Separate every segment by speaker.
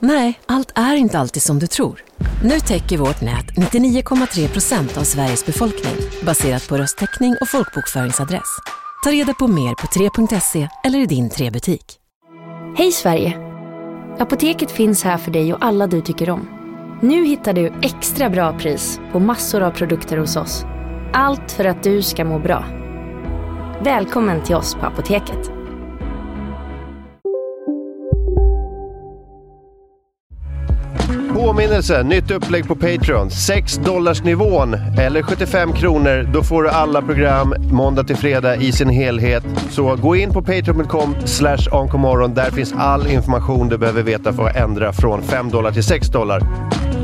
Speaker 1: Nej, allt är inte alltid som du tror. Nu täcker vårt nät 99,3 procent av Sveriges befolkning baserat på röstteckning och folkbokföringsadress. Ta reda på mer på 3.se eller i din 3-butik.
Speaker 2: Hej Sverige! Apoteket finns här för dig och alla du tycker om. Nu hittar du extra bra pris på massor av produkter hos oss. Allt för att du ska må bra. Välkommen till oss på Apoteket.
Speaker 3: Påminnelse, nytt upplägg på Patreon. 6 dollarsnivån eller 75 kronor. Då får du alla program måndag till fredag i sin helhet. Så gå in på patreon.com slash onkomorron. Där finns all information du behöver veta för att ändra från 5 dollar till 6 dollar.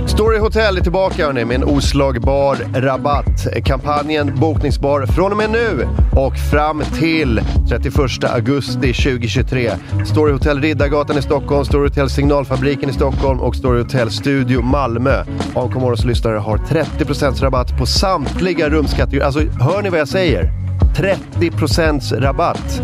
Speaker 3: Story Hotel är tillbaka hörni, med en oslagbar rabatt. Kampanjen bokningsbar från och med nu och fram till 31 augusti 2023. Story Hotel Riddargatan i Stockholm, Story Hotel Signalfabriken i Stockholm och Story Hotel Studio Malmö. AMK Morgons lyssnare har 30% rabatt på samtliga rumskategorier. Alltså, hör ni vad jag säger? 30% rabatt.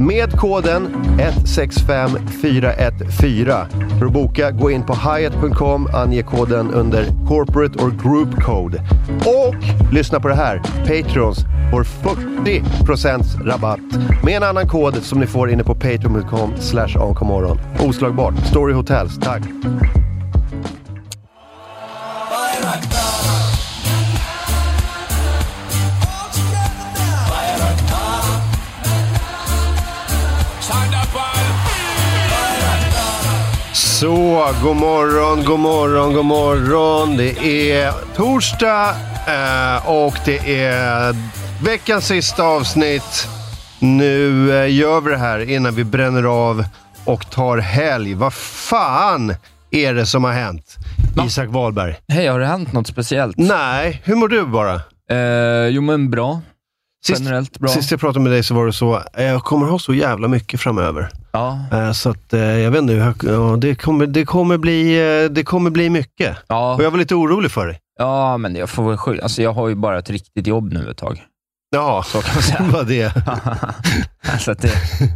Speaker 3: Med koden 165414. För att boka, gå in på hyatt.com, ange koden under Corporate or Group Code. Och lyssna på det här, Patrons får 40% rabatt med en annan kod som ni får inne på patreon.com slash onkomorron. Oslagbart, Story Hotels, tack. Så, god morgon, god morgon, god morgon. Det är torsdag eh, och det är veckans sista avsnitt. Nu eh, gör vi det här innan vi bränner av och tar helg. Vad fan är det som har hänt? Isak Wahlberg.
Speaker 4: Hej, har det hänt något speciellt?
Speaker 3: Nej, hur mår du bara?
Speaker 4: Eh, jo, men bra.
Speaker 3: Sist-
Speaker 4: Generellt bra.
Speaker 3: Sist jag pratade med dig så var det så, eh, jag kommer ha så jävla mycket framöver.
Speaker 4: Ja,
Speaker 3: Eh, Så att, eh, jag vet inte, hur jag- ja, det kommer, det kommer, bli, eh, det kommer bli mycket.
Speaker 4: ja,
Speaker 3: Och jag var lite orolig för dig.
Speaker 4: ja, men jag får väl skylla. Alltså, jag har ju bara ett riktigt jobb nu ett tag.
Speaker 3: Ja,
Speaker 4: Så kan man säga.
Speaker 3: det var det.
Speaker 4: alltså, att det,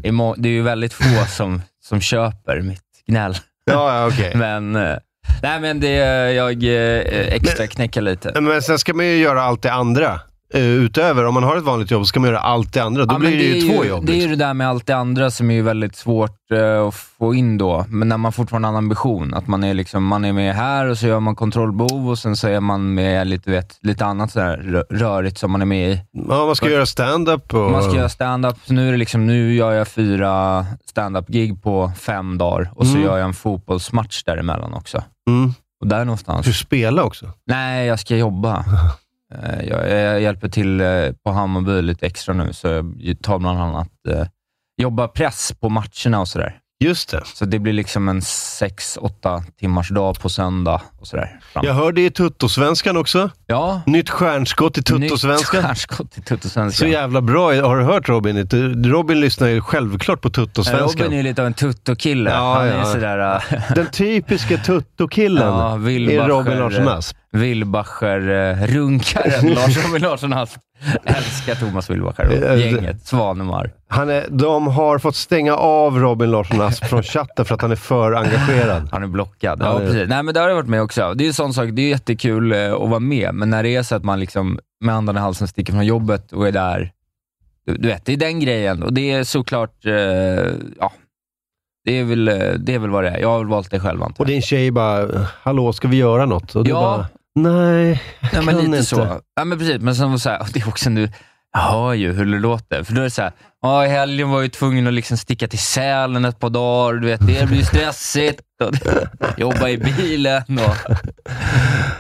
Speaker 4: är må- det är ju väldigt få som, som köper mitt gnäll.
Speaker 3: Ja, ja okej.
Speaker 4: Men, eh, nej, men det, jag eh, extra knäcker lite.
Speaker 3: Men, sen ska man ju göra allt det andra. eh, Utöver, om man har ett vanligt jobb, så ska man göra allt det andra. Då
Speaker 4: Ja,
Speaker 3: blir det,
Speaker 4: men
Speaker 3: ju
Speaker 4: är
Speaker 3: två jobb.
Speaker 4: Det är ju
Speaker 3: liksom.
Speaker 4: det där med allt det andra som är ju väldigt svårt eh, att få in då, men när man fortfarande har en ambition. Att man är, liksom, man är med här och så gör man kontrollbov och sen så är man med lite, vet, lite annat sådär rö- rörigt som man är med i.
Speaker 3: liksom. Ja, man ska göra stand-up och...
Speaker 4: Man ska göra stand-up. Så Nu, är det liksom, nu gör jag fyra stand-up-gig på fem dagar och så
Speaker 3: Mm.
Speaker 4: gör jag en fotbollsmatch däremellan också.
Speaker 3: Mm.
Speaker 4: Och där
Speaker 3: Du
Speaker 4: någonstans.
Speaker 3: spelar också.
Speaker 4: Nej, jag ska jobba. Eh, Jag, jag hjälper till eh, på Hammarby lite extra nu, så jag tar bland annat eh, jobba press på matcherna och sådär.
Speaker 3: Just det.
Speaker 4: Så det blir liksom en sex åtta timmars dag på söndag och sådär. fram.
Speaker 3: Jag hörde i Tuttosvenskan också.
Speaker 4: ja.
Speaker 3: Nytt stjärnskott i
Speaker 4: Nytt
Speaker 3: Tuttosvenskan.
Speaker 4: stjärnskott i
Speaker 3: Så
Speaker 4: Tuttosvenskan.
Speaker 3: jävla bra. Har du hört Robin? Robin lyssnar ju självklart på
Speaker 4: Eh, Robin är
Speaker 3: Tuttosvenskan.
Speaker 4: ju lite av en tuttokille.
Speaker 3: Ja,
Speaker 4: Han är
Speaker 3: ja.
Speaker 4: ju sådär eh,
Speaker 3: Den typiska Tuttokillen
Speaker 4: Ja, Wilbacher,
Speaker 3: är Robin Larsson
Speaker 4: eh,
Speaker 3: Asp.
Speaker 4: Wilbacher-runkaren Lars-Robin Larsson Asp. Älskar Thomas Wilbacher och
Speaker 3: Eh,
Speaker 4: gänget Svanemar.
Speaker 3: Han är, de har fått stänga av Robin Larsson Asp från chatten för att han är för engagerad.
Speaker 4: Han är blockad.
Speaker 3: Ja,
Speaker 4: Ja,
Speaker 3: det är det.
Speaker 4: precis. Nej, men det har jag varit med också. Det är ju en sån sak, det är jättekul eh, att vara med, men när det är så att man liksom med andan i halsen sticker från jobbet och är där. Du, du vet, det är den grejen och det är såklart, eh, ja. Det är, väl, eh, det är väl vad det är. Jag har väl valt det själv antar
Speaker 3: Och
Speaker 4: jag.
Speaker 3: din tjej bara, hallå ska vi göra något? Och du
Speaker 4: Ja.
Speaker 3: bara, nej, jag
Speaker 4: Nej,
Speaker 3: kan
Speaker 4: men lite
Speaker 3: inte.
Speaker 4: så. Ja, men precis. Men sen var det så här, och det är också nu, jag hör ju hur det låter. För då är det så här, ja, i helgen var jag ju tvungen att liksom sticka till Sälen ett par dagar. Du vet, det blir ju stressigt. Och jobba i bilen. Och...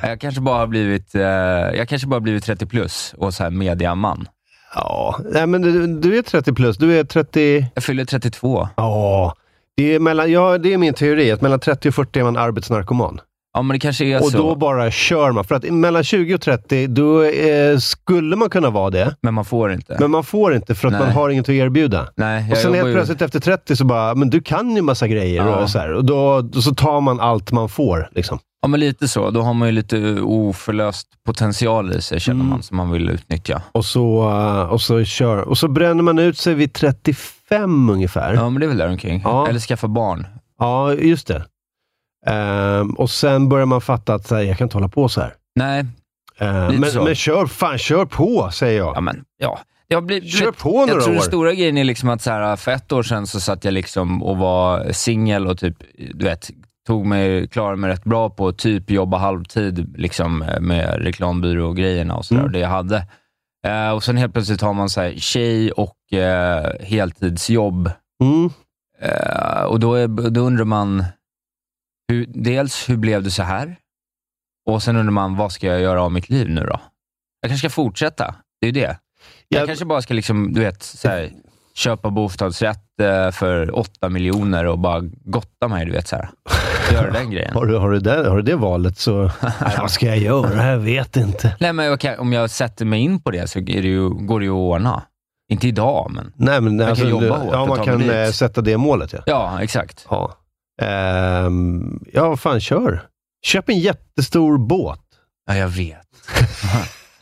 Speaker 4: Jag kanske bara har blivit, eh, jag kanske bara har blivit 30 plus och så här mediaman.
Speaker 3: Ja, nej, men du, du är 30 plus, du är 30...
Speaker 4: Jag fyller 32.
Speaker 3: Ja, det är, mellan, ja, det är min teori, att mellan 30 och 40 är man arbetsnarkoman.
Speaker 4: Ja, men det kanske är
Speaker 3: Och
Speaker 4: så.
Speaker 3: då bara kör man. För att mellan 20 och 30, då eh, skulle man kunna vara det.
Speaker 4: Men man får inte.
Speaker 3: Men man får inte för att
Speaker 4: Nej.
Speaker 3: man har inget att erbjuda.
Speaker 4: Nej, jag
Speaker 3: Och sen
Speaker 4: jobbar
Speaker 3: helt
Speaker 4: ju-
Speaker 3: plötsligt efter 30 så bara, men du kan ju massa grejer.
Speaker 4: Ja.
Speaker 3: Och, så här, och då, då så tar man allt man får. Liksom.
Speaker 4: Ja, men lite så. Då har man ju lite oförlöst potential i sig,
Speaker 3: Mm.
Speaker 4: känner man, som man vill utnyttja.
Speaker 3: Och, så, eh, och så kör Och så bränner man ut sig vid 35 ungefär. Ja,
Speaker 4: Ja, men det är väl däromkring.
Speaker 3: Ja.
Speaker 4: Eller skaffa barn.
Speaker 3: just det. Ehm, och sen börjar man fatta att så här, jag kan inte hålla på så här.
Speaker 4: Nej,
Speaker 3: Ehm,
Speaker 4: Lite
Speaker 3: men,
Speaker 4: så.
Speaker 3: men kör, fan, kör på, säger jag.
Speaker 4: ja men ja. Jag blir, du
Speaker 3: Kör
Speaker 4: vet,
Speaker 3: på några
Speaker 4: Jag tror
Speaker 3: år.
Speaker 4: den stora grejen är liksom att så här, för ett år sedan så satt jag liksom och var singel och typ, du vet, tog mig, klarade mig rätt bra på att typ jobba halvtid liksom, med reklambyrå och grejerna och sådär,
Speaker 3: Mm.
Speaker 4: och det jag hade. Eh, och sen helt plötsligt har man så här, tjej och eh, heltidsjobb.
Speaker 3: Mm.
Speaker 4: Eh, och då, är, då undrar man, hur, dels hur blev det så här? Och sen undrar man, vad ska jag göra av mitt liv nu då? Jag kanske ska fortsätta. Det är ju det. Jag
Speaker 3: Jag-
Speaker 4: kanske bara ska liksom, du vet, så här, köpa bostadsrätt eh, för åtta miljoner och bara gotta mig. Du vet, så här. Göra den grejen.
Speaker 3: Har du, har, du det, har du det valet så... Nej, vad ska jag göra? Jag vet inte.
Speaker 4: Nej, men jag kan, om jag sätter mig in på det så är det ju, går det ju att ordna. Inte idag, men
Speaker 3: Nej, men
Speaker 4: kan
Speaker 3: alltså,
Speaker 4: jobba
Speaker 3: du-
Speaker 4: hårt
Speaker 3: ja,
Speaker 4: och
Speaker 3: man
Speaker 4: ta
Speaker 3: kan
Speaker 4: mig dit.
Speaker 3: eh, sätta det målet. Ja,
Speaker 4: ja, exakt.
Speaker 3: ja. Ehm, ja vad fan, kör. Köp en jättestor båt.
Speaker 4: Ja, jag vet.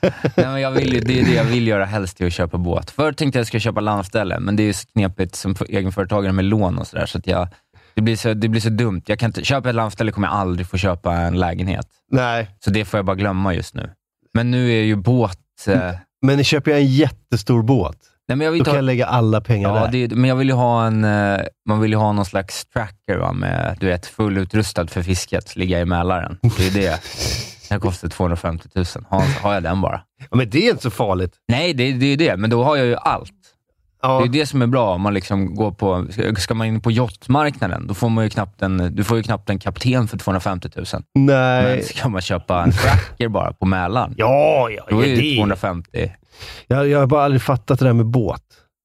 Speaker 4: Nej, men jag vill, ju- det är det jag vill göra helst, är att köpa båt. Förr tänkte jag att jag ska köpa landställe, men det är ju så knepigt som för- egenföretagare med lån och sådär. Så att jag- det, blir så- det blir så dumt. Jag kan inte, köpa ett landställe kommer jag aldrig få köpa en lägenhet.
Speaker 3: Nej,
Speaker 4: Så det får jag bara glömma just nu. Men nu är ju båt... Eh,
Speaker 3: men köper jag en jättestor båt,
Speaker 4: nej, men jag vill
Speaker 3: Mm. då
Speaker 4: inte
Speaker 3: kan jag
Speaker 4: ha,
Speaker 3: lägga alla pengar
Speaker 4: ja,
Speaker 3: där.
Speaker 4: det, är- men jag vill ju ha en... Eh, man vill ju ha någon slags tracker va, med, du vet, fullutrustad för fisket, ligga i Mälaren. Det är det. Den kostar 250 000. Har, har jag den bara?
Speaker 3: Ja, men det är inte så farligt.
Speaker 4: Nej, det, det är ju det, men då har jag ju allt. Det är
Speaker 3: Ja,
Speaker 4: ju det som är bra om man liksom går på, ska- ska man in på yachtmarknaden, då får man ju knappt en, du får ju knappt en kapten för 250 000. Men
Speaker 3: nej.
Speaker 4: ska man köpa en tracker bara på Mälaren,
Speaker 3: Ja, ja, ja
Speaker 4: då är det ju
Speaker 3: det.
Speaker 4: 250.
Speaker 3: Jag, jag har bara aldrig fattat det där med båt.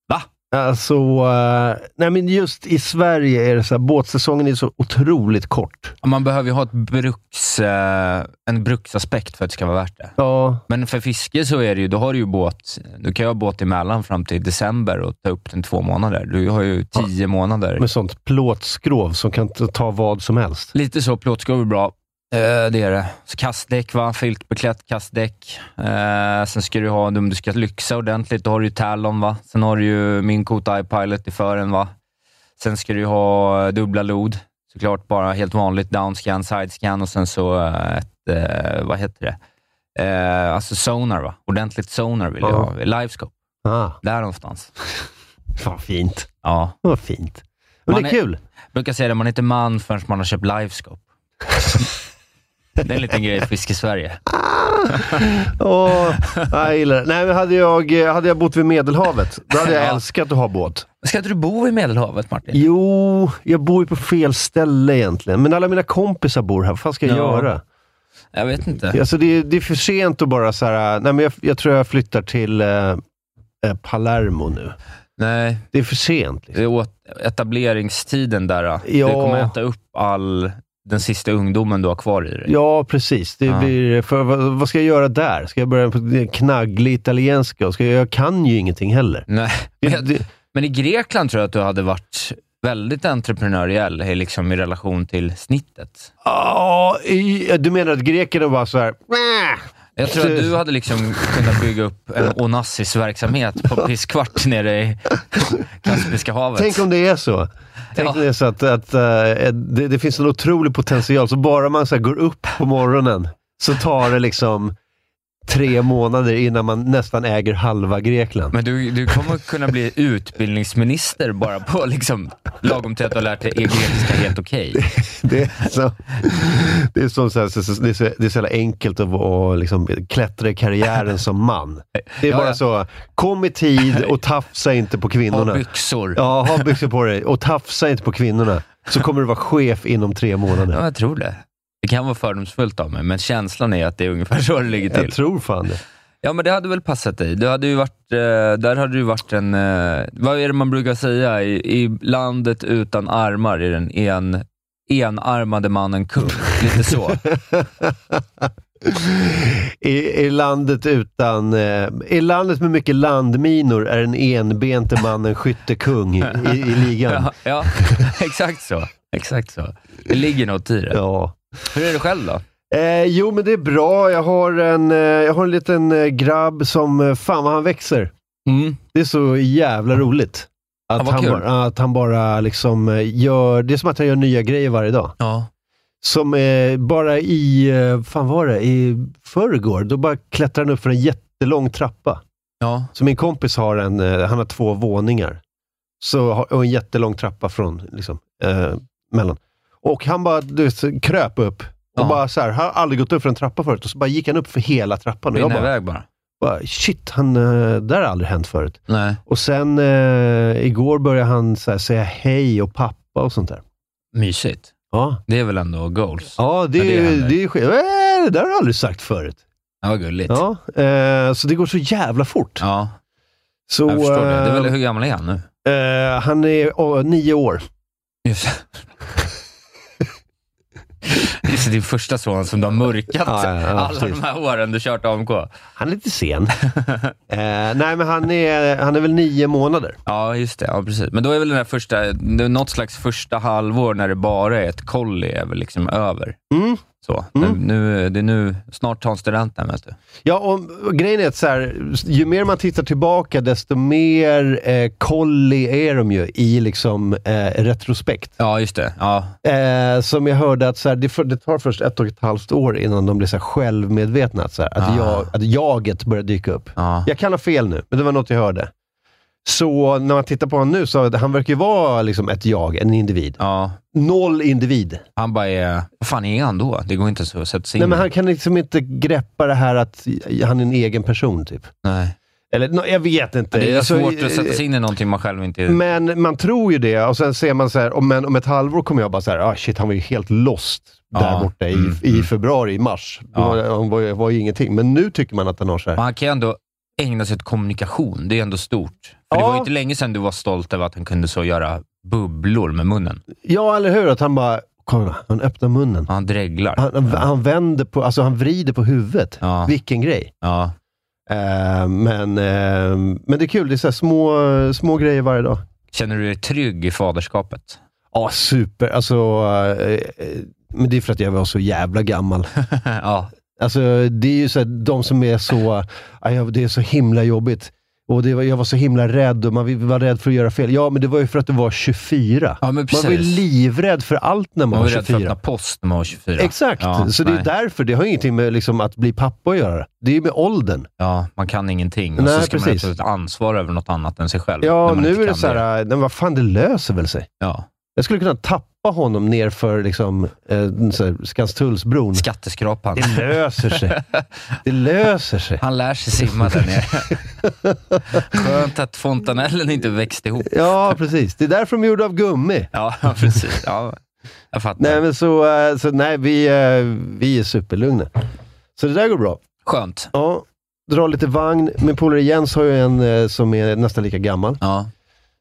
Speaker 4: Va?
Speaker 3: Alltså, eh, nej men just i Sverige är det så här, båtsäsongen är så otroligt kort.
Speaker 4: Man behöver ju ha ett bruks, eh, en bruksaspekt för att det ska vara värt det.
Speaker 3: Ja,
Speaker 4: Men för fiske så är det ju, då har du ju båt, du kan ju ha båt i Mälaren fram till december och ta upp den två månader. Du har ju tio månader.
Speaker 3: med sånt plåtskrov som kan t- ta vad som helst.
Speaker 4: Lite så, plåtskov är bra. Eh, det är det. Så kastdäck, va? filtbeklätt kastdäck. Eh, sen ska du ha, om du ska lyxa ordentligt, då har du ju Talon. Va? Sen har du ju min Kota iPilot i fören. Va? Sen ska du ju ha eh, dubbla lod. Såklart bara helt vanligt downscan, sidescan och sen så eh, ett, eh, vad heter det? Eh, alltså sonar, va? Ordentligt sonar vill jag
Speaker 3: Ja.
Speaker 4: ha. Livescope,
Speaker 3: Ah,
Speaker 4: där någonstans.
Speaker 3: fan fint.
Speaker 4: Ja.
Speaker 3: Vad fint. Men
Speaker 4: Man
Speaker 3: det är
Speaker 4: är-
Speaker 3: kul.
Speaker 4: Jag brukar säga det, man är inte man förrän man har köpt Livescope. det är en liten grej i Fiskesverige.
Speaker 3: Åh, jag gillar det. Nej, men hade jag, eh, hade jag bott vid Medelhavet, då hade jag
Speaker 4: Ja.
Speaker 3: älskat att ha båt.
Speaker 4: Ska inte du bo i Medelhavet, Martin?
Speaker 3: Jo, jag bor ju på fel ställe egentligen. Men alla mina kompisar bor här. Vad fan ska jag
Speaker 4: Ja.
Speaker 3: göra?
Speaker 4: Jag vet inte.
Speaker 3: Alltså, det, är- det är för sent att bara så här, eh, nej men jag, jag tror jag flyttar till eh, eh, Palermo nu.
Speaker 4: Nej,
Speaker 3: Det är för sent.
Speaker 4: det
Speaker 3: Liksom.
Speaker 4: är åt etableringstiden där. då.
Speaker 3: Ja.
Speaker 4: Du kommer äta upp all den sista ungdomen du har kvar i dig.
Speaker 3: Ja, precis. Det
Speaker 4: Ja.
Speaker 3: blir, för, vad, vad ska jag göra där? Ska jag börja på knagglig italienska? Ska jag, jag kan ju ingenting heller.
Speaker 4: Nej. Men,
Speaker 3: Det,
Speaker 4: jag,
Speaker 3: det,
Speaker 4: men i Grekland tror jag att du hade varit väldigt entreprenöriell i- liksom, i relation till snittet.
Speaker 3: Ah, i- du menar att grekerna var så här... "Mäh."
Speaker 4: Jag tror att du hade liksom kunnat bygga upp en Onassis-verksamhet på pisskvart nere i Kaspiska havet.
Speaker 3: Tänk om det är så. Tänk
Speaker 4: Ja.
Speaker 3: om det är så att, att eh, det, det finns en otrolig potential. Så bara man så här går upp på morgonen så tar det liksom tre månader innan man nästan äger halva Grekland.
Speaker 4: Men du, du kommer kunna bli utbildningsminister bara på liksom, lagom till att du har lärt dig grekiska helt okej.
Speaker 3: Det är så, det är som så, här, så, så, det är så, det är så jävla enkelt att, vara- att liksom klättra i karriären som man. Det är
Speaker 4: Ja, ja.
Speaker 3: bara så, kom i tid och tafsa inte på
Speaker 4: Ha
Speaker 3: kvinnorna.
Speaker 4: byxor. Ja.
Speaker 3: Ja, ha byxor på dig och tafsa inte på kvinnorna. Så kommer du vara chef inom tre månader.
Speaker 4: jag tror det. Det kan vara fördomsfullt av mig, men känslan är att det är ungefär så det ligger
Speaker 3: Jag
Speaker 4: till.
Speaker 3: tror fan det.
Speaker 4: Ja, men det hade väl passat dig. Du hade ju varit, eh, där hade du varit en... Eh, vad är det man brukar säga? I, i landet utan armar är, den, är en enarmade mannen kung. Lite så.
Speaker 3: I, I landet utan... Eh, I landet med mycket landminor är den enbente mannen skyttekung i, i ligan.
Speaker 4: Ja, ja exakt så. Exakt så. Det ligger något i det.
Speaker 3: Ja.
Speaker 4: Hur är det själv då?
Speaker 3: Eh, jo, men det är bra. Jag har en, eh, jag har en liten eh, grabb som... eh, Fan vad han växer.
Speaker 4: Mm.
Speaker 3: Det är så jävla roligt. Att,
Speaker 4: Ja, vad
Speaker 3: han
Speaker 4: kul.
Speaker 3: bara, att han bara liksom eh, gör... Det är som att han gör nya grejer varje dag.
Speaker 4: Ja.
Speaker 3: Som eh, bara i, eh, fan var det, i förrgår, då bara klättrade han upp för en jättelång trappa.
Speaker 4: Ja.
Speaker 3: Så min kompis har en, eh, han har två våningar. Så, har- och en jättelång trappa från, liksom, eh, mellan. Och han bara du vet, så kröp upp. Och
Speaker 4: Ja.
Speaker 3: bara så här, han har aldrig gått upp för en trappa förut. Och så bara gick han upp för hela trappan. Och jag
Speaker 4: Vinna
Speaker 3: bara,
Speaker 4: iväg bara.
Speaker 3: bara, shit, han, eh, det här har aldrig hänt förut.
Speaker 4: Nej.
Speaker 3: Och sen eh, igår började han så här, säga hej och pappa och sånt där.
Speaker 4: Mysigt.
Speaker 3: Ja,
Speaker 4: Det är väl ändå goals?
Speaker 3: Ja, det,
Speaker 4: Men det
Speaker 3: är ju-
Speaker 4: händer.
Speaker 3: det är ju skit. Äh, Det där har du aldrig sagt förut.
Speaker 4: Ja, vad gulligt. Ja.
Speaker 3: Ja, eh, så det går så jävla fort. så,
Speaker 4: jag förstår det. det är väl, hur gammal är han nu?
Speaker 3: eh, han är åh, nio år.
Speaker 4: Just det. Just det, din första son som du har mörkat
Speaker 3: Ja, ja, ja,
Speaker 4: alla
Speaker 3: precis.
Speaker 4: de här åren du kört AMK.
Speaker 3: Han är lite sen. eh, nej, men han är, han är väl nio månader.
Speaker 4: Ja, just det. Ja, precis. Men då är väl den här första, det är något slags första halvår när det bara är ett kolli är väl liksom över.
Speaker 3: Mm.
Speaker 4: Så.
Speaker 3: Mm.
Speaker 4: Nu, nu, det är nu, snart tar han studenten, vet du.
Speaker 3: Ja, och, och grejen är att så här, ju mer man tittar tillbaka, desto mer eh, collie är de ju i liksom, eh, retrospekt.
Speaker 4: Ja, just det. Ja,
Speaker 3: Eh, som jag hörde att så här, det, för, det tar först ett och ett halvt år innan de blir så här självmedvetna. Att, så här, att,
Speaker 4: Ah.
Speaker 3: jag, att jaget börjar dyka upp.
Speaker 4: ja.
Speaker 3: Jag kan ha fel nu, men det var något jag hörde. Så när man tittar på honom nu, så han verkar ju vara liksom ett jag, en individ.
Speaker 4: ja.
Speaker 3: Noll individ.
Speaker 4: Han bara är... Vad fan är han då? Det går inte så att sätta sig in
Speaker 3: Nej, men
Speaker 4: i.
Speaker 3: han kan liksom inte greppa det här att han är en egen person, typ.
Speaker 4: Nej.
Speaker 3: Eller, nå, jag vet inte.
Speaker 4: Det är ju
Speaker 3: Alltså,
Speaker 4: svårt att sätta sig in i någonting man själv inte...
Speaker 3: Men man tror ju det och sen ser man så här, om, en, om ett halvår kommer jag bara så här, ah, shit han var ju helt lost där
Speaker 4: Ja,
Speaker 3: borta i,
Speaker 4: mm,
Speaker 3: i
Speaker 4: mm.
Speaker 3: februari, i mars.
Speaker 4: Ja.
Speaker 3: Han, han var, ju- var ju ingenting. Men nu tycker man att han har så
Speaker 4: Men
Speaker 3: här.
Speaker 4: han kan ju ändå ägna sig åt kommunikation. Det är ändå stort. För Det
Speaker 3: Ja.
Speaker 4: var ju inte länge sedan du var stolt över att han kunde så göra bubblor med munnen.
Speaker 3: Ja, eller hur? Att han bara, kolla, han öppnar munnen.
Speaker 4: Han dreglar.
Speaker 3: Han, han- han vänder på, alltså han vrider på huvudet.
Speaker 4: Ja.
Speaker 3: Vilken grej.
Speaker 4: Ja.
Speaker 3: Eh, men, eh, men det är kul, det är så här små, små grejer varje dag.
Speaker 4: Känner du dig trygg i faderskapet?
Speaker 3: Ja, super. Alltså, eh, eh, men det är för att jag var så jävla gammal.
Speaker 4: ja.
Speaker 3: Alltså, det är ju så här, de som är så, "Aj, jag- det är så himla jobbigt. Och det var, jag var så himla rädd och man var rädd för att göra fel. Ja, men det var ju för att du var 24.
Speaker 4: Ja, men
Speaker 3: man var ju
Speaker 4: precis.
Speaker 3: livrädd för allt när man,
Speaker 4: Man var
Speaker 3: var
Speaker 4: rädd för att
Speaker 3: 24.
Speaker 4: öppna post när man var 24.
Speaker 3: Exakt,
Speaker 4: Ja,
Speaker 3: så det är
Speaker 4: nej.
Speaker 3: därför. Det har ju ingenting med liksom, att bli pappa att göra. Det är ju med åldern.
Speaker 4: Ja, man kan ingenting. Och
Speaker 3: Nej,
Speaker 4: så ska
Speaker 3: precis.
Speaker 4: man ha ett ansvar över något annat än sig själv. när
Speaker 3: Ja,
Speaker 4: man inte
Speaker 3: nu är det
Speaker 4: kan
Speaker 3: så här, nej, vad fan, det löser väl sig.
Speaker 4: Ja.
Speaker 3: Jag skulle kunna tappa honom ner för liksom, eh, så här, Skanstullsbron.
Speaker 4: Skatteskrapan.
Speaker 3: Det löser sig. Det löser sig.
Speaker 4: Han lär sig simma där nere. Skönt att fontanellen inte växte ihop.
Speaker 3: Ja, precis. Det är därför de är gjorda av gummi.
Speaker 4: Ja, precis. Ja, jag fattar.
Speaker 3: Nej, men så, eh, så nej, vi, eh, vi är superlugna. Så det där går bra.
Speaker 4: Skönt.
Speaker 3: Ja, dra lite vagn. Min polare Jens har ju en eh, som är nästan lika gammal.
Speaker 4: Ja,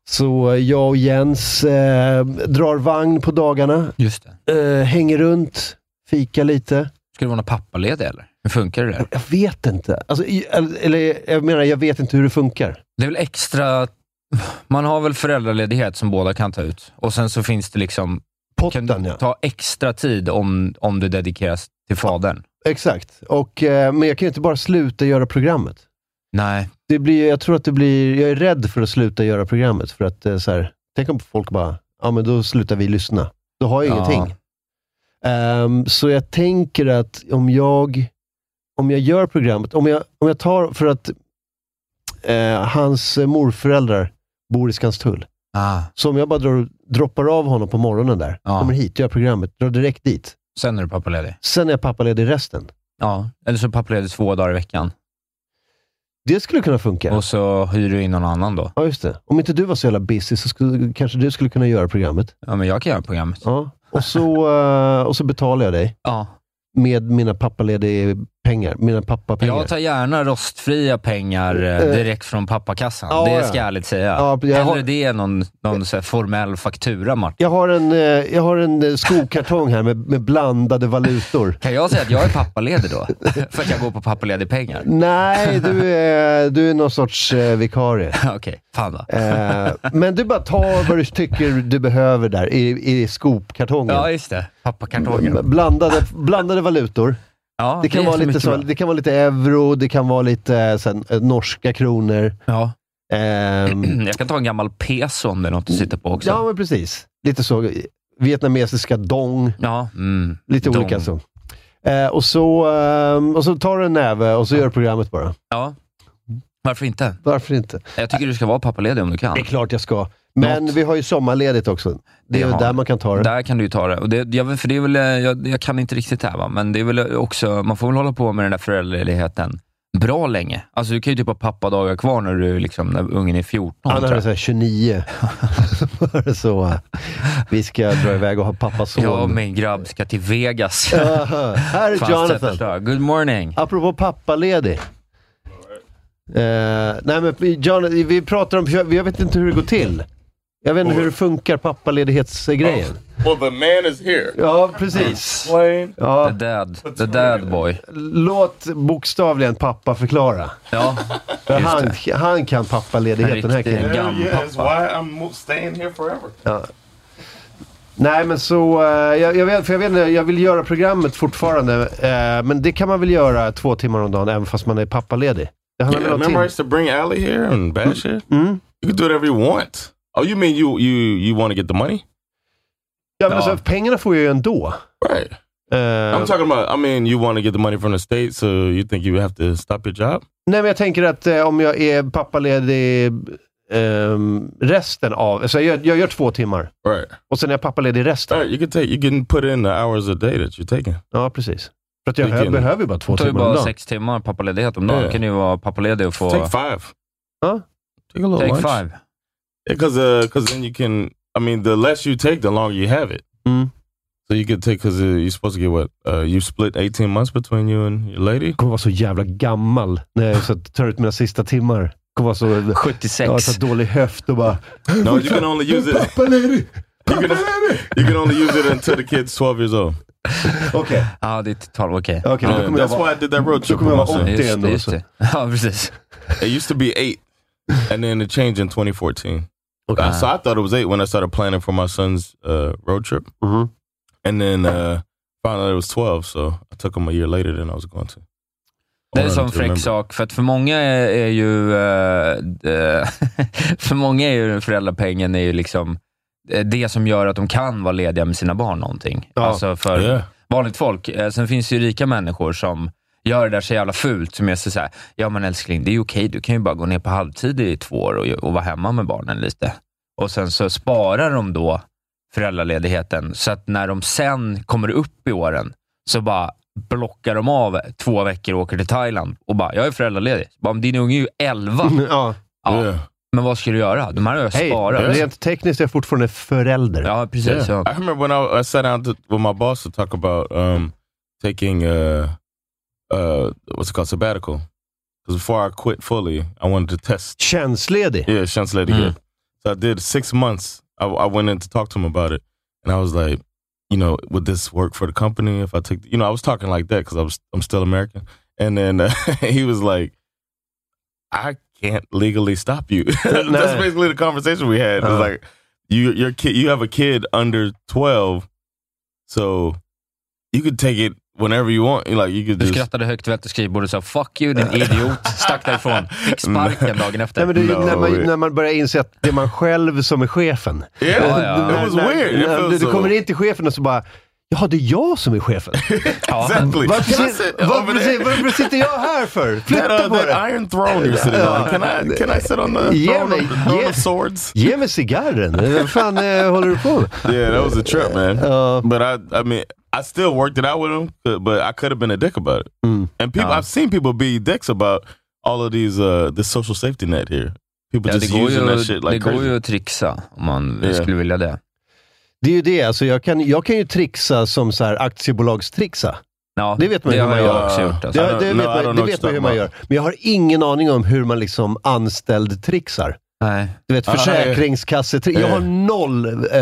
Speaker 3: Så eh, jag och Jens eh, drar vagn på dagarna,
Speaker 4: just det.
Speaker 3: eh, hänger runt, fika lite.
Speaker 4: Ska du vara någon pappaledig eller? Hur funkar det där?
Speaker 3: Jag vet inte. Alltså, i- eller- eller jag menar, jag vet inte hur det funkar.
Speaker 4: Det är väl extra... Man har väl föräldraledighet som båda kan ta ut och sen så finns det liksom... Kan
Speaker 3: Potten,
Speaker 4: du
Speaker 3: ja.
Speaker 4: ta extra tid om, om du dedikeras till fadern?
Speaker 3: Exakt. Och, eh, men jag kan ju inte bara sluta göra programmet.
Speaker 4: Nej.
Speaker 3: det blir, jag tror att det blir, jag är rädd för att sluta göra programmet. För att eh, så här, tänk om folk bara, ja men då slutar vi lyssna. Då har jag
Speaker 4: Ja.
Speaker 3: ingenting. Ehm, så jag tänker att om jag, om jag gör programmet, om jag, om jag tar, för att eh, hans eh, morföräldrar bor i Skanstull.
Speaker 4: Ah,
Speaker 3: Så om jag bara drar, droppar av honom på morgonen där,
Speaker 4: Ja.
Speaker 3: kommer hit, gör programmet, drar direkt dit.
Speaker 4: sen är du pappaledig.
Speaker 3: Sen är jag pappaledig resten.
Speaker 4: Ja, eller så är du pappaledig två dagar i veckan
Speaker 3: Det skulle kunna funka.
Speaker 4: och så hyr du in någon annan då.
Speaker 3: Ja, just det. Om inte du var så jävla busy så skulle, kanske du skulle kunna göra programmet.
Speaker 4: Ja, men jag kan göra programmet.
Speaker 3: Ja. Och, så, eh, och så betalar jag dig
Speaker 4: Ja.
Speaker 3: med mina pappaledig pengar. Mina pappapengar.
Speaker 4: Jag tar gärna rostfria pengar eh, direkt från pappakassan.
Speaker 3: ja,
Speaker 4: det
Speaker 3: ja.
Speaker 4: ska jag ärligt säga.
Speaker 3: Ja, jag
Speaker 4: Hellre
Speaker 3: har-
Speaker 4: det än någon, någon så här formell faktura, Martin.
Speaker 3: Jag har en, eh, jag har en eh, skokartong här med, med blandade valutor.
Speaker 4: Kan jag säga att jag är pappaledig då? För att jag går på pappaledig pengar?
Speaker 3: Mm. Nej, du är, du är någon sorts eh, vikarie.
Speaker 4: Okej, fan då.
Speaker 3: Eh, men du bara tar vad du tycker du behöver där i, i skopkartongen.
Speaker 4: Ja, just det. Pappakartongen.
Speaker 3: Blandade, blandade valutor.
Speaker 4: Ja,
Speaker 3: Mm. Det kan,
Speaker 4: är
Speaker 3: vara
Speaker 4: så
Speaker 3: lite
Speaker 4: mycket
Speaker 3: så,
Speaker 4: bra.
Speaker 3: det kan vara lite euro, det kan vara lite eh, sen, eh, norska kronor.
Speaker 4: Ja.
Speaker 3: Ehm,
Speaker 4: Jag kan ta en gammal peso om det är något att sitta på också.
Speaker 3: ja,
Speaker 4: Ja.
Speaker 3: men precis. Lite så. eh, Vietnamesiska dong.
Speaker 4: Mm.
Speaker 3: Lite
Speaker 4: Dong.
Speaker 3: olika så. Eh, och, så ehm, och så tar du en näve och så gör du programmet bara.
Speaker 4: Ja. Varför inte?
Speaker 3: Varför inte?
Speaker 4: Jag tycker du ska vara pappaledig om du kan.
Speaker 3: Det är klart jag ska. Men vi har ju sommarledigt också. Det är
Speaker 4: Det
Speaker 3: väl
Speaker 4: har
Speaker 3: där
Speaker 4: vi.
Speaker 3: man kan ta det.
Speaker 4: Där kan du ju ta det. Och det jag, för det är väl, eh, jag, jag kan inte riktigt det här, va? men det är väl eh, också, man får väl hålla på med den där föräldraledigheten bra länge. Alltså du kan ju typ ha pappadagar kvar när, du, liksom, när ungen är 14.
Speaker 3: Han
Speaker 4: tror
Speaker 3: hade
Speaker 4: jag.
Speaker 3: såhär 29. Så var det så. eh, Vi ska dra iväg och ha pappas son.
Speaker 4: Jag och min grabb ska till Vegas.
Speaker 3: Aha, här är
Speaker 4: Fanns det ett
Speaker 3: Jonathan.
Speaker 4: förslag? Good morning.
Speaker 3: Apropå pappaledig. Eh, nej men vi- John, vi pratar om, jag vet inte hur det går till. Jag vet inte hur det funkar, pappaledighetsgrejen.
Speaker 5: Well, the man is here.
Speaker 3: Ja, precis.
Speaker 5: Wayne.
Speaker 3: Ja,
Speaker 4: The dad, the dad boy.
Speaker 3: låt bokstavligen pappa förklara.
Speaker 4: Ja,
Speaker 3: För han, han kan pappaledighet den här
Speaker 4: Riktigt.
Speaker 3: killen.
Speaker 5: Hell
Speaker 4: Young
Speaker 5: yeah, that's
Speaker 4: Papa.
Speaker 5: why I'm mo- staying here forever.
Speaker 3: Nej men så, eh, jag, jag, vet, för jag, vet, inte, jag vill göra programmet fortfarande. eh, men det kan man väl göra två timmar om dagen även fast man är pappaledig. Det handlar
Speaker 5: Yeah,
Speaker 3: väl om Mm.
Speaker 5: remember I
Speaker 3: tid.
Speaker 5: used to bring Allie here and Bash here? You can do whatever you want. Oh, you mean you you you want to get the money?
Speaker 3: Ja, men
Speaker 5: Ja.
Speaker 3: så, pengarna får jag ju ändå.
Speaker 5: Right.
Speaker 3: Eh,
Speaker 5: I'm talking about, I mean, you want to get the money from the state, so you think you have to stop your job?
Speaker 3: Nej, men jag tänker att eh, om jag är pappaledig ehm, resten av... Alltså jag, gör- jag gör två timmar
Speaker 5: Right.
Speaker 3: och sen är jag pappaledig resten.
Speaker 5: All right, you can take, you can put in the hours a day that you're taking.
Speaker 3: Ja, precis. För att jag
Speaker 5: Vilken-
Speaker 3: hö- behöver ju bara två
Speaker 4: det tar ju
Speaker 3: timmar om
Speaker 4: bara
Speaker 3: dagen.
Speaker 4: sex timmar pappaledighet om dagen.
Speaker 5: Ja.
Speaker 4: kan ju vara pappaledig och få...
Speaker 5: Take five.
Speaker 3: Huh?
Speaker 5: Take a little
Speaker 4: Take
Speaker 5: lunch.
Speaker 4: five.
Speaker 5: Yeah, cause uh, cause then you can. I mean, the less you take, the longer you have it.
Speaker 3: Mm.
Speaker 5: So you could take because uh, you're supposed to get what uh, you split eighteen months between you and your lady.
Speaker 3: Jag kommer vara så jävla gammal när jag så tar ut mina sista timmar. Jag kommer vara så...
Speaker 4: 76.
Speaker 3: Jag har så dålig höft och bara...
Speaker 5: No, you can only use it. You can, you can only use it until the kid's twelve years old.
Speaker 3: Okej, okej.
Speaker 4: Ja, det är totalt okej.
Speaker 3: men då
Speaker 5: Yeah,
Speaker 3: kommer jag
Speaker 5: that's
Speaker 3: vara...
Speaker 5: why I did that road
Speaker 3: Då
Speaker 5: trip.
Speaker 3: kommer
Speaker 5: with
Speaker 3: jag
Speaker 5: my son.
Speaker 3: vara 80
Speaker 4: Just det,
Speaker 3: ändå.
Speaker 4: just
Speaker 3: Så.
Speaker 4: det. Ja, precis.
Speaker 5: It used to be eight, and then it changed in 2014.
Speaker 3: Okay.
Speaker 5: Uh, so I thought it was eight when I started planning for my son's uh, road trip,
Speaker 3: Mhm.
Speaker 5: and then uh, found out it was twelve. So I took him a year later than I was going to.
Speaker 4: Det är
Speaker 5: I
Speaker 4: en sån
Speaker 5: don't
Speaker 4: fräck
Speaker 5: remember.
Speaker 4: sak, för att för många är, är ju... eh, eh, för många är ju föräldrapengen är ju liksom eh, det som gör att de kan vara lediga med sina barn någonting.
Speaker 3: Ja.
Speaker 4: Alltså för
Speaker 5: Yeah.
Speaker 4: vanligt folk. Eh, Sen finns det ju rika människor som gör det där så jävla fult, som är så såhär, ja men älskling, det är ju okej, du kan ju bara gå ner på halvtid i två år och, och vara hemma med barnen lite. Och sen så sparar de då föräldraledigheten, så att när de sen kommer upp i åren, så bara blockar de av två veckor och åker till Thailand och bara, jag är föräldraledig. Bara, "Men din unge är ju 11.
Speaker 3: Ja.
Speaker 4: Ja,
Speaker 5: yeah.
Speaker 4: Men vad ska du göra? De här har jag
Speaker 3: Hej,
Speaker 4: sparat.
Speaker 3: rent tekniskt är jag fortfarande förälder.
Speaker 4: Ja, precis. Ja.
Speaker 5: I remember when I, I sat down to, with my boss to talk about um, taking uh, uh, what's it called sabbatical. Because before I quit fully, I wanted to test.
Speaker 3: Tjänstledig.
Speaker 5: Yeah, Shun's Lady
Speaker 4: Mm.
Speaker 5: Gift. So I did six months. I, I went in to talk to him about it, and I was like, you know, would this work for the company if I take? You know, I was talking like that because I was I'm still American, and then uh, he was like, I can't legally stop you.
Speaker 3: Nah.
Speaker 5: That's basically the conversation we had. It
Speaker 3: Uh.
Speaker 5: was like, you your kid, you have a kid under twelve, so you could take it whenever you want. Like you could
Speaker 4: Du
Speaker 5: just
Speaker 4: skrattade högt vid att du skrivborde och sa “fuck you, din idiot”, stack därifrån, fick sparken dagen efter.
Speaker 3: Mm. Nej, men
Speaker 4: Mm.
Speaker 3: det är
Speaker 5: No.
Speaker 3: ju när, man, när man börjar inse att det är man själv som är chefen.
Speaker 5: yeah,
Speaker 4: ja.
Speaker 5: it was weird. It
Speaker 3: När,
Speaker 5: feels
Speaker 3: du, du
Speaker 5: so-
Speaker 3: kommer in till chefen och så bara, jaha det är jag som är chefen.
Speaker 5: Exactly.
Speaker 3: Varför,
Speaker 5: Can I
Speaker 3: sit,
Speaker 5: sit
Speaker 3: varför,
Speaker 5: over there?
Speaker 3: sit- varför sitter jag här för?
Speaker 5: that,
Speaker 3: Flytta
Speaker 5: uh,
Speaker 3: på
Speaker 5: that
Speaker 3: dig!
Speaker 5: iron throne you're sitting on. Can I can I sit on the
Speaker 3: Yeah,
Speaker 5: throne, of,
Speaker 3: mate,
Speaker 5: throne
Speaker 3: yeah.
Speaker 5: of swords?
Speaker 3: Ge mig cigarren! Vad fan eh, håller du på med?
Speaker 5: Yeah, that was a trip, man.
Speaker 3: Ja.
Speaker 5: but I I mean I still worked it out with him, uh, but I could have been a dick about it.
Speaker 3: Mm.
Speaker 5: And people I've seen people be dicks about all of these uh this social safety net here. People
Speaker 4: Ja, det
Speaker 5: just
Speaker 4: går,
Speaker 5: using
Speaker 4: ju,
Speaker 5: that shit
Speaker 4: det
Speaker 5: like
Speaker 4: går
Speaker 5: crazy.
Speaker 4: ju att trixa om man
Speaker 5: Ja.
Speaker 4: skulle vilja det.
Speaker 3: Det är ju det, alltså, jag, kan, jag kan ju trixa som så här, aktiebolagstrixa.
Speaker 4: Ja,
Speaker 3: Det vet man ju
Speaker 4: det
Speaker 3: hur
Speaker 4: har
Speaker 3: man
Speaker 4: jag
Speaker 3: gör.
Speaker 4: också gjort. Alltså.
Speaker 3: Det,
Speaker 5: I
Speaker 3: det
Speaker 5: don't-
Speaker 3: vet
Speaker 5: no, I don't
Speaker 3: man, det
Speaker 5: know what
Speaker 3: vet man
Speaker 5: you're
Speaker 3: hur man
Speaker 5: talking
Speaker 3: gör. Men jag har ingen aning om hur man liksom anställd trixar.
Speaker 4: Nej.
Speaker 3: Du vet,
Speaker 5: Ah,
Speaker 3: försäkringskassetrix. Jag har
Speaker 5: Eh.
Speaker 3: noll eh,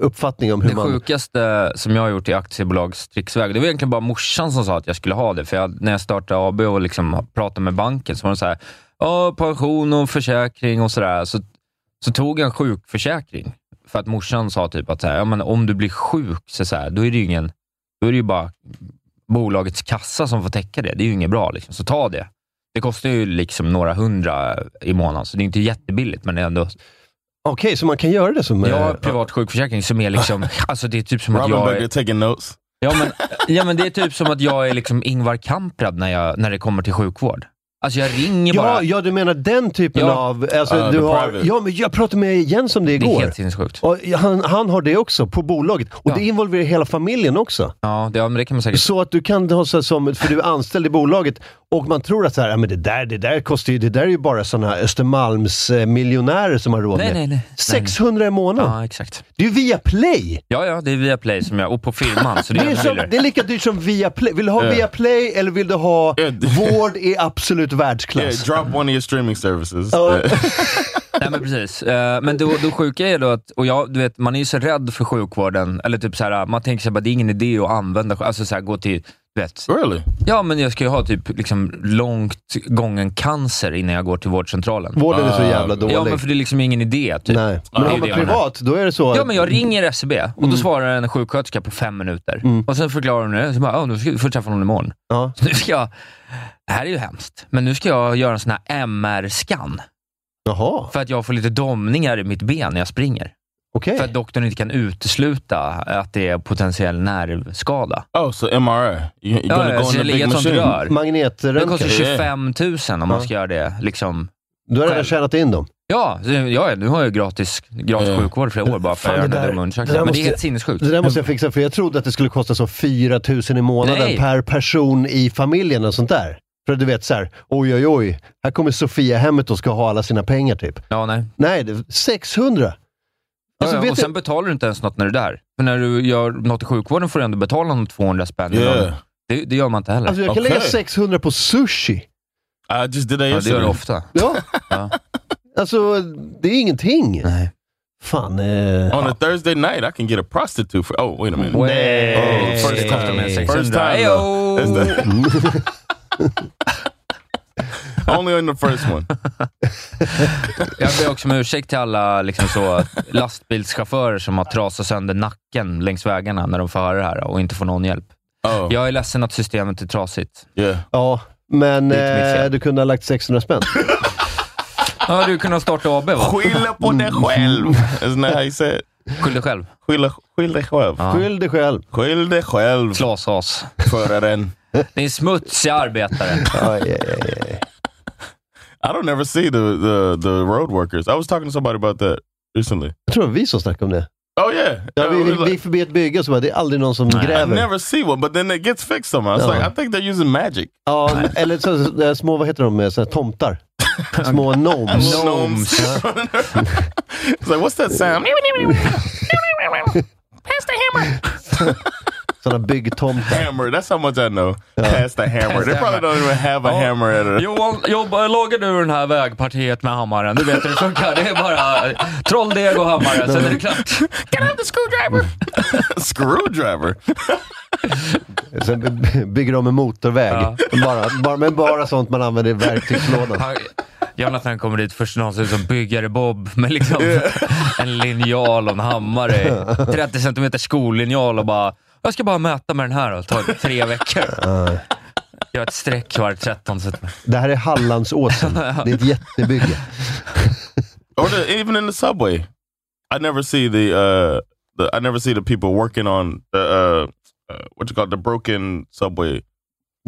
Speaker 3: uppfattning om hur
Speaker 4: Det
Speaker 3: man...
Speaker 4: sjukaste som jag har gjort i aktiebolagstricksväg, det var egentligen bara morsan som sa att jag skulle ha det. För jag, när jag startade AB och liksom pratade med banken så var de så här, ja, pension och försäkring och sådär. Så, så tog jag en sjukförsäkring. För att morsan sa typ att så här, ja, men om du blir sjuk, så så här, då är det ju ingen, då är det ju bara bolagets kassa som får täcka det. Det är ju inget bra, liksom. så ta det. Det kostar ju liksom några hundra i månaden, så det är inte jättebilligt, men det är ändå
Speaker 3: Okej, så man kan göra det som...
Speaker 4: jag
Speaker 3: eh,
Speaker 4: har privat sjukförsäkring som är liksom... Alltså det är typ som att
Speaker 5: Robin
Speaker 4: jag
Speaker 5: Becker
Speaker 4: är,
Speaker 5: taking notes.
Speaker 4: ja, men, ja, men det är typ som att jag är liksom Ingvar Kamprad när, jag, när det kommer till sjukvård. Alltså jag ringer
Speaker 3: Ja,
Speaker 4: bara.
Speaker 3: ja, du menar den typen
Speaker 4: Ja.
Speaker 3: av... Alltså,
Speaker 5: Ah,
Speaker 3: du
Speaker 5: the
Speaker 3: har,
Speaker 5: private.
Speaker 3: ja, men jag pratade med Jens om det
Speaker 4: det är
Speaker 3: igår.
Speaker 4: helt sinnessjukt.
Speaker 3: Och han, han har det också på bolaget. Och
Speaker 4: Ja.
Speaker 3: det involverar hela familjen också.
Speaker 4: Ja, det, ja, men det kan man säkert...
Speaker 3: Så att du kan ha så här som, för du är anställd i bolaget och man tror att så här, ja, men det, där, det där kostar ju, det där är ju bara sådana Östermalmsmiljonärer som har råd
Speaker 4: Nej,
Speaker 3: med.
Speaker 4: nej, nej. nej.
Speaker 3: 600 i månaden.
Speaker 4: Ja, exakt.
Speaker 3: Det är ju Viaplay!
Speaker 4: Ja, ja, det är Viaplay som jag... Och på firman, så det
Speaker 3: Det
Speaker 4: är
Speaker 3: är,
Speaker 4: jag
Speaker 3: som,
Speaker 4: som
Speaker 3: det är lika dyrt som Viaplay. Vill du ha
Speaker 5: Ja.
Speaker 3: Viaplay eller vill du ha
Speaker 5: Ja, det-
Speaker 3: vård i absolut
Speaker 5: Yeah,
Speaker 3: världsklass?
Speaker 5: drop one of your streaming services.
Speaker 3: Ja.
Speaker 4: Nej, men precis. Eh, Men det, det sjuka är då att... Och jag, du vet, man är ju så rädd för sjukvården. Eller typ så här, man tänker sig bara det är ingen idé att använda... Alltså så här, gå till... Du vet,
Speaker 5: really?
Speaker 4: Ja, men jag ska ju ha typ liksom långt gången cancer innan jag går till vårdcentralen.
Speaker 3: Vården är så jävla dålig.
Speaker 4: Ja, men för det är liksom ingen idé. Typ.
Speaker 3: Nej. Men
Speaker 4: det är
Speaker 3: har
Speaker 4: det
Speaker 3: man
Speaker 4: jag menar.
Speaker 3: privat, då är det så.
Speaker 4: Ja, men jag ringer SCB och då
Speaker 3: Mm.
Speaker 4: svarar en sjuksköterska på fem minuter. Och sen förklarar hon det. Så bara, "Ja, nu ska du få träffa någon imorgon.
Speaker 3: Ja.
Speaker 4: Så nu ska jag, det här är ju hemskt, men nu ska jag göra en sån här MR-scan.
Speaker 3: Jaha,
Speaker 4: För att jag får lite domningar i mitt ben när jag springer.
Speaker 3: okej.
Speaker 4: För att doktorn inte kan utesluta att det är potentiell nervskada.
Speaker 5: Oh, so MRI. You, you're
Speaker 4: Ja,
Speaker 5: gonna
Speaker 4: ja,
Speaker 5: go
Speaker 4: så
Speaker 5: in the
Speaker 4: jag ligger
Speaker 5: big
Speaker 4: ett sånt
Speaker 5: machine.
Speaker 4: rör. Det
Speaker 3: Magnetröntgen.
Speaker 4: kostar
Speaker 5: Ja.
Speaker 4: 25 000 om man
Speaker 3: Ja.
Speaker 4: ska göra det. Liksom,
Speaker 3: Du har redan
Speaker 4: själv.
Speaker 3: tjänat in dem.
Speaker 4: Ja, så- ja, nu har jag gratis, gratis
Speaker 5: Ja.
Speaker 4: sjukvård i flera år bara för
Speaker 3: Fan,
Speaker 4: att göra
Speaker 3: det
Speaker 4: den
Speaker 3: där-
Speaker 4: där dumma
Speaker 3: det där
Speaker 4: undersökningen. Men det
Speaker 3: måste-
Speaker 4: är helt sinnessjukt.
Speaker 3: Det där måste jag fixa, för jag trodde att det skulle kosta som 4 000 i månaden
Speaker 4: Nej.
Speaker 3: per person i familjen och sånt där. För du vet så här, oj oj oj, här kommer Sofia hemmet och ska ha alla sina pengar typ.
Speaker 4: Ja, nej.
Speaker 3: Nej, det, 600! Alltså,
Speaker 4: ja, ja,
Speaker 3: vet
Speaker 4: och
Speaker 3: du-
Speaker 4: sen betalar du inte ens något när du är där. För när du gör något i sjukvården får du ändå betala någon 200 spänn. i månaden.
Speaker 5: Yeah.
Speaker 4: Det, det gör man inte heller.
Speaker 3: Alltså jag kan
Speaker 5: Okej.
Speaker 3: lägga 600 på sushi.
Speaker 5: I just did that
Speaker 4: ja, det
Speaker 5: yesterday.
Speaker 4: gör du ofta.
Speaker 3: Ja,
Speaker 4: Ja.
Speaker 3: alltså det är ingenting.
Speaker 4: Nej.
Speaker 3: Fan. Eh.
Speaker 5: On a Thursday night, I can get a prostitute for. Oh, wait a minute.
Speaker 4: Way.
Speaker 5: Oh,
Speaker 3: first time.
Speaker 5: First time,
Speaker 4: Ejo!
Speaker 5: Is that- Only on the first one.
Speaker 4: Jag ber också om ursäkt till alla liksom så, lastbilschaufförer som har trasat sönder nacken längs vägarna när de får höra det här och inte får någon hjälp.
Speaker 5: Oh,
Speaker 4: Jag är ledsen att systemet är trasigt.
Speaker 5: yeah.
Speaker 3: Ja, men
Speaker 4: Det är inte mitt
Speaker 3: eh,
Speaker 4: fel.
Speaker 3: du kunde ha lagt 600 spänn.
Speaker 4: Ja, du kunde ha startat AB va?
Speaker 5: Skylla på dig själv. Isn't that how you say it?
Speaker 4: Skyll dig själv.
Speaker 5: Skylla, skyll dig själv.
Speaker 4: Ja.
Speaker 3: Skyll dig själv.
Speaker 5: Skyll dig själv,
Speaker 4: Klasas.
Speaker 5: föraren.
Speaker 4: Det är smutsiga arbetare.
Speaker 5: Oh,
Speaker 3: Aj, aj, aj, aj.
Speaker 5: I don't ever see the, the, the road workers. I was talking to somebody about that recently.
Speaker 3: Jag tror det var vi som snackade om det.
Speaker 5: Oh, yeah.
Speaker 3: Ja,
Speaker 5: It
Speaker 3: vi
Speaker 5: was
Speaker 3: gick
Speaker 5: like-
Speaker 3: vi förbi ett bygge och så bara, det är aldrig någon som
Speaker 5: I
Speaker 3: gräver.
Speaker 5: never see one, but then it gets fixed somehow. It's
Speaker 3: No.
Speaker 5: like I think they're using magic.
Speaker 3: Ja, eller så, så, eh, små, vad heter de, eh, såna här tomtar. Små gnomes.
Speaker 4: Gnomes.
Speaker 5: it's like what's that sound?
Speaker 3: Sådana byggtomtar.
Speaker 5: hammer. That's how much I know. Pass the hammer. They probably
Speaker 4: the hammer.
Speaker 5: don't even have a
Speaker 4: Oh.
Speaker 5: hammer at it.
Speaker 4: Johan, jobba, lagar du det här vägpartiet med hammaren? Du vet hur det funkar. Det är bara trolldeg och hammare, sen är det klart.
Speaker 5: Get out the screwdriver. screwdriver.
Speaker 3: Sen by- bygger de en motorväg.
Speaker 4: Ja.
Speaker 3: Bara, bara, men bara sånt man använder i verktygslådan.
Speaker 4: Han, Jonathan kommer dit först någonsin som byggare Bob med liksom en linjal och en hammare. 30 centimeter skolinjal och bara, jag ska bara mäta med den här och ta tre veckor. Gör ett streck var 13 centimeter.
Speaker 3: Det här är Hallandsåsen. Det är ett jättebygge.
Speaker 5: Or the, even in the subway, I never see the uh, the I never see the people working on the uh, uh, what you call it, the broken subway.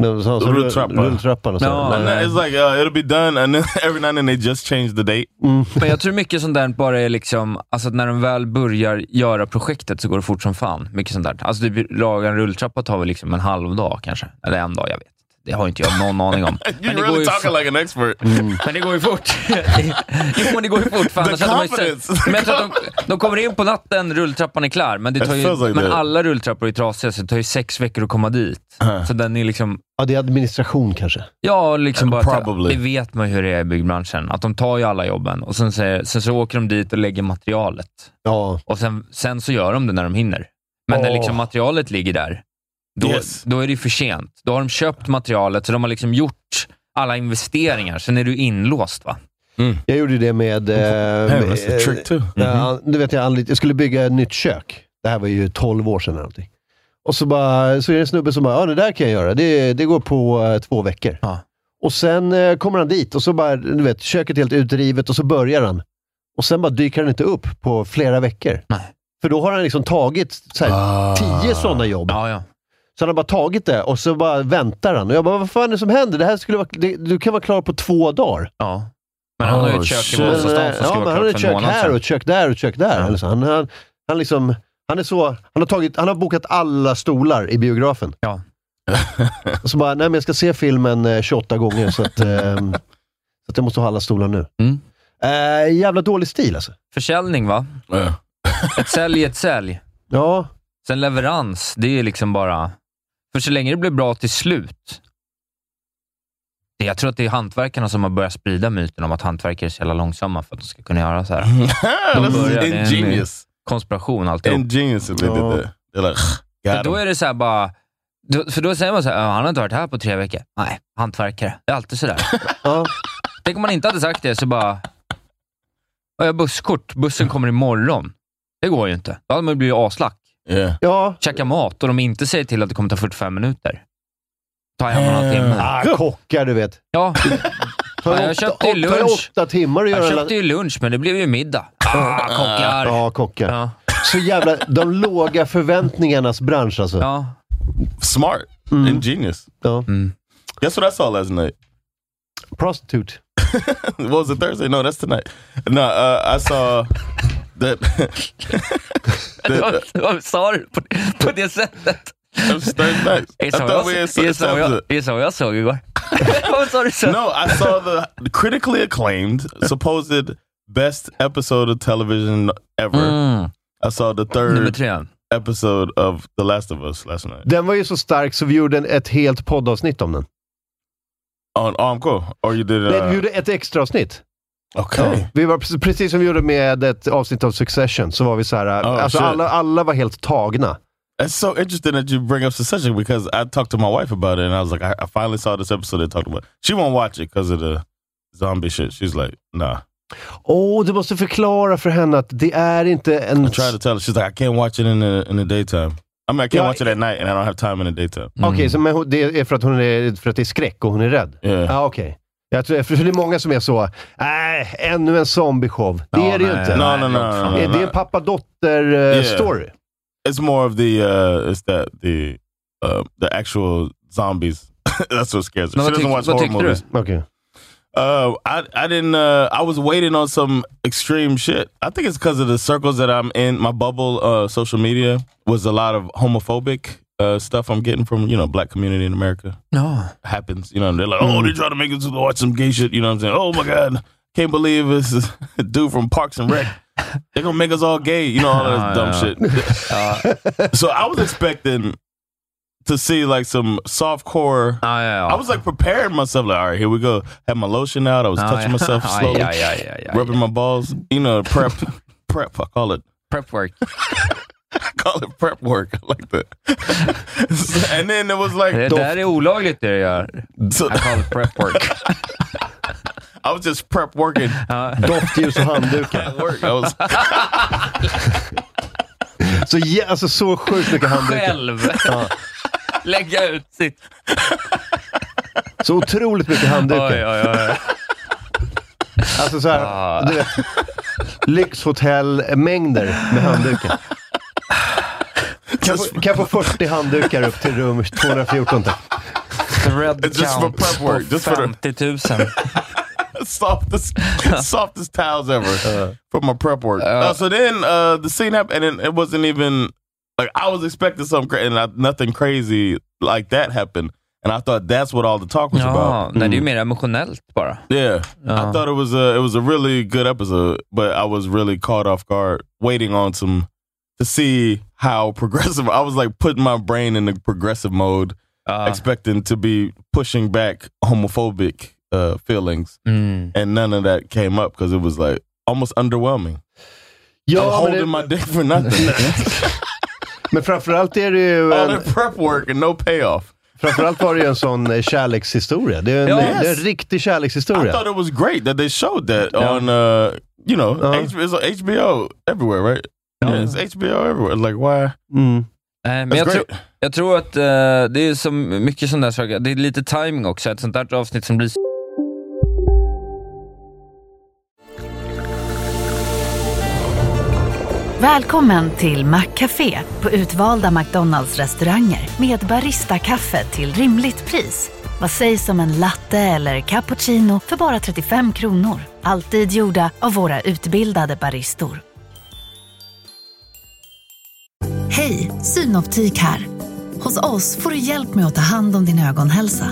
Speaker 3: Men så- så-
Speaker 5: Rulltrappa.
Speaker 3: Rulltrappan och så.
Speaker 4: Ja,
Speaker 3: Men-
Speaker 5: And that- it's like uh, it'll be done, and then every now and then they just change the date.
Speaker 4: Men jag tror mycket sånt där bara är liksom, alltså att när de väl börjar göra projektet så går det fort som fan. Mycket sånt där. Alltså typ laga en rulltrappa tar väl liksom en halv dag kanske. Eller en dag, jag vet. Det har inte jag någon aning om.
Speaker 5: You're
Speaker 4: Men det går
Speaker 5: really
Speaker 4: ju
Speaker 5: talking
Speaker 4: fort.
Speaker 5: like an expert.
Speaker 4: Men det går ju fort. jo, men det går ju fort. För
Speaker 5: The
Speaker 4: annars hade man ju sett,
Speaker 5: confidence.
Speaker 4: men jag tror att de, de kommer in på natten, rulltrappan är klar. Men, det
Speaker 5: It
Speaker 4: tar ju,
Speaker 5: feels like
Speaker 4: men
Speaker 5: that.
Speaker 4: alla rulltrappor är trasiga, så det tar ju sex veckor att komma dit. Så den är liksom
Speaker 3: Ja, det är administration kanske.
Speaker 4: Ja, liksom bara,
Speaker 5: Probably.
Speaker 4: det vet man ju hur det är i byggbranschen. Att de tar ju alla jobben och sen, säger, sen så åker de dit och lägger materialet.
Speaker 3: Ja.
Speaker 4: Och sen, sen så gör de det när de hinner. Men när
Speaker 3: Åh.
Speaker 4: liksom materialet ligger där, då,
Speaker 5: Yes.
Speaker 4: då är det ju för sent. Då har de köpt materialet, så de har liksom gjort alla investeringar. Sen är du inlåst. va?
Speaker 3: Jag gjorde det med... eh,
Speaker 5: Damn, that's the
Speaker 3: eh,
Speaker 5: trick too.
Speaker 3: Ja, du vet, jag, anlit- jag skulle bygga ett nytt kök. Det här var ju 12 år sedan eller någonting. Och så, bara, så är det en snubbe som bara, ja det där kan jag göra. Det, det går på eh, två veckor.
Speaker 4: Ja.
Speaker 3: Och sen eh, kommer han dit och så bara, du vet, köket är helt utrivet och så börjar han. Och sen bara dyker han inte upp på flera veckor.
Speaker 4: Nej.
Speaker 3: För då har han liksom tagit så här, tio sådana jobb.
Speaker 4: Ja, ja.
Speaker 3: Så han har bara tagit det och så bara väntar han. Och jag bara, vad fan är det som händer? Det här skulle vara, det, du kan vara klar på två dagar.
Speaker 4: ja. Men han har ju
Speaker 5: Oh,
Speaker 4: ett kök i
Speaker 5: shit.
Speaker 4: Vasastan som
Speaker 3: ja,
Speaker 4: ska
Speaker 3: men
Speaker 4: vara
Speaker 3: han har
Speaker 4: klart
Speaker 3: ett
Speaker 4: för en
Speaker 3: kök
Speaker 4: månad
Speaker 3: här och
Speaker 4: sedan.
Speaker 3: ett kök där och ett kök där.
Speaker 4: Ja.
Speaker 3: Alltså, han, han, han, liksom, han är så... Han har, tagit, han har bokat alla stolar i biografen.
Speaker 4: Ja.
Speaker 3: Och så bara, nej men jag ska se filmen eh, 28 gånger så att, ehm, så att jag måste ha alla stolar nu.
Speaker 4: Mm.
Speaker 3: Eh, jävla dålig stil alltså.
Speaker 4: Försäljning, va?
Speaker 5: Yeah.
Speaker 4: Ett sälj är ett sälj.
Speaker 3: Ja,
Speaker 4: Sen leverans, det är liksom bara... För så länge det blir bra till slut. Det- Jag tror att det är hantverkarna som har börjat sprida myten om att hantverkare är så jävla långsamma för att de ska kunna göra så här.
Speaker 5: that's
Speaker 4: började en-
Speaker 5: ingenious.
Speaker 4: Konspiration alltihop.
Speaker 5: Ingenious that they did
Speaker 3: Ja.
Speaker 5: that. They're like,
Speaker 4: För
Speaker 5: got
Speaker 4: då
Speaker 5: him.
Speaker 4: är det så här bara... då- För då säger man så här, "Ja, han har inte varit här på tre veckor. Nej, hantverkare. Det är alltid så där.
Speaker 3: ja.
Speaker 4: Tänk om man inte hade sagt det, så bara... "Ja, Jag har busskort. Bussen kommer imorgon. Det går ju inte. Då hade man ju blivit aslack.
Speaker 5: Yeah.
Speaker 3: ja.
Speaker 4: Käka mat och de inte säger till att det kommer ta 45 minuter. Ta hem en halvtimme.
Speaker 3: Ah, kockar du vet.
Speaker 4: Ja,
Speaker 3: Tar
Speaker 4: Ja, jag
Speaker 3: åtta-
Speaker 4: köpte ju
Speaker 3: åt- tar
Speaker 4: lunch.
Speaker 3: åtta timmar att göra
Speaker 4: jag
Speaker 3: alla...
Speaker 4: köpte ju lunch, men det blev ju middag. Ah, kockar!
Speaker 3: Ja, kockar.
Speaker 4: Ja,
Speaker 3: Så jävla... De låga förväntningarnas bransch alltså.
Speaker 4: ja.
Speaker 5: Smart. Ingenious.
Speaker 3: Ja.
Speaker 5: Guess what I saw last night?
Speaker 3: Prostitute.
Speaker 5: what was it Thursday? No, that's tonight. No, uh, I saw that. that
Speaker 4: Vad sa du på, på det sättet?
Speaker 5: that was Thursday night. I
Speaker 4: Det är så
Speaker 5: thought we
Speaker 4: jag-
Speaker 5: had
Speaker 4: det är så jag-
Speaker 5: subs-
Speaker 4: det är så jag såg igår. Vad sa du sen?
Speaker 5: No, I saw the critically acclaimed, supposed best episode of television ever.
Speaker 4: Mm,
Speaker 5: I saw the
Speaker 4: nummer
Speaker 5: third
Speaker 4: tre.
Speaker 5: episode of The Last of Us last night
Speaker 3: Den var ju så stark så vi gjorde en- ett helt poddavsnitt om den.
Speaker 5: on oh, Armco. Or you did it?
Speaker 3: Nej, vi
Speaker 5: Uh,
Speaker 3: gjorde ett extra avsnitt.
Speaker 5: okay.
Speaker 3: Vi var precis- precis som vi gjorde med ett avsnitt av Succession, så var vi så här,
Speaker 5: Oh,
Speaker 3: alltså
Speaker 5: shit.
Speaker 3: alla, alla var helt tagna.
Speaker 5: It's so interesting that you bring up Succession because I talked to my wife about it and I was like, I, I finally saw this episode they talked about. She won't watch it because of the zombie shit. She's like, nah.
Speaker 3: Åh, du måste förklara för henne att det är inte en...
Speaker 5: I tried to tell her. She's like, I can't watch it in the in the daytime. I mean, I can't
Speaker 3: Yeah,
Speaker 5: watch it at night, and I don't have time in the daytime.
Speaker 3: Okej, så men hon- det är för att, hon är, för att det är skräck och hon är rädd?
Speaker 5: Yeah.
Speaker 3: Ja, okej. Jag tror, för det är många som är så, nej, ännu en zombieshow. Det
Speaker 4: Ja,
Speaker 3: är det ju
Speaker 4: nej,
Speaker 3: inte.
Speaker 5: No, no, no, no, no,
Speaker 3: Det
Speaker 5: no,
Speaker 3: är en eh,
Speaker 5: no. Yeah.
Speaker 3: pappa-dotter-story.
Speaker 5: It's more of the uh, it's that the uh, the actual zombies. That's what scares her.
Speaker 4: No,
Speaker 5: she
Speaker 4: what
Speaker 5: doesn't watch
Speaker 4: takes- what
Speaker 5: horror
Speaker 4: takes through?
Speaker 5: movies.
Speaker 3: Okej.
Speaker 5: Uh, I I didn't. Uh, I was waiting on some extreme shit. I think it's because of the circles that I'm in. My bubble, uh, social media was a lot of homophobic uh, stuff I'm getting from you know black community in America.
Speaker 4: Ja.
Speaker 5: happens. You know, and they're like, oh, they try to make us watch some gay shit. You know what I'm saying? Oh my god, can't believe this is a dude from Parks and Rec. They're gonna make us all gay. You know, all that
Speaker 4: Ah,
Speaker 5: dumb
Speaker 4: yeah.
Speaker 5: shit. Uh,
Speaker 4: Ja,
Speaker 5: so I was expecting to see like some soft core.
Speaker 4: ja, ja.
Speaker 5: I was like preparing myself. Like, all right, here we go. Had my lotion out. I was
Speaker 4: Ja,
Speaker 5: touching
Speaker 4: ja.
Speaker 5: myself
Speaker 4: Aj,
Speaker 5: slowly,
Speaker 4: aj, aj, aj, aj.
Speaker 5: rubbing my balls. You know, prep, prep. I call it
Speaker 4: Prep work.
Speaker 5: call it prep work. I like that. and then it was like
Speaker 4: Det där är olagligt det du gör.
Speaker 5: so-
Speaker 4: I call it prep work.
Speaker 5: I was just prep working.
Speaker 3: Doftljus och handdukar.
Speaker 5: at work. I was
Speaker 3: Så, jä- alltså, så sjukt mycket handdukar.
Speaker 4: Själv. Lägga ut sitt...
Speaker 3: Så otroligt mycket
Speaker 4: Oj,
Speaker 3: handdukar.
Speaker 4: oj, oj.
Speaker 3: Alltså så här,
Speaker 4: Ah.
Speaker 3: du vet, lyxhotellmängder med handdukar. Kan
Speaker 5: just
Speaker 3: få, kan få 40 handdukar upp till rum 214. tack.
Speaker 4: Thread
Speaker 5: It's just for
Speaker 4: count
Speaker 5: prep work,
Speaker 4: på
Speaker 5: just for the-
Speaker 4: 50 000.
Speaker 5: softest softest towels ever for my prep work. Uh, so then uh, the scene happened, and then it wasn't even like I was expecting something, cra- and I, nothing crazy like that happened. and I thought that's what all the talk was
Speaker 4: Ja,
Speaker 5: about. Mm.
Speaker 4: nej, det är ju mer emotionellt bara.
Speaker 5: Yeah, I thought it was a it was a really good episode, but I was really caught off guard, waiting on some to see how progressive. I was like putting my brain in the progressive mode,
Speaker 4: Ja.
Speaker 5: expecting to be pushing back homophobic uh, feelings,
Speaker 4: Mm.
Speaker 5: and none of that came up because it was like almost underwhelming. I'm
Speaker 3: Ja,
Speaker 5: holding
Speaker 3: men, det,
Speaker 5: my dick for nothing.
Speaker 3: men framförallt är det ju
Speaker 5: All
Speaker 3: en,
Speaker 5: the prep work and no payoff.
Speaker 3: framförallt var det ju en sån eh, kärlekshistoria. Det är en,
Speaker 4: Ja.
Speaker 3: det är en
Speaker 5: Yes.
Speaker 3: riktig
Speaker 5: I
Speaker 3: kärlekshistoria.
Speaker 5: thought it was great that they showed that on, uh, you know,
Speaker 3: Uh-huh.
Speaker 5: H- it's on HBO everywhere, right? Yeah, it's HBO everywhere. Like, why?
Speaker 3: Mm.
Speaker 4: Nej, Eh, men
Speaker 5: That's
Speaker 4: jag,
Speaker 5: great.
Speaker 4: tror- jag tror att eh, det är så mycket sådana där saker. Det är lite timing också. Ett sånt där avsnitt som blir så
Speaker 6: Välkommen till Maccafé på utvalda McDonalds restauranger med Baristakaffe till rimligt pris. Vad sägs om en latte eller cappuccino för bara 35 kronor? Alltid gjorda av våra utbildade baristor. Hej, Synoptik här. Hos oss får du hjälp med att ta hand om din ögonhälsa.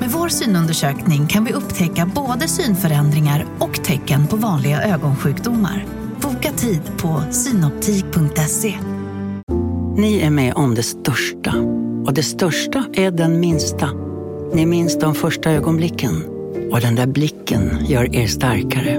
Speaker 6: Med vår synundersökning kan vi upptäcka både synförändringar och tecken på vanliga ögonsjukdomar. Boka tid på synoptik.se.
Speaker 7: Ni är med om det största. Och det största är den minsta. Ni minns de första ögonblicken. Och den där blicken gör er starkare.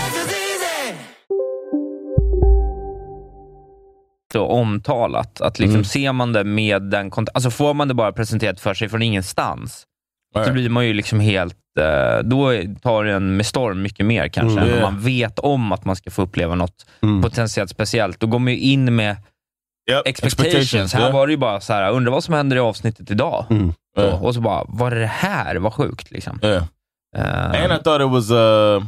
Speaker 4: omtalat. Att liksom
Speaker 5: Mm.
Speaker 4: ser man det med den kont- Alltså får man det bara presenterat för sig från ingenstans, så blir man ju liksom helt... eh, Då tar det en med storm mycket mer kanske,
Speaker 5: Mm.
Speaker 4: än om
Speaker 5: Yeah.
Speaker 4: man vet om att man ska få uppleva något
Speaker 3: Mm.
Speaker 4: potentiellt speciellt. Då går man ju in med
Speaker 5: Yep.
Speaker 4: expectations. Här
Speaker 5: yeah.
Speaker 4: var det ju bara så här, undrar vad som händer i avsnittet idag? Så,
Speaker 5: Yeah.
Speaker 4: Och så bara, var det det här? Vad sjukt liksom.
Speaker 5: Yeah.
Speaker 4: Eh,
Speaker 5: And I thought it was uh,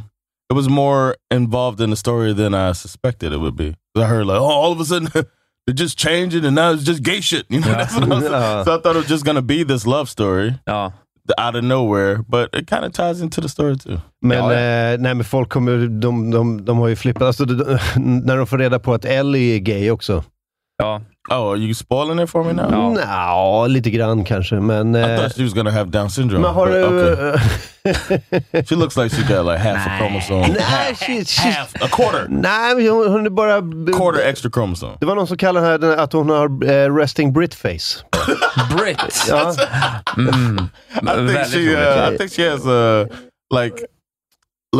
Speaker 5: it was more involved in the story than I suspected it would be. 'Cause I heard like, oh, all of a sudden they're just changing, and now it's just gay shit. You know,
Speaker 4: Yeah.
Speaker 5: that's what I was,
Speaker 3: Yeah.
Speaker 5: so I thought it was just gonna be this love story
Speaker 4: ja.
Speaker 5: out of nowhere, but it kind of ties into the story too.
Speaker 3: Men,
Speaker 4: Ja, ja.
Speaker 3: Eh, nej, men folk kommer, de, de, de har ju flippat. Alltså, de, de, när de får reda på att Ellie är gay också.
Speaker 4: Ja.
Speaker 5: Oh, are you spoiling it for me now?
Speaker 4: Ja.
Speaker 3: Nja, lite grann kanske. Men,
Speaker 5: I
Speaker 3: eh,
Speaker 5: thought she was gonna have Down syndrome.
Speaker 3: men har
Speaker 5: but
Speaker 3: du...
Speaker 5: okay.
Speaker 3: eh,
Speaker 5: She looks like she got like half a chromosome,
Speaker 3: nej, she, she,
Speaker 5: a quarter,
Speaker 3: nej, men hon, hon är bara...
Speaker 5: quarter extra chromosome.
Speaker 3: Det var någon som kallade henne att hon har eh, resting Brit face.
Speaker 4: Britt!
Speaker 3: Ja.
Speaker 4: Mm.
Speaker 5: I think
Speaker 4: Väldigt
Speaker 5: she,
Speaker 4: roligt.
Speaker 5: uh, I think she has uh, like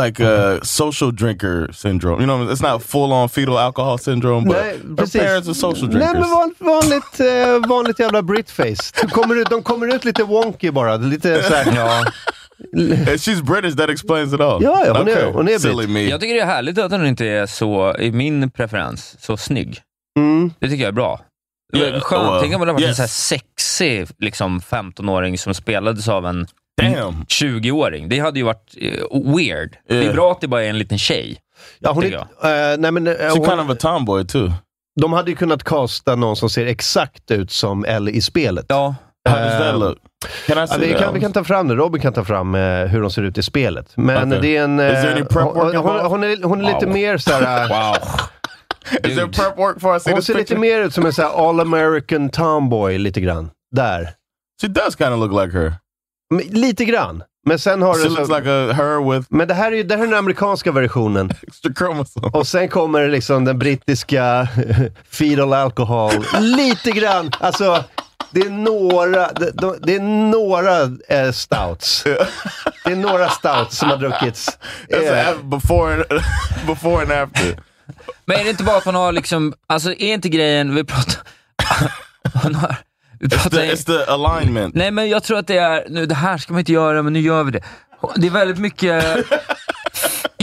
Speaker 5: like a social drinker syndrome. You know, it's not full on fetal alcohol syndrome, but
Speaker 3: Nej,
Speaker 5: her
Speaker 3: precis.
Speaker 5: parents are social
Speaker 3: Nej,
Speaker 5: drinkers.
Speaker 3: men van, vanligt, eh, vanligt jävla Brit face. De kommer, ut, de kommer ut lite wonky bara. Lite så här, ja.
Speaker 5: And she's British. That explains it all.
Speaker 3: Ja, ja, hon är- hon är
Speaker 5: silly me.
Speaker 4: Jag tycker det är härligt att hon inte är så, i min preferens, så snygg.
Speaker 3: Mm.
Speaker 4: Det tycker jag är bra.
Speaker 5: Yeah,
Speaker 4: Skönt.
Speaker 5: well,
Speaker 4: Tänk om det hade varit en
Speaker 5: yes.
Speaker 4: så här sexig liksom, 15-åring som spelades av en
Speaker 5: Damn.
Speaker 4: 20-åring. Det hade ju varit eh, weird. Det är
Speaker 5: Yeah.
Speaker 4: bra att det bara är en liten tjej.
Speaker 3: Ja, hon är,
Speaker 4: Tycker
Speaker 3: eh, nej, men, eh,
Speaker 5: She's
Speaker 3: hon,
Speaker 5: kind of a tomboy too.
Speaker 3: De hade ju kunnat casta någon som ser exakt ut som Ellie i spelet.
Speaker 4: Ja.
Speaker 5: How does that look? Can Um, I
Speaker 3: Ja,
Speaker 5: see
Speaker 3: vi,
Speaker 5: that?
Speaker 3: kan, vi kan ta fram det. Robin kan ta fram eh, hur hon ser ut i spelet. Men
Speaker 5: Okej.
Speaker 3: det är en...
Speaker 5: Is
Speaker 3: eh,
Speaker 5: there any prep work
Speaker 3: hon, hon,
Speaker 5: involved?
Speaker 3: hon, är, hon är lite
Speaker 4: Wow.
Speaker 3: mer så här... eh,
Speaker 4: Wow.
Speaker 5: Is there
Speaker 4: Dude.
Speaker 5: prep work for I see
Speaker 3: Hon
Speaker 5: this
Speaker 3: ser lite
Speaker 5: picture?
Speaker 3: mer ut som en så här all American tomboy lite grann. Där.
Speaker 5: She does kind of look like her.
Speaker 3: Men, lite grann. Men sen har
Speaker 5: She
Speaker 3: du...
Speaker 5: looks
Speaker 3: Så,
Speaker 5: like a her with
Speaker 3: men det här är ju det här är den amerikanska versionen.
Speaker 5: extra chromosome.
Speaker 3: Och sen kommer liksom den brittiska fetal alcohol. Lite grann. Alltså, det är några, det, de- det är några eh, stouts. Det är några stouts som har druckits.
Speaker 5: That's
Speaker 3: Eh,
Speaker 5: a- before and before and after.
Speaker 4: Men är det inte bara att man har liksom, alltså är inte grejen, vi pratar... hon har, vi
Speaker 5: It's
Speaker 4: pratar
Speaker 5: the, it's the alignment.
Speaker 4: Nej, men jag tror att det är, nu det här ska man inte göra, men nu gör vi det. Det är väldigt mycket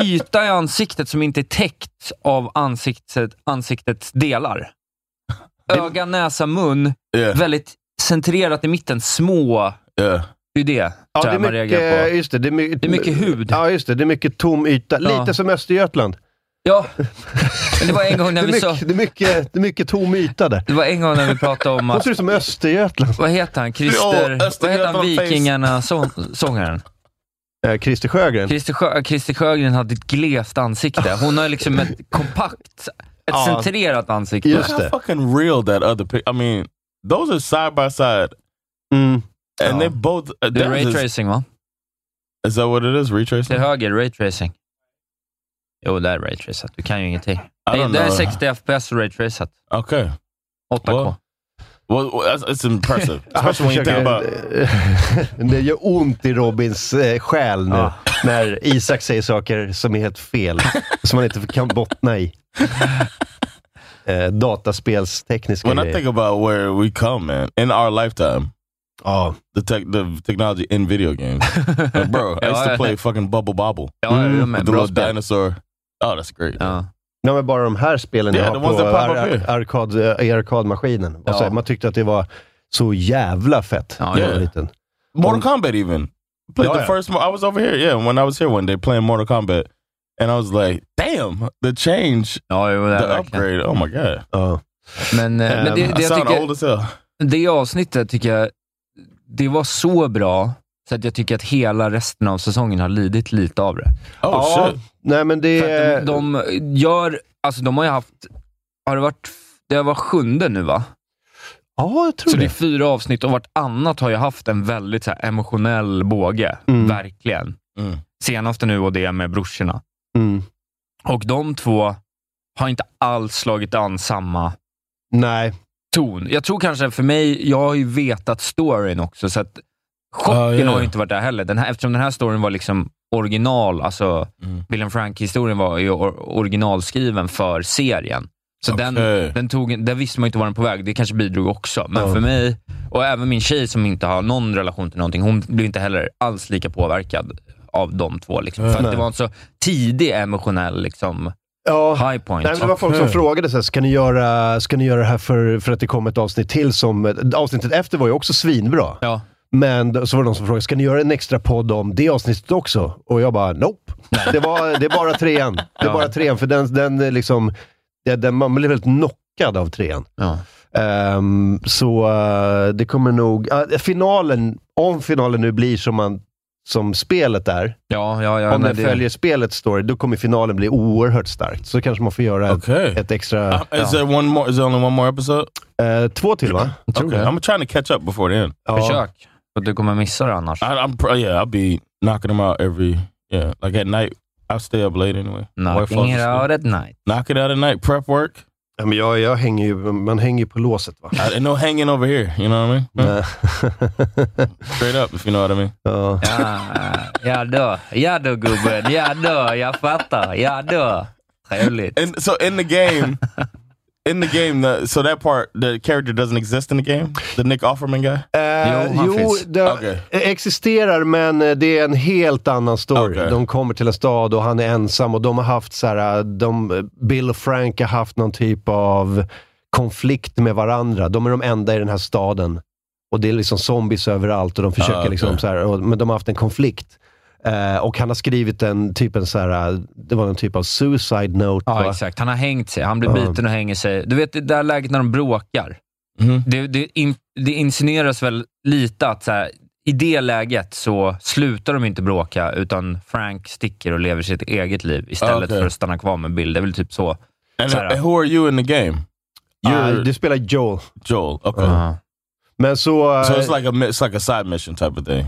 Speaker 4: yta i ansiktet som inte är täckt av ansiktet, ansiktets delar. Öga, näsa, mun,
Speaker 5: Yeah,
Speaker 4: väldigt centrerat i mitten, små
Speaker 5: yeah.
Speaker 4: Det är ju det,
Speaker 3: Ja,
Speaker 4: tror
Speaker 3: det är
Speaker 4: jag man reagerar
Speaker 3: mycket,
Speaker 4: på.
Speaker 3: just det, det, är my-
Speaker 4: Det är mycket hud.
Speaker 3: Ja, just det. Det är mycket tom yta.
Speaker 4: Ja.
Speaker 3: Lite som Östergötland.
Speaker 4: Ja, men det var en gång
Speaker 3: Det
Speaker 4: när
Speaker 3: är,
Speaker 4: vi sa...
Speaker 3: mycket, det, är mycket, det är mycket tom yta där.
Speaker 4: Det var en gång när vi pratade om
Speaker 3: Låter
Speaker 4: att...
Speaker 3: du som Östergötland?
Speaker 4: Vad heter han? Christer...
Speaker 5: Ja, Östergötland
Speaker 4: vad heter han?
Speaker 5: face.
Speaker 4: Vikingarna-sångaren?
Speaker 3: Eh, Christer Sjögren.
Speaker 4: Christer, Sjö, Christer Sjögren hade ett glest ansikte. Hon har liksom ett kompakt, ett
Speaker 3: Ja.
Speaker 4: centrerat ansikte.
Speaker 3: Just
Speaker 5: How
Speaker 3: det.
Speaker 5: fucking real that other pic. I mean, those are side by side,
Speaker 3: Mm.
Speaker 5: and
Speaker 4: Ja.
Speaker 5: they both. Uh,
Speaker 4: Det är
Speaker 5: theirs is-
Speaker 4: raytracing va?
Speaker 5: Is that what it is? Retracing?
Speaker 4: Till höger, raytracing. Jo, det är raytracat. Du kan ju ingenting.
Speaker 5: I
Speaker 4: Det,
Speaker 5: don't
Speaker 4: det är
Speaker 5: know.
Speaker 4: 60 fps raytracat.
Speaker 5: Okay.
Speaker 4: 8K.
Speaker 5: Well, well, well, that's, it's impressive,
Speaker 3: Han
Speaker 5: especially when you think about.
Speaker 3: försöker- det gör ont i Robins eh, själ nu när Isak säger saker som är helt fel, som han inte kan bottna i. Eh, dataspelstekniska
Speaker 5: When I
Speaker 3: grejer.
Speaker 5: think about where we come, man, in our lifetime,
Speaker 3: Ja,
Speaker 5: the tech, the technology in video games, Like, bro. I used to play fucking Bubble Bobble Mm-hmm.
Speaker 4: Ja, jag är
Speaker 5: with
Speaker 4: med.
Speaker 5: the
Speaker 4: Bra
Speaker 5: little
Speaker 4: spel.
Speaker 5: dinosaur. Oh, that's great.
Speaker 4: Ja.
Speaker 3: Nej, men bara de här spelen
Speaker 5: Yeah,
Speaker 3: jag
Speaker 5: the
Speaker 3: har
Speaker 5: ones
Speaker 3: på
Speaker 5: that pop up
Speaker 3: ar-
Speaker 5: here.
Speaker 3: arkad, eh, i arkadmaskinen. Och så
Speaker 4: Ja.
Speaker 3: här, Man tyckte att det var så jävla fett
Speaker 4: Ja,
Speaker 3: när jag var
Speaker 5: ja.
Speaker 3: liten.
Speaker 5: Mortal Kombat even played
Speaker 3: Oh,
Speaker 5: the
Speaker 3: yeah.
Speaker 5: first. Mo- I was over here, yeah, when I was here one day playing Mortal Kombat, and I was like, damn, the change,
Speaker 4: Ja, jo, det
Speaker 5: the
Speaker 4: är verkligen.
Speaker 5: upgrade. Oh my god,
Speaker 3: Ja.
Speaker 4: Men, eh, men det,
Speaker 3: Um,
Speaker 4: det,
Speaker 5: I
Speaker 4: jag
Speaker 5: sound
Speaker 4: tycker,
Speaker 5: old as hell.
Speaker 4: det avsnittet tycker jag, det var så bra så att jag tycker att hela resten av säsongen har lidit lite av det.
Speaker 5: Oh
Speaker 3: ja,
Speaker 5: shit.
Speaker 3: nej men det...
Speaker 4: För att de,
Speaker 5: Eh.
Speaker 4: de gör, alltså de har ju haft, har det varit, det var sjunde nu va?
Speaker 3: ja, jag tror
Speaker 4: Så det är
Speaker 3: det.
Speaker 4: fyra avsnitt och vartannat har ju haft en väldigt så här, emotionell båge.
Speaker 3: Mm.
Speaker 4: Verkligen.
Speaker 5: Mm.
Speaker 4: Senaste nu och det med brorsorna.
Speaker 3: Mm.
Speaker 4: Och de två har inte alls slagit an samma
Speaker 3: Nej,
Speaker 4: ton. Jag tror kanske för mig, jag har ju vetat storyn också, så att chocken
Speaker 5: Ja, ja, ja.
Speaker 4: har ju inte varit där heller. Den här, eftersom den här storyn var liksom original, alltså
Speaker 5: Mm.
Speaker 4: William Frank-historien var ju or- originalskriven för serien. Så den,
Speaker 5: Okej.
Speaker 4: den, tog, den visste man ju inte var den på väg. Det kanske bidrog också. Men för mig, och även min tjej som inte har någon relation till någonting, hon blev inte heller alls lika påverkad av de två. Liksom. För att det var en så tidig emotionell liksom,
Speaker 3: ja.
Speaker 4: high point.
Speaker 3: Ah. Nej, men det var folk som
Speaker 5: Okej.
Speaker 3: frågade så här, ska ni göra, ska ni göra det här för, för att det kom ett avsnitt till som... Avsnittet efter var ju också svinbra.
Speaker 4: Ja.
Speaker 3: Men då- så var det någon som frågade, ska ni göra en extra podd om det avsnittet också? Och jag bara, nope. Det, var, det är bara trean. Det är
Speaker 4: Ja.
Speaker 3: bara trean, för den, den är liksom... Den, den, man blir väldigt knockad av trean.
Speaker 4: Ja.
Speaker 3: Ehm, så eh, det kommer nog... ja, finalen, om finalen nu blir som, man, som spelet är,
Speaker 4: Ja, ja, ja,
Speaker 3: om
Speaker 4: nej,
Speaker 3: den följer spelets story, då kommer finalen bli oerhört starkt. Så kanske man får göra
Speaker 5: Okay.
Speaker 3: ett extra...
Speaker 5: Uh, Is there one more? Is there only one more episode?
Speaker 3: eh, två till va?
Speaker 5: Okay, I'm trying to catch up before the end.
Speaker 3: Ja. Ah.
Speaker 4: Försök. För att du kommer missa det annars.
Speaker 5: I, I'm pro- yeah, I'll be knocking them out every yeah. Like at night, I stay up late anyway. Wife falls
Speaker 4: Knocking it
Speaker 5: asleep.
Speaker 4: out at night.
Speaker 5: Knock it out at night. Prep work.
Speaker 3: Ja, men jag, jag hänger ju, man hänger ju på låset va?
Speaker 5: I, no hanging over here. You know what I mean?
Speaker 4: Mm.
Speaker 3: Men-
Speaker 5: Straight up, if you know what I mean.
Speaker 3: ja.
Speaker 4: Ja, ja då. Ja då gubben. Ja då. Jag fattar. Ja då. Trevligt.
Speaker 5: And so in the game, in the game, the, so that part, the character doesn't exist in the game. The Nick Offerman guy.
Speaker 3: Eh,
Speaker 4: Jo, han
Speaker 3: jo,
Speaker 4: finns.
Speaker 3: det eh,
Speaker 5: Okej.
Speaker 3: existerar, men eh, det är en helt annan story.
Speaker 5: Okej.
Speaker 3: De kommer till en stad och han är ensam och de har haft så här, eh, de, Bill och Frank har haft någon typ av konflikt med varandra. De är de enda i den här staden. Och det är liksom zombies överallt och de försöker
Speaker 5: Ah, okej.
Speaker 3: liksom så här, och, men de har haft en konflikt. Eh, och han har skrivit en typ en så här, eh, det var någon typ av suicide note.
Speaker 4: Ja,
Speaker 3: va?
Speaker 4: exakt. Han har hängt sig. Han blir
Speaker 3: Ja.
Speaker 4: biten och hänger sig. Du vet det där läget när de bråkar.
Speaker 3: Mm-hmm.
Speaker 5: Mhm.
Speaker 4: Det, det, in, det insinueras väl lite att så här, i det läget så slutar de inte bråka, utan Frank sticker och lever sitt eget liv istället
Speaker 5: Okej.
Speaker 4: för att stanna kvar med Bill. Det är väl typ så.
Speaker 5: And,
Speaker 4: Sarah.
Speaker 5: and who are you in the game?
Speaker 3: Ah,
Speaker 5: You're
Speaker 3: du spelar Joel.
Speaker 5: Joel. Okay.
Speaker 4: Uh,
Speaker 3: Men så... eh,
Speaker 5: So it's like a mi- it's like a side mission type of thing.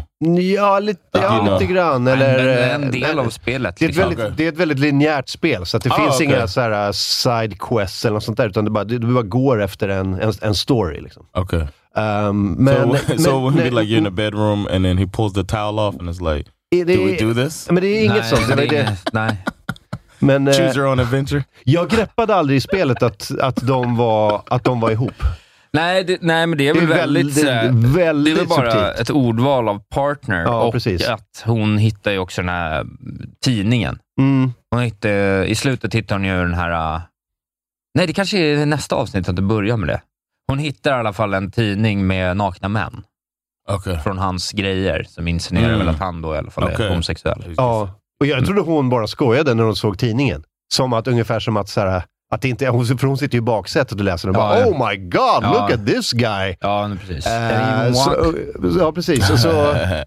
Speaker 3: Ja, lite,
Speaker 5: Ja.
Speaker 3: ja, lite grann.
Speaker 4: Men-
Speaker 3: Eller,
Speaker 4: men en del
Speaker 3: eh,
Speaker 4: av spelet.
Speaker 3: det är, ett
Speaker 4: liksom.
Speaker 3: väldigt, det är ett väldigt linjärt spel, så att det
Speaker 5: Ah,
Speaker 3: finns
Speaker 5: okej.
Speaker 3: inga så här, uh, side quests eller något sånt där, utan du bara, du, du bara går efter en, en, en story. Liksom.
Speaker 5: Okay.
Speaker 3: Ehm,
Speaker 5: so
Speaker 3: men,
Speaker 5: so it
Speaker 3: men,
Speaker 5: would be
Speaker 3: nej,
Speaker 5: like you're in the bedroom and then he pulls the towel off and it's like,
Speaker 3: är det,
Speaker 5: do we do this?
Speaker 3: men det är inget
Speaker 4: Nej,
Speaker 3: sånt. Det var
Speaker 4: det
Speaker 3: ju
Speaker 4: är
Speaker 3: det.
Speaker 4: inget- nej.
Speaker 3: Men eh,
Speaker 5: Choose your own adventure.
Speaker 3: jag greppade aldrig i spelet att, att, de, var, att de var ihop.
Speaker 4: Nej, det, nej, men det är
Speaker 3: Det
Speaker 4: väl
Speaker 3: är
Speaker 4: väldigt...
Speaker 3: väldigt,
Speaker 4: så här-
Speaker 3: väldigt,
Speaker 4: Det är väl bara
Speaker 3: subtilt.
Speaker 4: ett ordval av partner
Speaker 3: Ja,
Speaker 4: och
Speaker 3: precis.
Speaker 4: att hon hittar ju också den här tidningen.
Speaker 3: Mm.
Speaker 4: Hon hittar, I slutet hittar hon ju den här... äh, Nej, det kanske är nästa avsnitt att du börjar med det. Hon hittar i alla fall en tidning med nakna män.
Speaker 5: Okej.
Speaker 4: från hans grejer, som insinuerar
Speaker 5: Mm.
Speaker 4: väl att han då i alla fall
Speaker 5: Okej.
Speaker 4: är homosexuell.
Speaker 5: Oh.
Speaker 3: Ja, och jag trodde hon bara skojade när hon såg tidningen. Som att ungefär som att, så här, att det inte, hon, för hon sitter ju i baksätet och läser och
Speaker 4: Ja,
Speaker 3: bara
Speaker 4: ja.
Speaker 3: Oh my god,
Speaker 4: Ja.
Speaker 3: look at this guy!
Speaker 4: Ja, men precis.
Speaker 3: Eh, så, ja, precis. Och så,